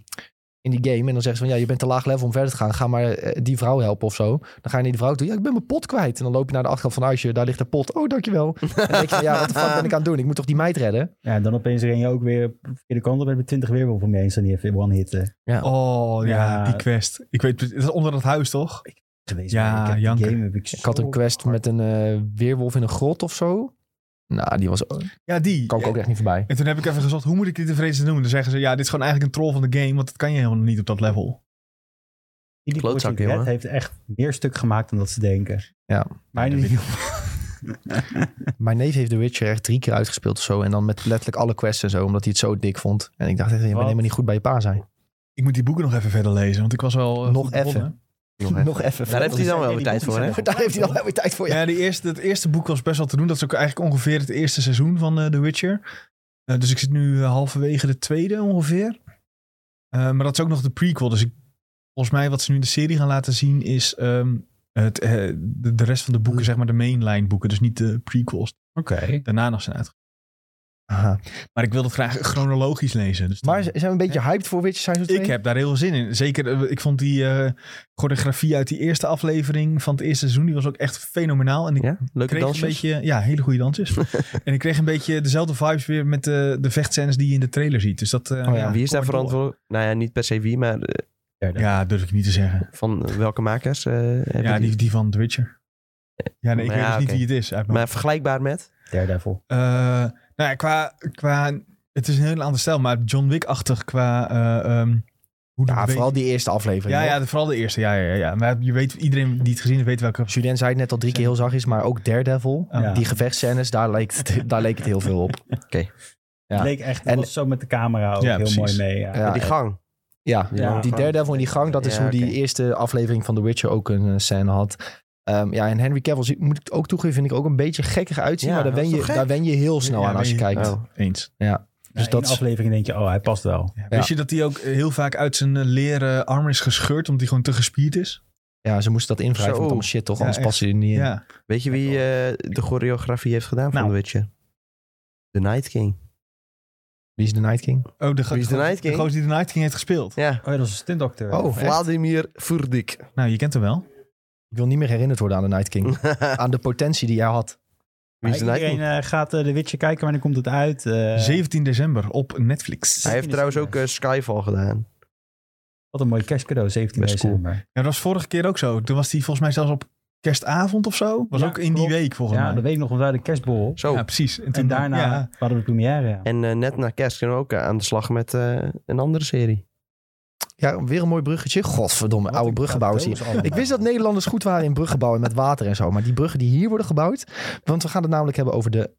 Speaker 1: in die game en dan zeggen ze van ja, je bent te laag level om verder te gaan, ga maar eh, die vrouw helpen of zo. Dan ga je naar die vrouw toe, ja, ik ben mijn pot kwijt. En dan loop je naar de achterkant van huisje, daar ligt de pot, oh dankjewel. En dan denk je, ja, wat de fuck ben ik aan het doen? Ik moet toch die meid redden?
Speaker 4: Ja, en dan opeens ren je ook weer de verkeerde kant op met 20 weerwolven om je heen staan die even one-hitten.
Speaker 3: Oh, ja,
Speaker 4: Ja.
Speaker 3: die quest. Ik weet, het is onder dat huis, toch?
Speaker 4: Geweest.
Speaker 3: Ja,
Speaker 4: Maar ik heb die
Speaker 3: janken.
Speaker 4: game heb ik,
Speaker 1: Ik had een quest met een eh, weerwolf in een grot of zo. Nou, die was, kan
Speaker 3: Ja, die.
Speaker 1: ik ook echt niet voorbij.
Speaker 3: En toen heb ik even gezocht, hoe moet ik dit in vrees noemen? Dan zeggen ze, ja, dit is gewoon eigenlijk een troll van de game, want dat kan je helemaal niet op dat level.
Speaker 4: Die
Speaker 2: Klootzak,
Speaker 4: Walking Dead
Speaker 2: jongen.
Speaker 4: heeft echt meer stuk gemaakt dan dat ze denken.
Speaker 1: Ja.
Speaker 4: Maar in ieder geval-
Speaker 1: Mijn neef heeft The Witcher echt drie keer uitgespeeld of zo. En dan met letterlijk alle quests en zo, omdat hij het zo dik vond. En ik dacht echt, je bent
Speaker 4: Wat?
Speaker 1: helemaal niet goed bij je pa zijn.
Speaker 3: Ik moet die boeken nog even verder lezen, want ik was wel... eh,
Speaker 1: Nog
Speaker 3: goed begonnen.
Speaker 2: Nog even.
Speaker 1: even.
Speaker 2: Daar heeft hij dan wel weer tijd voor, hè?
Speaker 1: Daar heeft hij dan wel weer tijd voor, ja.
Speaker 3: Ja, die eerste, het eerste boek was best wel te doen. Dat is ook eigenlijk ongeveer het eerste seizoen van eh, The Witcher. Eh, dus ik zit nu eh, halverwege de tweede ongeveer. Eh, maar dat is ook nog de prequel. Dus ik, volgens mij wat ze nu in de serie gaan laten zien is ehm, het, eh, de, de rest van de boeken, zeg maar de mainline boeken. Dus niet de prequels.
Speaker 4: Oké.
Speaker 3: Daarna nog zijn uit.
Speaker 1: Aha.
Speaker 3: Maar ik wil dat graag chronologisch lezen. Dus dan-
Speaker 1: Maar z- zijn we een beetje hyped voor Witcher Seizoen 2?
Speaker 3: ik heb daar heel veel zin in. Zeker, eh, ik vond die eh, choreografie uit die eerste aflevering van het eerste seizoen, die was ook echt fenomenaal. En ik
Speaker 2: Ja, leuke
Speaker 3: kreeg
Speaker 2: dansjes.
Speaker 3: een beetje, ja, hele goede dansjes. en ik kreeg een beetje dezelfde vibes weer met de, de vechtscènes die je in de trailer ziet. Dus dat, eh,
Speaker 1: ja,
Speaker 2: Oh Wie is daar
Speaker 3: kom maar door.
Speaker 2: verantwoordelijk? Nou ja, niet per se wie, maar eh,
Speaker 3: Ja, durf ik niet te zeggen.
Speaker 2: van eh, welke makers? eh, hebben
Speaker 3: Ja,
Speaker 2: die?
Speaker 3: die, die van The Witcher. Ja, nee, ik
Speaker 2: Ja,
Speaker 3: weet dus niet
Speaker 2: oké.
Speaker 3: wie het is. Uit mijn-
Speaker 2: Maar vergelijkbaar met?
Speaker 4: Daredevil.
Speaker 3: Eh, nou ja, qua, qua Het is een heel ander stijl, maar John Wick-achtig qua... eh, ehm, hoe de
Speaker 1: Ja,
Speaker 3: beweging-
Speaker 1: vooral die eerste aflevering.
Speaker 3: Ja,
Speaker 1: hoor.
Speaker 3: ja, de- vooral de eerste. Ja, ja, ja. Maar je weet, iedereen die het gezien heeft, weet welke...
Speaker 1: Julien zei het net al drie keer heel zachtjes, maar ook Daredevil.
Speaker 4: Ja.
Speaker 1: Die gevechtsscènes, daar leek, het, daar leek het heel veel op. Ja.
Speaker 4: Het leek echt, het
Speaker 1: En-
Speaker 4: was zo met de camera ook
Speaker 3: Ja,
Speaker 4: heel
Speaker 3: precies.
Speaker 4: mooi mee. Ja.
Speaker 1: Ja,
Speaker 2: die gang.
Speaker 1: Ja,
Speaker 4: Ja.
Speaker 1: die Daredevil in die gang, dat is
Speaker 2: Ja,
Speaker 1: hoe die
Speaker 2: oké.
Speaker 1: eerste aflevering van The Witcher ook een eh, scène had. Ehm, ja, en Henry Cavill, zie- moet ik ook toegeven, vind ik ook een beetje gekkig uitzien.
Speaker 2: Ja,
Speaker 1: maar daar
Speaker 2: dat
Speaker 1: wen,
Speaker 2: is
Speaker 1: je,
Speaker 2: toch gek?
Speaker 1: daar wen je heel snel
Speaker 3: Ja,
Speaker 1: aan als je
Speaker 3: ben je-
Speaker 1: kijkt.
Speaker 2: Oh.
Speaker 3: Eens.
Speaker 4: Dus
Speaker 1: Dus dat is-
Speaker 4: aflevering denk je, oh, hij past wel.
Speaker 3: Ja, wist je dat hij ook heel vaak uit zijn eh, leren arm is gescheurd, omdat hij gewoon te gespierd is?
Speaker 1: Ja, ze moesten dat invrijven
Speaker 2: Zo.
Speaker 1: met allemaal shit, toch?
Speaker 3: Ja,
Speaker 1: Anders
Speaker 3: echt.
Speaker 1: past je er niet in.
Speaker 3: Ja.
Speaker 2: Weet je wie eh, de choreografie heeft gedaan
Speaker 4: Nou.
Speaker 2: van The Witcher? The Night King.
Speaker 1: Wie is de Night King?
Speaker 3: Oh, de,
Speaker 2: Wie is de
Speaker 3: goos-
Speaker 2: Night King?
Speaker 3: De goos die de Night King heeft gespeeld.
Speaker 2: Ja.
Speaker 4: Oh, ja, dat is een stuntdokter.
Speaker 1: Oh, echt?
Speaker 2: Vladimir Furdik.
Speaker 3: Nou, je kent hem wel.
Speaker 1: Ik wil niet meer herinnerd worden aan de Night King. aan de potentie die hij had.
Speaker 2: Wie is de Night
Speaker 4: Iedereen
Speaker 2: King?
Speaker 4: eh, gaat eh, de Witcher kijken, wanneer komt het uit? Eh,
Speaker 3: 17 december op Netflix.
Speaker 2: Hij heeft trouwens ook eh, Skyfall gedaan.
Speaker 4: Wat een mooi kerstcadeau, 17
Speaker 2: Best cool.
Speaker 4: december.
Speaker 3: Ja, dat was vorige keer ook zo. Toen was hij volgens mij zelfs op kerstavond of zo. Was
Speaker 4: Ja,
Speaker 3: ook in
Speaker 4: klopt.
Speaker 3: die week volgens
Speaker 4: Ja,
Speaker 3: mij.
Speaker 4: dat weet ik nog, want we hadden kerstbol.
Speaker 2: Zo.
Speaker 3: Ja, precies. En, toen,
Speaker 4: En daarna
Speaker 3: Ja,
Speaker 4: hadden we de première, ja.
Speaker 2: En eh, net na kerst kunnen we ook eh, aan de slag met eh, een andere serie.
Speaker 1: Ja, weer een mooi bruggetje. Godverdomme,
Speaker 4: Wat
Speaker 1: oude
Speaker 4: een
Speaker 1: bruggenbouwers hier.
Speaker 4: cadeaus allemaal.
Speaker 1: Ik wist dat Nederlanders goed waren in bruggen bouwen met water en zo. Maar die bruggen die hier worden gebouwd... Want we gaan het namelijk hebben over de...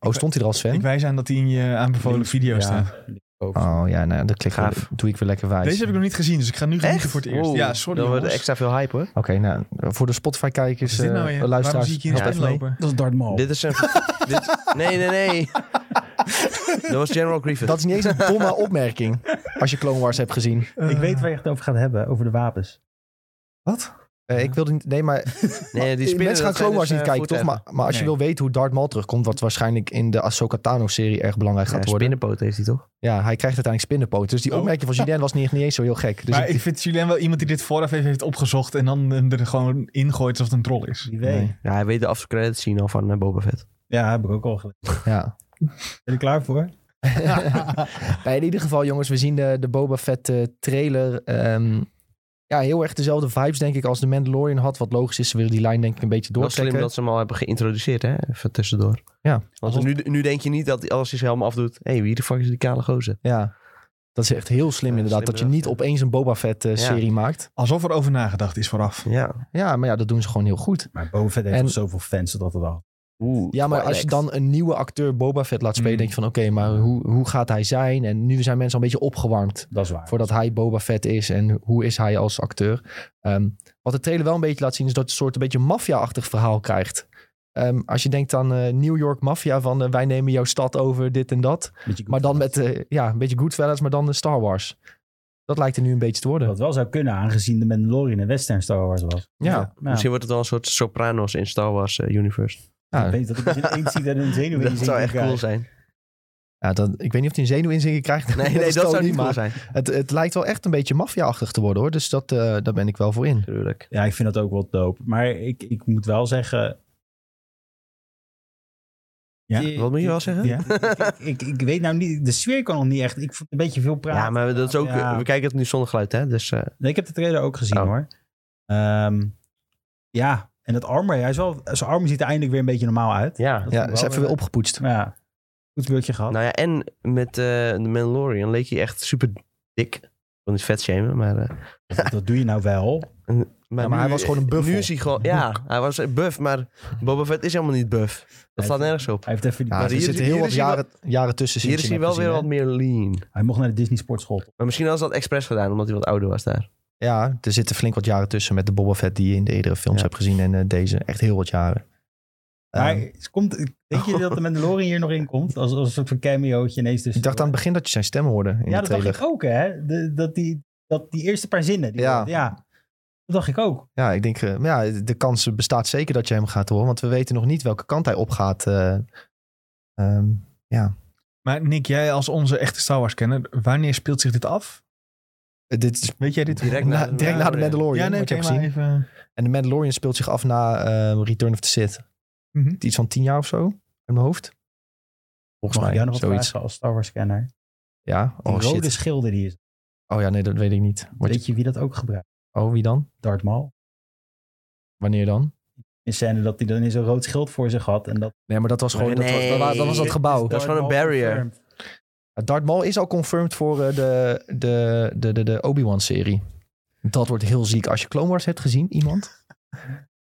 Speaker 1: Oh, stond hij er al, Sven?
Speaker 3: ik wijs aan dat hij in je aanbevolen video
Speaker 4: Ja.
Speaker 3: staat.
Speaker 1: Oh ja, nou, dat klik
Speaker 2: Gaaf.
Speaker 1: doe ik weer lekker wijs.
Speaker 3: Deze heb ik nog niet gezien, dus ik ga nu genieten voor het eerst.
Speaker 2: Wow,
Speaker 3: Ja, sorry
Speaker 2: Dan wordt
Speaker 3: jongens.
Speaker 2: er extra veel hype hoor.
Speaker 1: Oké, nou, voor de Spotify-kijkers,
Speaker 3: Wat is dit
Speaker 1: eh,
Speaker 3: nou weer? Waarom
Speaker 1: luisteraars,
Speaker 3: zie ik hier een
Speaker 1: help
Speaker 3: spin
Speaker 1: even mee.
Speaker 3: lopen?
Speaker 4: Dat is Darth
Speaker 1: Oh.
Speaker 4: Maul.
Speaker 2: Dit is een... dit, nee, nee, nee. Dat was General Grievous.
Speaker 1: Dat is niet eens een domme opmerking, als je Clone Wars hebt gezien.
Speaker 3: Eh.
Speaker 4: ik
Speaker 2: Eh,
Speaker 4: weet waar je het over gaat hebben, over de wapens.
Speaker 1: Eh, ik wilde niet... Nee, maar
Speaker 2: nee, die
Speaker 1: mensen
Speaker 2: spinnen,
Speaker 1: gaan
Speaker 2: dat zijn
Speaker 1: Clone Wars
Speaker 2: dus,
Speaker 1: niet
Speaker 2: eh,
Speaker 1: kijken, toch?
Speaker 2: voeten.
Speaker 1: Maar, maar als je
Speaker 3: Nee.
Speaker 1: wil weten hoe Darth Maul terugkomt... wat waarschijnlijk in de Ahsoka Tano-serie erg belangrijk
Speaker 2: Ja,
Speaker 1: gaat worden.
Speaker 2: spinnenpoot heeft hij toch?
Speaker 1: Ja, hij krijgt uiteindelijk spinnenpoot. Dus die
Speaker 3: Oh.
Speaker 1: opmerking van Julien was niet, niet eens zo heel gek. Dus
Speaker 3: maar
Speaker 1: ik-
Speaker 3: ik vind Julien wel iemand die dit vooraf even heeft opgezocht en dan hem er gewoon ingooit alsof het een troll is.
Speaker 4: Wie weet.
Speaker 1: Nee.
Speaker 2: Ja, hij weet de aftercredits scene al van eh, Boba Fett.
Speaker 4: Ja, heb ik ook al gelezen.
Speaker 1: ja.
Speaker 4: Ben je klaar voor?
Speaker 1: Nee, in ieder geval, jongens, we zien de, de Boba Fett eh, trailer. ehm, ja, heel erg dezelfde vibes, denk ik, als de Mandalorian had. Wat logisch is, ze willen die lijn denk ik een beetje
Speaker 2: Wel slim
Speaker 1: doortrekken.
Speaker 2: dat ze hem al hebben geïntroduceerd, hè? Even tussendoor.
Speaker 1: Ja.
Speaker 2: Want nu, nu denk je niet dat hij- als hij zijn helm afdoet... Hé, hey, wie de fuck is die kale gozer?
Speaker 1: Ja, dat is echt heel slim
Speaker 2: Ja,
Speaker 1: inderdaad.
Speaker 2: slim
Speaker 1: dat je niet
Speaker 2: bedacht,
Speaker 1: opeens een Boba Fett eh,
Speaker 2: Ja.
Speaker 1: serie maakt.
Speaker 3: Alsof er over nagedacht is vooraf.
Speaker 2: Ja.
Speaker 1: Ja, maar ja, dat doen ze gewoon heel goed.
Speaker 4: Maar Boba Fett heeft
Speaker 1: En-
Speaker 4: nog zoveel fans, dat het al.
Speaker 2: Oeh,
Speaker 1: Ja, maar als je
Speaker 2: Twilight.
Speaker 1: dan een nieuwe acteur Boba Fett laat spelen...
Speaker 2: Hmm.
Speaker 3: Mm.
Speaker 1: denk je van, oké, maar hoe, hoe gaat hij zijn? En nu zijn mensen al een beetje opgewarmd.
Speaker 4: Dat is waar.
Speaker 1: voordat hij Boba Fett is en hoe is hij als acteur. Ehm, wat de trailer wel een beetje laat zien is dat je een soort een beetje maffia-achtig verhaal krijgt. Ehm, als je denkt aan eh, New York Mafia van eh, wij nemen jouw stad over dit en dat.
Speaker 4: Beetje
Speaker 1: Maar dan
Speaker 4: goed.
Speaker 1: met eh, ja, een beetje Goodfellas, maar dan de Star Wars. Dat lijkt er nu een beetje te worden.
Speaker 4: Wat wel zou kunnen, aangezien de Mandalorian een western Star Wars was.
Speaker 1: Ja.
Speaker 4: Nou,
Speaker 2: Misschien wordt het wel een soort Sopranos in Star Wars eh, Universe.
Speaker 1: Ja,
Speaker 4: Ik weet dat ik dus een eend zie dat een zenuw in
Speaker 2: Dat zou echt
Speaker 4: eh,
Speaker 2: cool zijn.
Speaker 1: ja, dat, ik weet niet of hij een zenuwinzinking krijgt.
Speaker 2: Nee, nee, dat zou niet cool
Speaker 1: maar
Speaker 2: zijn.
Speaker 1: Het, het lijkt wel echt een beetje maffia-achtig te worden hoor. Dus dat, eh, daar ben ik wel voor in.
Speaker 2: Tuurlijk.
Speaker 4: Ja, ik vind dat ook wel dope. Maar ik, ik moet wel zeggen...
Speaker 3: Ja,
Speaker 4: Ik-
Speaker 2: Wat moet je wel zeggen?
Speaker 3: Ja.
Speaker 4: ik, ik, ik weet nou niet, de sfeer kan nog niet echt. Ik vond een beetje veel praten.
Speaker 2: Ja, maar dat is ook,
Speaker 4: Ja.
Speaker 2: we kijken het nu zonder geluid, hè? Dus eh,
Speaker 4: Nee, ik heb de trailer ook gezien
Speaker 2: Oh.
Speaker 4: hoor. Ehm, ja, en dat armor, hij is wel, zijn armor ziet er eindelijk weer een beetje normaal uit.
Speaker 2: ja.
Speaker 1: Ja, is even weer opgepoetst.
Speaker 4: Ja, goed beurtje gehad.
Speaker 2: Nou ja, en met eh de Mandalorian leek hij echt super dik. Ik wil niet vet shamen, maar... eh,
Speaker 4: Dat, dat doe je nou wel.
Speaker 1: Ja, maar hij was gewoon een buffel.
Speaker 2: Nu is hij gewoon... Ja, hij was een buff, maar Boba Fett is helemaal niet buff. Dat staat nergens op.
Speaker 4: Hij, heeft even die,
Speaker 1: Ja,
Speaker 2: Maar
Speaker 1: er
Speaker 2: hier-
Speaker 1: zitten
Speaker 2: hier
Speaker 1: heel
Speaker 2: is
Speaker 1: wat
Speaker 2: hij wel-
Speaker 1: jaren, jaren tussen.
Speaker 2: Hier
Speaker 1: sinds
Speaker 2: is
Speaker 1: je
Speaker 2: hij
Speaker 1: hem
Speaker 2: wel
Speaker 1: hebt
Speaker 2: weer
Speaker 1: gezien, hè?
Speaker 2: wat meer lean.
Speaker 4: hij mocht naar de Disney Sportschool.
Speaker 2: Maar misschien hadden ze dat expres gedaan, omdat hij wat ouder was daar.
Speaker 1: Ja, er zitten flink wat jaren tussen met de Boba Fett die je in de eerdere films
Speaker 2: Ja.
Speaker 1: hebt gezien en eh, deze. Echt heel wat jaren.
Speaker 4: Maar
Speaker 1: Ehm,
Speaker 4: het komt, denk je dat de Mandalorian hier nog in komt? Als, als een soort van cameootje ineens dus.
Speaker 1: ik dacht aan het begin dat je zijn stem hoorde in
Speaker 4: Ja,
Speaker 1: de
Speaker 4: dat
Speaker 1: trailer.
Speaker 4: dacht ik ook hè. De- dat, die, dat die eerste paar zinnen. Die
Speaker 1: Ja.
Speaker 4: ja. Dat dacht ik ook.
Speaker 1: Ja, ik denk, eh, maar ja, de kans bestaat zeker dat je hem gaat horen, want we weten nog niet welke kant hij opgaat. eh ehm,
Speaker 3: Maar Nick, jij als onze echte Star Wars kenner, wanneer speelt zich dit af?
Speaker 1: dit is
Speaker 3: Weet jij dit?
Speaker 2: Direct
Speaker 1: na-
Speaker 2: na de
Speaker 1: direct na de
Speaker 2: Mandalorian.
Speaker 1: Mandalorian,
Speaker 3: ja, nee,
Speaker 1: wat Oh, ik
Speaker 3: oké,
Speaker 1: heb
Speaker 3: maar
Speaker 1: gezien.
Speaker 3: even...
Speaker 1: En de Mandalorian speelt zich af na eh, Return of the Sith.
Speaker 3: Mhm.
Speaker 1: Iets van tien jaar of zo, in mijn hoofd. Volgens
Speaker 4: Mag ik jou
Speaker 1: mij,
Speaker 4: nog wat
Speaker 1: zoiets.
Speaker 4: vragen als Star Wars scanner?
Speaker 1: Ja,
Speaker 4: Die
Speaker 1: oh
Speaker 4: rode
Speaker 1: shit.
Speaker 4: schilder die is.
Speaker 1: Oh ja, nee, dat weet ik niet. Wordt-
Speaker 4: Weet je wie dat ook gebruikt?
Speaker 1: Oh, wie dan?
Speaker 4: Darth Maul.
Speaker 1: Wanneer dan?
Speaker 4: Een scène dat hij dan in zo'n rood schild voor zich had. En dat,
Speaker 1: Nee, maar dat was gewoon, dat, was, dat, wa- dat was dat
Speaker 2: Nee.
Speaker 1: gebouw.
Speaker 2: Dat is gewoon een barrier.
Speaker 1: Uh, Darth Maul is al confirmed voor eh, de, de, de, de, de Obi-Wan-serie. Dat wordt heel ziek als je Clone Wars hebt gezien, iemand.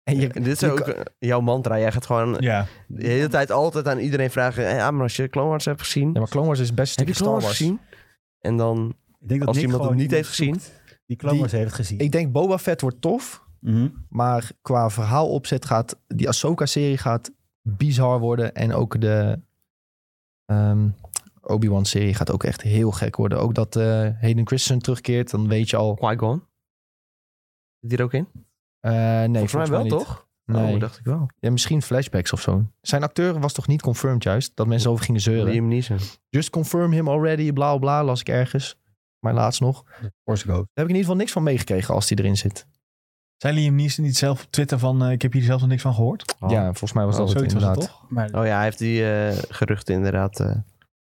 Speaker 1: En je,
Speaker 2: Dit is
Speaker 1: je
Speaker 2: ook
Speaker 1: kan-
Speaker 2: eh, jouw mantra. Jij gaat gewoon
Speaker 3: Ja.
Speaker 2: de hele tijd altijd aan iedereen vragen... "Hey, Ja, maar als je Clone Wars hebt gezien...
Speaker 1: Ja, maar Clone Wars is best een
Speaker 2: heb je
Speaker 1: stukje
Speaker 2: Clone
Speaker 1: Star
Speaker 2: Wars
Speaker 1: Wars.
Speaker 2: gezien? En dan,
Speaker 4: Ik denk dat
Speaker 2: als
Speaker 4: Nick
Speaker 2: iemand het
Speaker 4: gewoon
Speaker 2: niet heeft gezien...
Speaker 4: iemand zoekt Die Clone
Speaker 1: die-
Speaker 4: Wars heeft gezien.
Speaker 1: Ik denk Boba Fett wordt tof,
Speaker 4: Mhm.
Speaker 1: maar qua verhaalopzet gaat die Ahsoka-serie gaat bizar worden. En ook de ehm, Obi-Wan-serie gaat ook echt heel gek worden. Ook dat eh Hayden Christensen terugkeert, dan weet je al...
Speaker 2: Qui-Gon? Zit die er ook in?
Speaker 1: eh, nee,
Speaker 2: volgens mij wel, toch?
Speaker 1: Nee.
Speaker 2: Oh, dacht ik wel.
Speaker 1: Ja, misschien flashbacks of zo. Zijn acteur was toch niet confirmed juist? Dat mensen over gingen zeuren.
Speaker 2: Liam Neeson.
Speaker 1: Just confirm him already, bla bla, las ik ergens. Maar laatst nog. Daar
Speaker 4: Force Ghost.
Speaker 1: heb ik in ieder geval niks van meegekregen als die erin zit.
Speaker 3: Zei Liam Neeson niet zelf op Twitter van... eh, ik heb hier zelf nog niks van gehoord?
Speaker 2: Oh.
Speaker 1: Ja, volgens mij was dat het
Speaker 3: Zoiets was het
Speaker 1: inderdaad.
Speaker 3: toch?
Speaker 4: Maar
Speaker 2: Oh ja, hij heeft die eh, geruchten inderdaad. eh.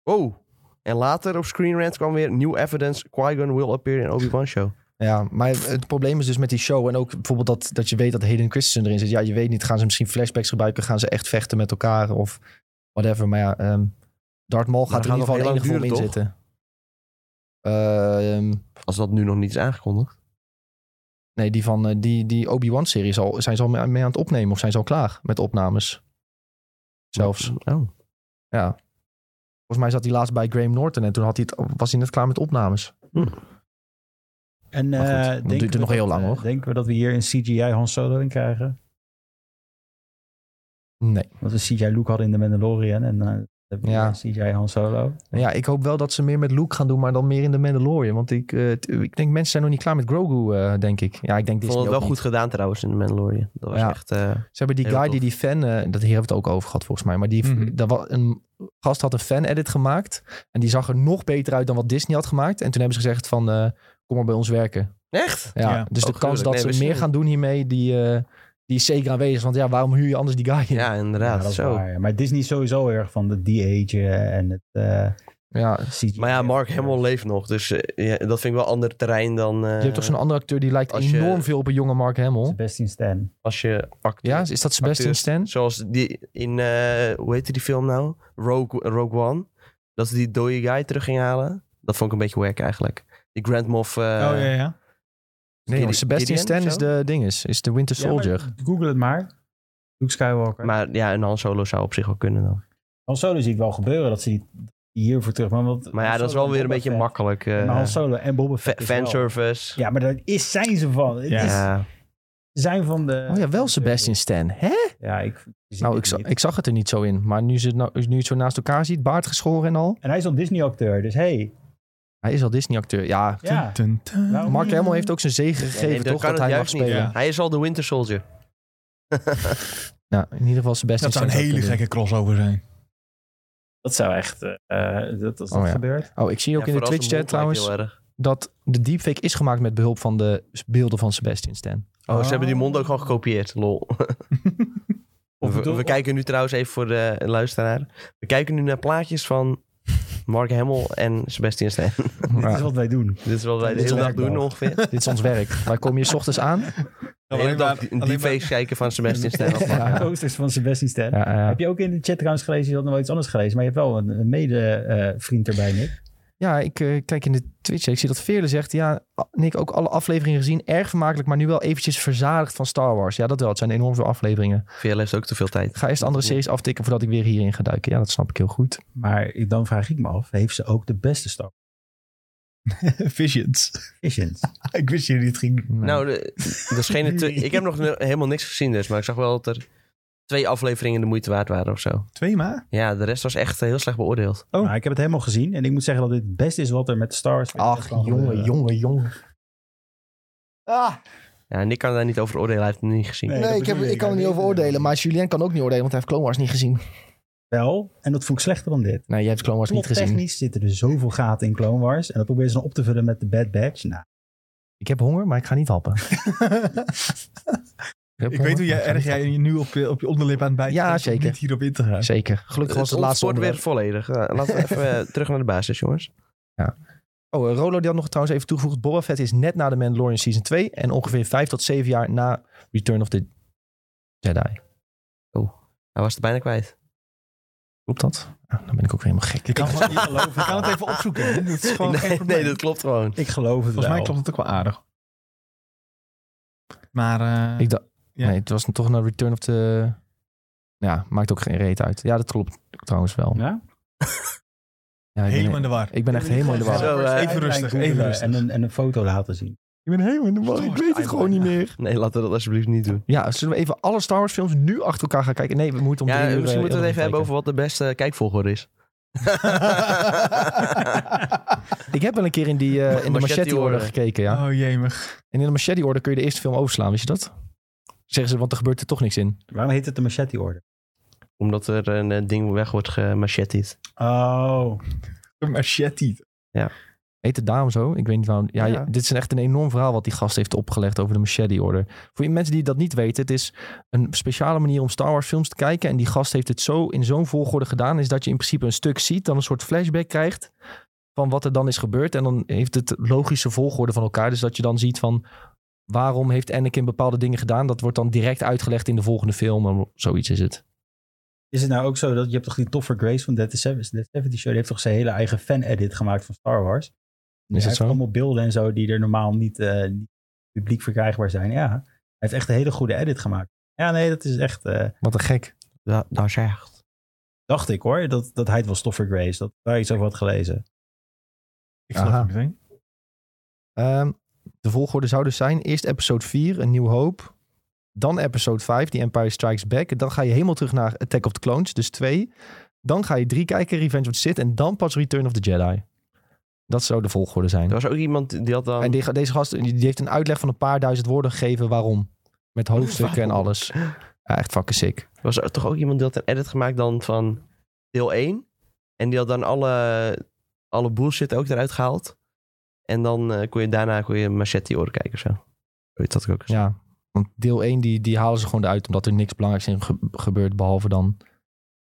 Speaker 2: Oh! En later op Screen Rant kwam weer New Evidence. Qui-Gon will appear in Obi-Wan Show.
Speaker 1: Ja, maar het probleem is dus met die show en ook bijvoorbeeld dat, dat je weet dat Hayden Christensen erin zit. Ja, je weet niet, gaan ze misschien flashbacks gebruiken? Gaan ze echt vechten met elkaar of whatever? Maar ja, ehm Darth Maul gaat er in
Speaker 2: gaat
Speaker 1: ieder geval in
Speaker 2: nog
Speaker 1: enige
Speaker 2: heel
Speaker 1: vorm
Speaker 2: lang
Speaker 1: in zitten. Ehm,
Speaker 2: Als dat nu nog niet is aangekondigd.
Speaker 1: nee, die van eh, die, die Obi-Wan-serie is al- zijn ze al mee mee aan het opnemen of zijn ze al klaar met opnames? Zelfs.
Speaker 2: Oh.
Speaker 1: Ja. Volgens mij zat hij laatst bij Graham Norton en toen had hij het, was hij net klaar met opnames.
Speaker 4: En
Speaker 1: Maar goed,
Speaker 4: eh,
Speaker 1: dat
Speaker 4: denken
Speaker 1: duurt er
Speaker 4: we
Speaker 1: nog heel lang,
Speaker 4: eh,
Speaker 1: hoor.
Speaker 4: Denken we dat we hier een CGI Han Solo in krijgen?
Speaker 1: Nee.
Speaker 4: Want we CGI Luke hadden in de Mandalorian en eh hebben we
Speaker 1: Ja.
Speaker 4: CGI Han Solo.
Speaker 1: Nou Ja, ik hoop wel dat ze meer met Luke gaan doen, maar dan meer in de Mandalorian. Want ik, eh, t- ik denk mensen zijn nog niet klaar met Grogu, eh, denk ik. Ja, ik denk
Speaker 2: Ik
Speaker 1: Disney
Speaker 2: vond het wel
Speaker 1: ook
Speaker 2: goed
Speaker 1: niet.
Speaker 2: gedaan trouwens in The Mandalorian. Dat was
Speaker 1: Ja.
Speaker 2: echt... eh,
Speaker 1: Ze hebben die
Speaker 2: Heel
Speaker 1: guy
Speaker 2: tof.
Speaker 1: die die fan, eh, dat hier hebben we het ook over gehad volgens mij. Maar die,
Speaker 3: Mhm.
Speaker 1: daar wa- een gast had een fan-edit gemaakt. En die zag er nog beter uit dan wat Disney had gemaakt. En toen hebben ze gezegd van, eh, kom maar bij ons werken.
Speaker 2: echt?
Speaker 1: Ja,
Speaker 3: Ja.
Speaker 1: dus de
Speaker 2: Oh,
Speaker 1: kans
Speaker 2: gruwelijk.
Speaker 1: dat
Speaker 2: Nee, wist
Speaker 1: ze
Speaker 2: je
Speaker 1: meer
Speaker 2: niet.
Speaker 1: gaan doen hiermee, die, eh, die is zeker aanwezig. Want ja, waarom huur je anders die guy in?
Speaker 2: Ja,
Speaker 4: Ja,
Speaker 2: inderdaad.
Speaker 4: dat is
Speaker 2: zo.
Speaker 4: waar. Maar Disney is sowieso erg van de de-age en het eh,
Speaker 1: ja
Speaker 4: CGI.
Speaker 2: Maar ja, Mark Hamill leeft nog. Dus eh, ja, dat vind ik wel ander terrein dan... eh,
Speaker 1: Je hebt toch zo'n andere acteur die lijkt
Speaker 2: als je-
Speaker 1: enorm veel op een jonge Mark Hamill.
Speaker 4: Sebastian Stan.
Speaker 2: Als je acteur...
Speaker 1: Ja, is dat Sebastian
Speaker 2: acteurs.
Speaker 1: Stan?
Speaker 2: Zoals die in... eh, hoe heette die film nou? Rogue, Rogue One. Dat ze die dode guy terug ging halen. Dat vond ik een beetje wack eigenlijk. Die Grand Moff... eh,
Speaker 3: oh, ja, ja.
Speaker 1: Nee,
Speaker 2: Gideon-
Speaker 1: jongen, Sebastian
Speaker 2: Gideon
Speaker 1: Stan
Speaker 2: of
Speaker 1: is
Speaker 2: zo?
Speaker 1: de dinges, is de Winter Soldier.
Speaker 4: Google het maar. Luke Skywalker.
Speaker 2: Maar ja, een Han Solo zou op zich wel kunnen dan.
Speaker 4: Han Solo zie ik wel gebeuren dat ze die hiervoor terug. Maar, want
Speaker 2: Maar ja,
Speaker 4: Han
Speaker 2: dat is
Speaker 4: Solo
Speaker 2: wel weer
Speaker 4: en
Speaker 2: een
Speaker 4: Boba
Speaker 2: beetje
Speaker 4: Fett.
Speaker 2: makkelijk. eh,
Speaker 4: Maar Han Solo en Boba
Speaker 2: fa-
Speaker 4: Fett. is wel-
Speaker 2: fanservice.
Speaker 4: Ja, maar daar is, zijn ze van. Het
Speaker 3: Ja.
Speaker 4: is-
Speaker 2: Ja.
Speaker 4: zijn van
Speaker 2: eh,
Speaker 4: de...
Speaker 1: Oh ja, wel Sebastian Stan. Hè?
Speaker 4: Ja, ik... ik zie
Speaker 1: Nou,
Speaker 4: het
Speaker 1: ik, za-
Speaker 4: niet.
Speaker 1: ik zag het er niet zo in. Maar nu, ze het nou, nu je het zo naast elkaar ziet, baard geschoren en al.
Speaker 4: En hij is al Disney-acteur, dus hey.
Speaker 1: Hij is al Disney-acteur. Ja,
Speaker 4: Ja.
Speaker 3: Dun, dun.
Speaker 4: Waarom
Speaker 1: Mark
Speaker 4: niet?
Speaker 1: Hamill heeft ook zijn zegen gegeven,
Speaker 2: Oh, Nee, dan
Speaker 1: toch?
Speaker 2: kan
Speaker 1: Dat
Speaker 2: het
Speaker 1: hij mag
Speaker 2: juist niet.
Speaker 1: spelen.
Speaker 3: Ja.
Speaker 1: Ja.
Speaker 2: Hij is al de Winter Soldier.
Speaker 1: in ieder geval Sebastian
Speaker 3: Dat zou een
Speaker 1: Stan
Speaker 3: hele
Speaker 1: kunnen
Speaker 3: gekke crossover zijn.
Speaker 4: Dat zou echt... eh, eh, dat als dat
Speaker 1: Oh ja.
Speaker 4: gebeurt.
Speaker 1: doen. Oh, ik zie ook
Speaker 2: Ja,
Speaker 1: in de
Speaker 2: vooral zijn
Speaker 1: Twitch-chat
Speaker 2: mond lijkt
Speaker 1: trouwens
Speaker 2: heel eh, erg.
Speaker 1: dat de deepfake is gemaakt met behulp van de s- beelden van Sebastian Stan.
Speaker 2: Oh, ze hebben die mond ook gewoon gekopieerd. Lol.
Speaker 4: Of
Speaker 2: we,
Speaker 4: bedoel-
Speaker 2: we kijken nu trouwens even voor de luisteraar. We kijken nu naar plaatjes van Mark Hamill en Sebastian Stan.
Speaker 4: Dit
Speaker 1: Ja,
Speaker 4: is wat wij doen.
Speaker 2: Dit is wat wij de
Speaker 4: Dit is
Speaker 2: hele dag
Speaker 4: werkdag.
Speaker 2: doen ongeveer.
Speaker 1: dit is ons werk. Wij komen hier 's ochtends aan.
Speaker 2: De
Speaker 3: Ja,
Speaker 2: hele
Speaker 3: alleen maar-
Speaker 2: dag die- die
Speaker 3: alleen maar-
Speaker 2: face kijken van Sebastian Stan.
Speaker 1: Ja.
Speaker 4: Posters van Sebastian Stan.
Speaker 1: Ja, ja.
Speaker 4: Heb je ook in de chat trouwens gelezen, je had nog wel iets anders gelezen, maar je hebt wel een, een mede-vriend erbij, Nick.
Speaker 1: Ja, ik eh, kijk in de Twitch. Ik zie dat Veerle zegt. Ja, Nick, ook alle afleveringen gezien. Erg vermakelijk, maar nu wel eventjes verzadigd van Star Wars. Ja, dat wel. Het zijn enorm veel afleveringen.
Speaker 2: Veel heeft ook te veel tijd.
Speaker 1: Ik ga eerst andere series aftikken voordat ik weer hierin ga duiken. Ja, dat snap ik heel goed.
Speaker 4: Maar ik- dan vraag ik me af, heeft ze ook de beste Star Wars
Speaker 3: Visions.
Speaker 4: Visions?
Speaker 3: ik wist jullie het ging.
Speaker 1: Nee.
Speaker 2: Nou, de- er schenen te- ik heb nog ne- helemaal niks gezien dus. Maar ik zag wel dat er twee afleveringen de moeite waard waren of zo.
Speaker 3: Twee maar?
Speaker 2: Ja, de rest was echt eh, heel slecht beoordeeld.
Speaker 3: Oh.
Speaker 4: Maar Nou, ik heb het helemaal gezien en ik moet zeggen dat dit het beste is wat er met de Star Wars
Speaker 1: Ach,
Speaker 4: eh,
Speaker 1: jongen, jongen, jongen. Ah,
Speaker 2: Ja, en ik kan daar niet over oordelen. Hij heeft het niet gezien.
Speaker 4: Nee, dat bedoel ik. Hij weet het wel.
Speaker 1: Julien kan ook niet oordelen, want hij heeft Clone Wars niet gezien.
Speaker 4: Wel, en dat vond ik slechter dan dit.
Speaker 1: Nee, jij hebt Clone Wars niet gezien.
Speaker 4: technisch zitten er zoveel gaten in Clone Wars en dat proberen ze dan op te vullen met de Bad Batch. Nou,
Speaker 1: Ik heb honger, maar ik ga niet happen. Ik, heb
Speaker 3: ik
Speaker 1: honger,
Speaker 3: weet hoe jij,
Speaker 1: maar ik ga
Speaker 3: erg
Speaker 1: niet
Speaker 3: jij je nu op, je- op je onderlip aan het bijten
Speaker 1: Ja,
Speaker 3: bent om
Speaker 1: zeker.
Speaker 3: niet hierop in te gaan.
Speaker 1: happen. Zeker. Gelukkig was het, laatste
Speaker 2: wordt Eh, weer
Speaker 1: onderwerp.
Speaker 2: volledig. Ja, laten we even eh, terug naar de basis, jongens.
Speaker 1: Oh, eh, Rolo die had nog trouwens even toegevoegd. Boba Fett is net na de Mandalorian Season 2 en ongeveer 5 tot 7 jaar na Return of the Jedi.
Speaker 2: Hij was het bijna kwijt.
Speaker 1: Klopt dat? Ja, dan ben ik ook weer helemaal gek.
Speaker 3: Je kan, gewoon, je, geloof, je kan het even opzoeken. hè. Dat is gewoon geen
Speaker 2: nee,
Speaker 3: probleem.
Speaker 2: nee, dat klopt gewoon.
Speaker 4: Ik geloof het
Speaker 3: Volgens mij
Speaker 4: wel.
Speaker 3: klopt het ook wel aardig. Maar eh,
Speaker 1: Ik dacht,
Speaker 3: Ja.
Speaker 1: nee, het was toch naar Return of the... Ja, maakt ook geen reet uit. Ja, dat klopt trouwens wel.
Speaker 4: Ja?
Speaker 1: Ja, ik,
Speaker 3: helemaal
Speaker 1: ben,
Speaker 3: in de war.
Speaker 1: ik ben echt helemaal in de war.
Speaker 2: Zo, eh,
Speaker 3: even rustig,
Speaker 4: googlen
Speaker 3: even rustig.
Speaker 4: En een, en een foto laten zien.
Speaker 1: Ik ben helemaal in de war. Ik weet het gewoon niet meer.
Speaker 2: Nee, laten we dat alsjeblieft niet doen.
Speaker 1: Ja, zullen we even alle Star Wars films nu achter elkaar gaan kijken? Nee, we moeten om
Speaker 2: Ja,
Speaker 1: drie uur...
Speaker 2: misschien
Speaker 1: eh,
Speaker 2: moeten we het even
Speaker 1: Elden
Speaker 2: hebben
Speaker 1: Ring
Speaker 2: over wat de beste kijkvolgorde is.
Speaker 1: kijken. Ik heb wel een keer in, die, eh, in de
Speaker 2: Machete
Speaker 1: machete-orde
Speaker 2: orde.
Speaker 1: gekeken, ja.
Speaker 3: Oh jemig.
Speaker 1: En in de machete-orde kun je de eerste film overslaan, wist je dat? Zeggen ze, want er gebeurt er toch niks in.
Speaker 4: Waarom heet het de machete order?
Speaker 2: Omdat er een eh, ding weg wordt gemachetterd.
Speaker 4: Oh.
Speaker 3: Een machete.
Speaker 1: Heet het daarom zo? Ik weet niet waarom. Ja,
Speaker 2: Ja.
Speaker 1: ja, dit is een- echt een enorm verhaal wat die gast heeft opgelegd over de machete-order. Voor die mensen die dat niet weten, het is een speciale manier om Star Wars films te kijken. En die gast heeft het zo in zo'n volgorde gedaan, is dat je in principe een stuk ziet, dan een soort flashback krijgt van wat er dan is gebeurd. En dan heeft het logische volgorde van elkaar. Dus dat je dan ziet van waarom heeft Anakin bepaalde dingen gedaan. Dat wordt dan direct uitgelegd in de volgende film. En Zoiets is het.
Speaker 4: Is het nou ook zo dat je hebt toch die Toffer Grace van Dead Seven- Dead Seventy Show, die heeft toch zijn hele eigen fan-edit gemaakt van Star Wars?
Speaker 1: Is
Speaker 4: hij
Speaker 1: het
Speaker 4: heeft
Speaker 1: zo?
Speaker 4: allemaal beelden en zo die er normaal niet, eh, niet publiek verkrijgbaar zijn. Ja, hij heeft echt een hele goede edit gemaakt. Ja, nee, dat is echt, eh,
Speaker 1: Wat een gek.
Speaker 2: Dat, dat is echt.
Speaker 4: dacht ik hoor, dat, dat hij het was Toffer Grace. Dat ik daar iets over had gelezen.
Speaker 3: Ik geloof
Speaker 1: Aha.
Speaker 3: het meteen.
Speaker 1: Ehm, de volgorde zou dus zijn: eerst episode 4, Een Nieuw Hoop. Dan episode 5, die Empire Strikes Back. En Dan ga je helemaal terug naar Attack of the Clones, dus 2. Dan ga je 3 kijken, Revenge of the Sith. En dan pas Return of the Jedi. Dat zou de volgorde zijn.
Speaker 2: Er was ook iemand die had dan...
Speaker 1: En die, deze gast die die heeft een uitleg van een paar duizend woorden gegeven waarom. Met hoofdstukken en alles. Ja, echt fucking sick.
Speaker 2: was er toch ook iemand die had een edit gemaakt dan van deel 1. En die had dan alle, alle bullshit ook eruit gehaald. En dan eh, kon je daarna kon je machete oren kijken of zo. Weet dat ik ook. eens.
Speaker 1: Ja. Want deel 1 die, die halen ze gewoon eruit omdat er niks belangrijks in ge- gebeurt. Behalve dan.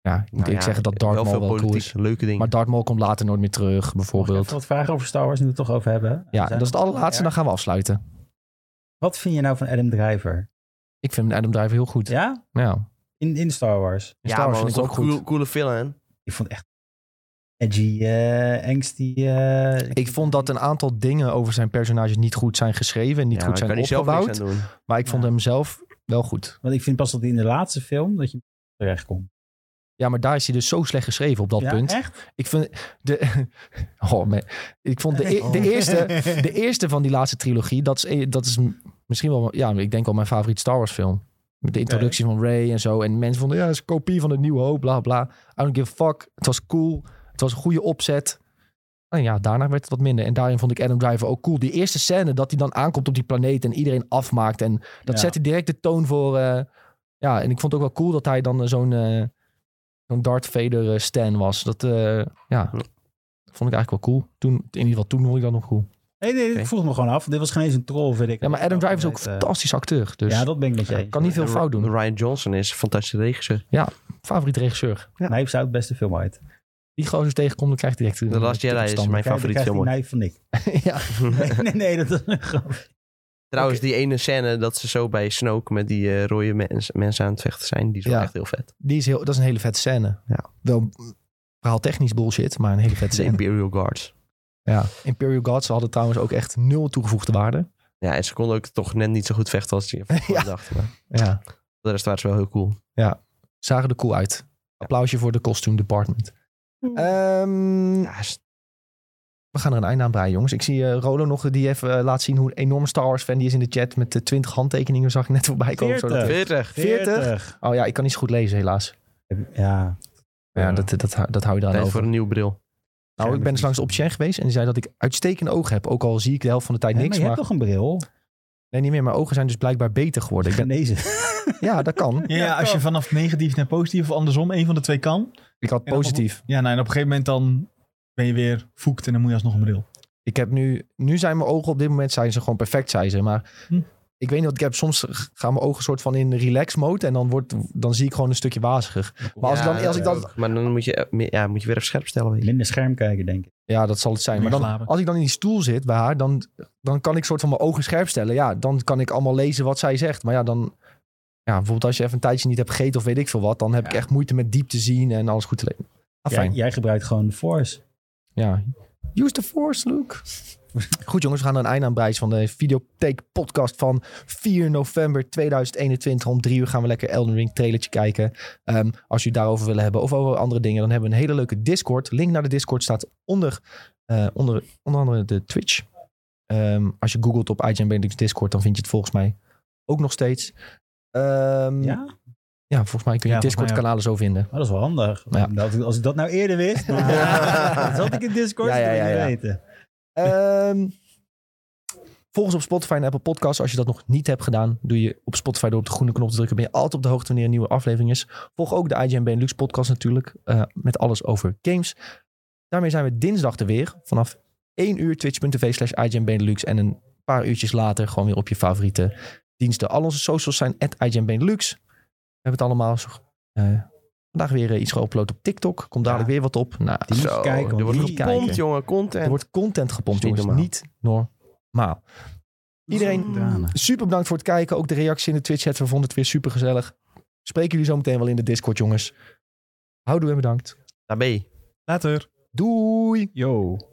Speaker 1: Ja, ik moet
Speaker 2: Nou
Speaker 1: ik
Speaker 2: ja,
Speaker 1: zeggen dat Darth Maul
Speaker 2: veel
Speaker 1: wel cool
Speaker 2: politiek
Speaker 1: is.
Speaker 2: leuke dingen.
Speaker 1: Maar Darth Maul komt later nooit meer terug,
Speaker 4: Mag ik
Speaker 1: bijvoorbeeld.
Speaker 4: even wat vragen over Star Wars nu we het toch over hebben?
Speaker 1: Ja,
Speaker 4: We zijn
Speaker 1: dat is het
Speaker 4: nog-
Speaker 1: allerlaatste. Dan gaan we afsluiten.
Speaker 4: Wat vind je nou van Adam Driver?
Speaker 1: Ik vind Adam Driver heel goed. Ja.
Speaker 4: Ja? In, in Star Wars.
Speaker 1: In
Speaker 2: ja,
Speaker 1: Star Wars
Speaker 2: man,
Speaker 1: vind ik
Speaker 2: dat
Speaker 1: het
Speaker 2: is
Speaker 1: ook
Speaker 2: een
Speaker 1: goed.
Speaker 2: cool- coole film, hè?
Speaker 4: Ik vond echt edgy, eh angsty. eh,
Speaker 1: Ik vond dat een aantal dingen over zijn personage niet goed zijn geschreven en niet
Speaker 2: Ja,
Speaker 1: goed
Speaker 2: maar
Speaker 1: zijn
Speaker 2: kan hij zelf
Speaker 1: opgebouwd.
Speaker 2: niks aan doen.
Speaker 1: Maar ik vond
Speaker 4: Ja.
Speaker 1: hem zelf wel goed.
Speaker 4: Want ik vind pas dat hij in de laatste film dat je terecht komt.
Speaker 1: Ja, maar daar is hij dus zo slecht geschreven op dat
Speaker 4: ja,
Speaker 1: punt.
Speaker 4: echt?
Speaker 1: Ik vind de. Oh man. Ik vond de,
Speaker 3: Oh.
Speaker 1: e- de, eerste, de eerste van die laatste trilogie. Dat is, e- dat is m- misschien wel. Ja, ik denk wel mijn favoriete Star Wars film. Met de introductie van Ray en zo. En mensen vonden. Ja, dat is een kopie van het nieuwe hoop. Bla bla. I don't give a fuck. Het was cool. Het was een goede opzet. En ja, daarna werd het wat minder. En daarin vond ik Adam Driver ook cool. Die eerste scène dat hij dan aankomt op die planeet en iedereen afmaakt. En dat
Speaker 4: Ja.
Speaker 1: zette direct de toon voor. eh, ja, en ik vond het ook wel cool dat hij dan eh, zo'n. eh, zo'n Darth Vader eh, Stan was. Dat, eh, ja, dat vond ik eigenlijk wel cool. Toen, in ieder geval toen vond ik dat nog cool.
Speaker 4: Nee, nee,
Speaker 2: Oké.
Speaker 4: ik vroeg me gewoon af. Dit was geen eens een troll, vind ik.
Speaker 1: Ja, maar Adam Driver is ook een
Speaker 4: Eh,
Speaker 1: fantastisch acteur. Dus
Speaker 4: Ja, dat ben ik met je eens.
Speaker 1: kan niet veel
Speaker 2: En
Speaker 1: fout doen.
Speaker 2: Ryan Johnson is een fantastische regisseur.
Speaker 1: Favoriet regisseur.
Speaker 4: Nijf zou het beste film uit.
Speaker 1: Die gewoon zo tegenkomt, dan krijgt hij direct...
Speaker 2: The Last Jedi is mijn favoriete
Speaker 4: Kijk, dan
Speaker 2: film. ooit.
Speaker 4: krijgt hij Nijf van
Speaker 1: ja,
Speaker 4: ik. Nee, nee, nee, dat is een grap.
Speaker 2: Trouwens, die ene scène dat ze zo bij Snoke met die eh, rode mens- mensen aan het vechten zijn, die is wel
Speaker 1: Ja.
Speaker 2: echt heel vet.
Speaker 1: die is heel, dat is een hele vette scène.
Speaker 2: Ja.
Speaker 1: Wel verhaaltechnisch bullshit, maar een hele vette
Speaker 2: De
Speaker 1: scène.
Speaker 2: Imperial Guards.
Speaker 1: Ja. Imperial Gods hadden trouwens ook echt nul toegevoegde waarde.
Speaker 2: Ja, en ze konden ook toch net niet zo goed vechten als je
Speaker 1: Ja.
Speaker 2: dacht. Maar
Speaker 1: Ja.
Speaker 2: de rest waren ze wel heel cool.
Speaker 1: Zagen er cool uit. Applausje voor de costume department. Ehm,
Speaker 2: Ja, is-
Speaker 1: We gaan er een einde aan breien, jongens. Ik zie eh, Rolo nog, die even eh, laat zien hoe een enorme Star Wars fan die is in de chat. Met de 20 handtekeningen zag ik net voorbij komen. Zo dat-
Speaker 4: 40.
Speaker 2: 40.
Speaker 1: 40. Oh ja, ik kan niet zo goed lezen, helaas.
Speaker 4: Ja.
Speaker 1: Maar ja, dat, dat, hou- dat hou je eraan
Speaker 2: Tijd
Speaker 1: over.
Speaker 2: voor een nieuw bril.
Speaker 1: Nou, ik ben dus langs op Chen geweest en die zei dat ik uitstekende ogen heb. Ook al zie ik de helft van de tijd
Speaker 4: Ja, maar
Speaker 1: niks.
Speaker 4: je
Speaker 1: Maar,
Speaker 4: hebt toch een bril?
Speaker 1: Nee, niet meer. Mijn ogen zijn dus blijkbaar beter geworden. Ik ben...
Speaker 4: Genezen.
Speaker 1: Ja, dat kan.
Speaker 3: Ja, ja, als je vanaf negatief naar positief of andersom een van de twee kan.
Speaker 1: Ik had
Speaker 3: En op-
Speaker 1: positief.
Speaker 3: Ja, nou, en op een gegeven moment dan ben je weer voekt en dan moet je alsnog een bril.
Speaker 1: Ik heb nu... Nu zijn mijn ogen op dit moment zijn ze gewoon perfect, zei ze. Maar
Speaker 3: Hm.
Speaker 1: ik weet niet wat ik heb. Soms gaan mijn ogen soort van in relax mode. En dan, wordt, dan zie ik gewoon een stukje waziger. Maar als,
Speaker 2: Ja,
Speaker 1: ik dan, als ik dan
Speaker 2: ook. Maar dan moet je, eh, meer- ja, moet je weer even scherp stellen. Weet je.
Speaker 4: Minder scherm kijken, denk ik.
Speaker 1: Ja, dat zal het zijn.
Speaker 3: Meer
Speaker 1: Maar dan,
Speaker 3: slapen.
Speaker 1: als ik dan in die stoel zit bij haar, dan, dan kan ik soort van mijn ogen scherp stellen. Ja, dan kan ik allemaal lezen wat zij zegt. Maar ja, dan ja, bijvoorbeeld als je even een tijdje niet hebt gegeten of weet ik veel wat, dan heb ik
Speaker 4: Ja.
Speaker 1: echt moeite met diep te zien en alles goed te lezen. Ah,
Speaker 4: Jij,
Speaker 1: fijn.
Speaker 4: jij gebruikt gewoon de Force.
Speaker 1: Ja. Use the force, Luke. Goed jongens, we gaan er een einde aan breien van de Videotheek podcast van 4 november 2021. Om drie uur gaan we lekker Elden Ring trailertje kijken. Ehm, als u daarover willen hebben of over andere dingen, dan hebben we een hele leuke Discord. Link naar de Discord staat onder, eh, onder, onder andere de Twitch. Ehm, als je googelt op IGN Benedict Discord, dan vind je het volgens mij ook nog steeds. Ehm, ja?
Speaker 4: Ja,
Speaker 1: volgens mij kun je
Speaker 3: Ja, volgens mij
Speaker 1: Discord kanalen zo vinden.
Speaker 4: dat is wel handig.
Speaker 1: Ja.
Speaker 4: Dat, als ik dat nou eerder wist, dan zat ik in Discord
Speaker 1: Ja, ja,
Speaker 4: dat wil ik
Speaker 1: ja, ja.
Speaker 4: niet weten.
Speaker 1: Ehm volg ons op Spotify en Apple Podcasts. Als je dat nog niet hebt gedaan, doe je op Spotify door op de groene knop te drukken. Ben je altijd op de hoogte wanneer een nieuwe aflevering is. Volg ook de IGN Benelux podcast natuurlijk. eh, met alles over games. Daarmee zijn we dinsdag er weer. Vanaf 1 uur twitch.tv slash IGN Benelux. En een paar uurtjes later gewoon weer op je favoriete diensten. Al onze socials zijn at IGN Benelux. We hebben het allemaal zo- eh, vandaag weer eh, iets geüpload op TikTok. Komt dadelijk weer wat op. Nou,
Speaker 4: Die moet je kijken, want
Speaker 2: er wordt
Speaker 4: die-
Speaker 2: gepompt,
Speaker 1: kijken.
Speaker 2: jongen. Content.
Speaker 1: er wordt content gepompt,
Speaker 2: Is niet
Speaker 1: jongens. Niet normaal. Iedereen,
Speaker 4: Tranen.
Speaker 1: super bedankt voor het kijken. Ook de reactie in de Twitch-chat. We vonden het weer super gezellig. Spreken jullie zo meteen wel in de Discord, jongens. Houdoe en bedankt.
Speaker 2: Daar ben je.
Speaker 3: Later.
Speaker 1: Doei!
Speaker 4: Yo.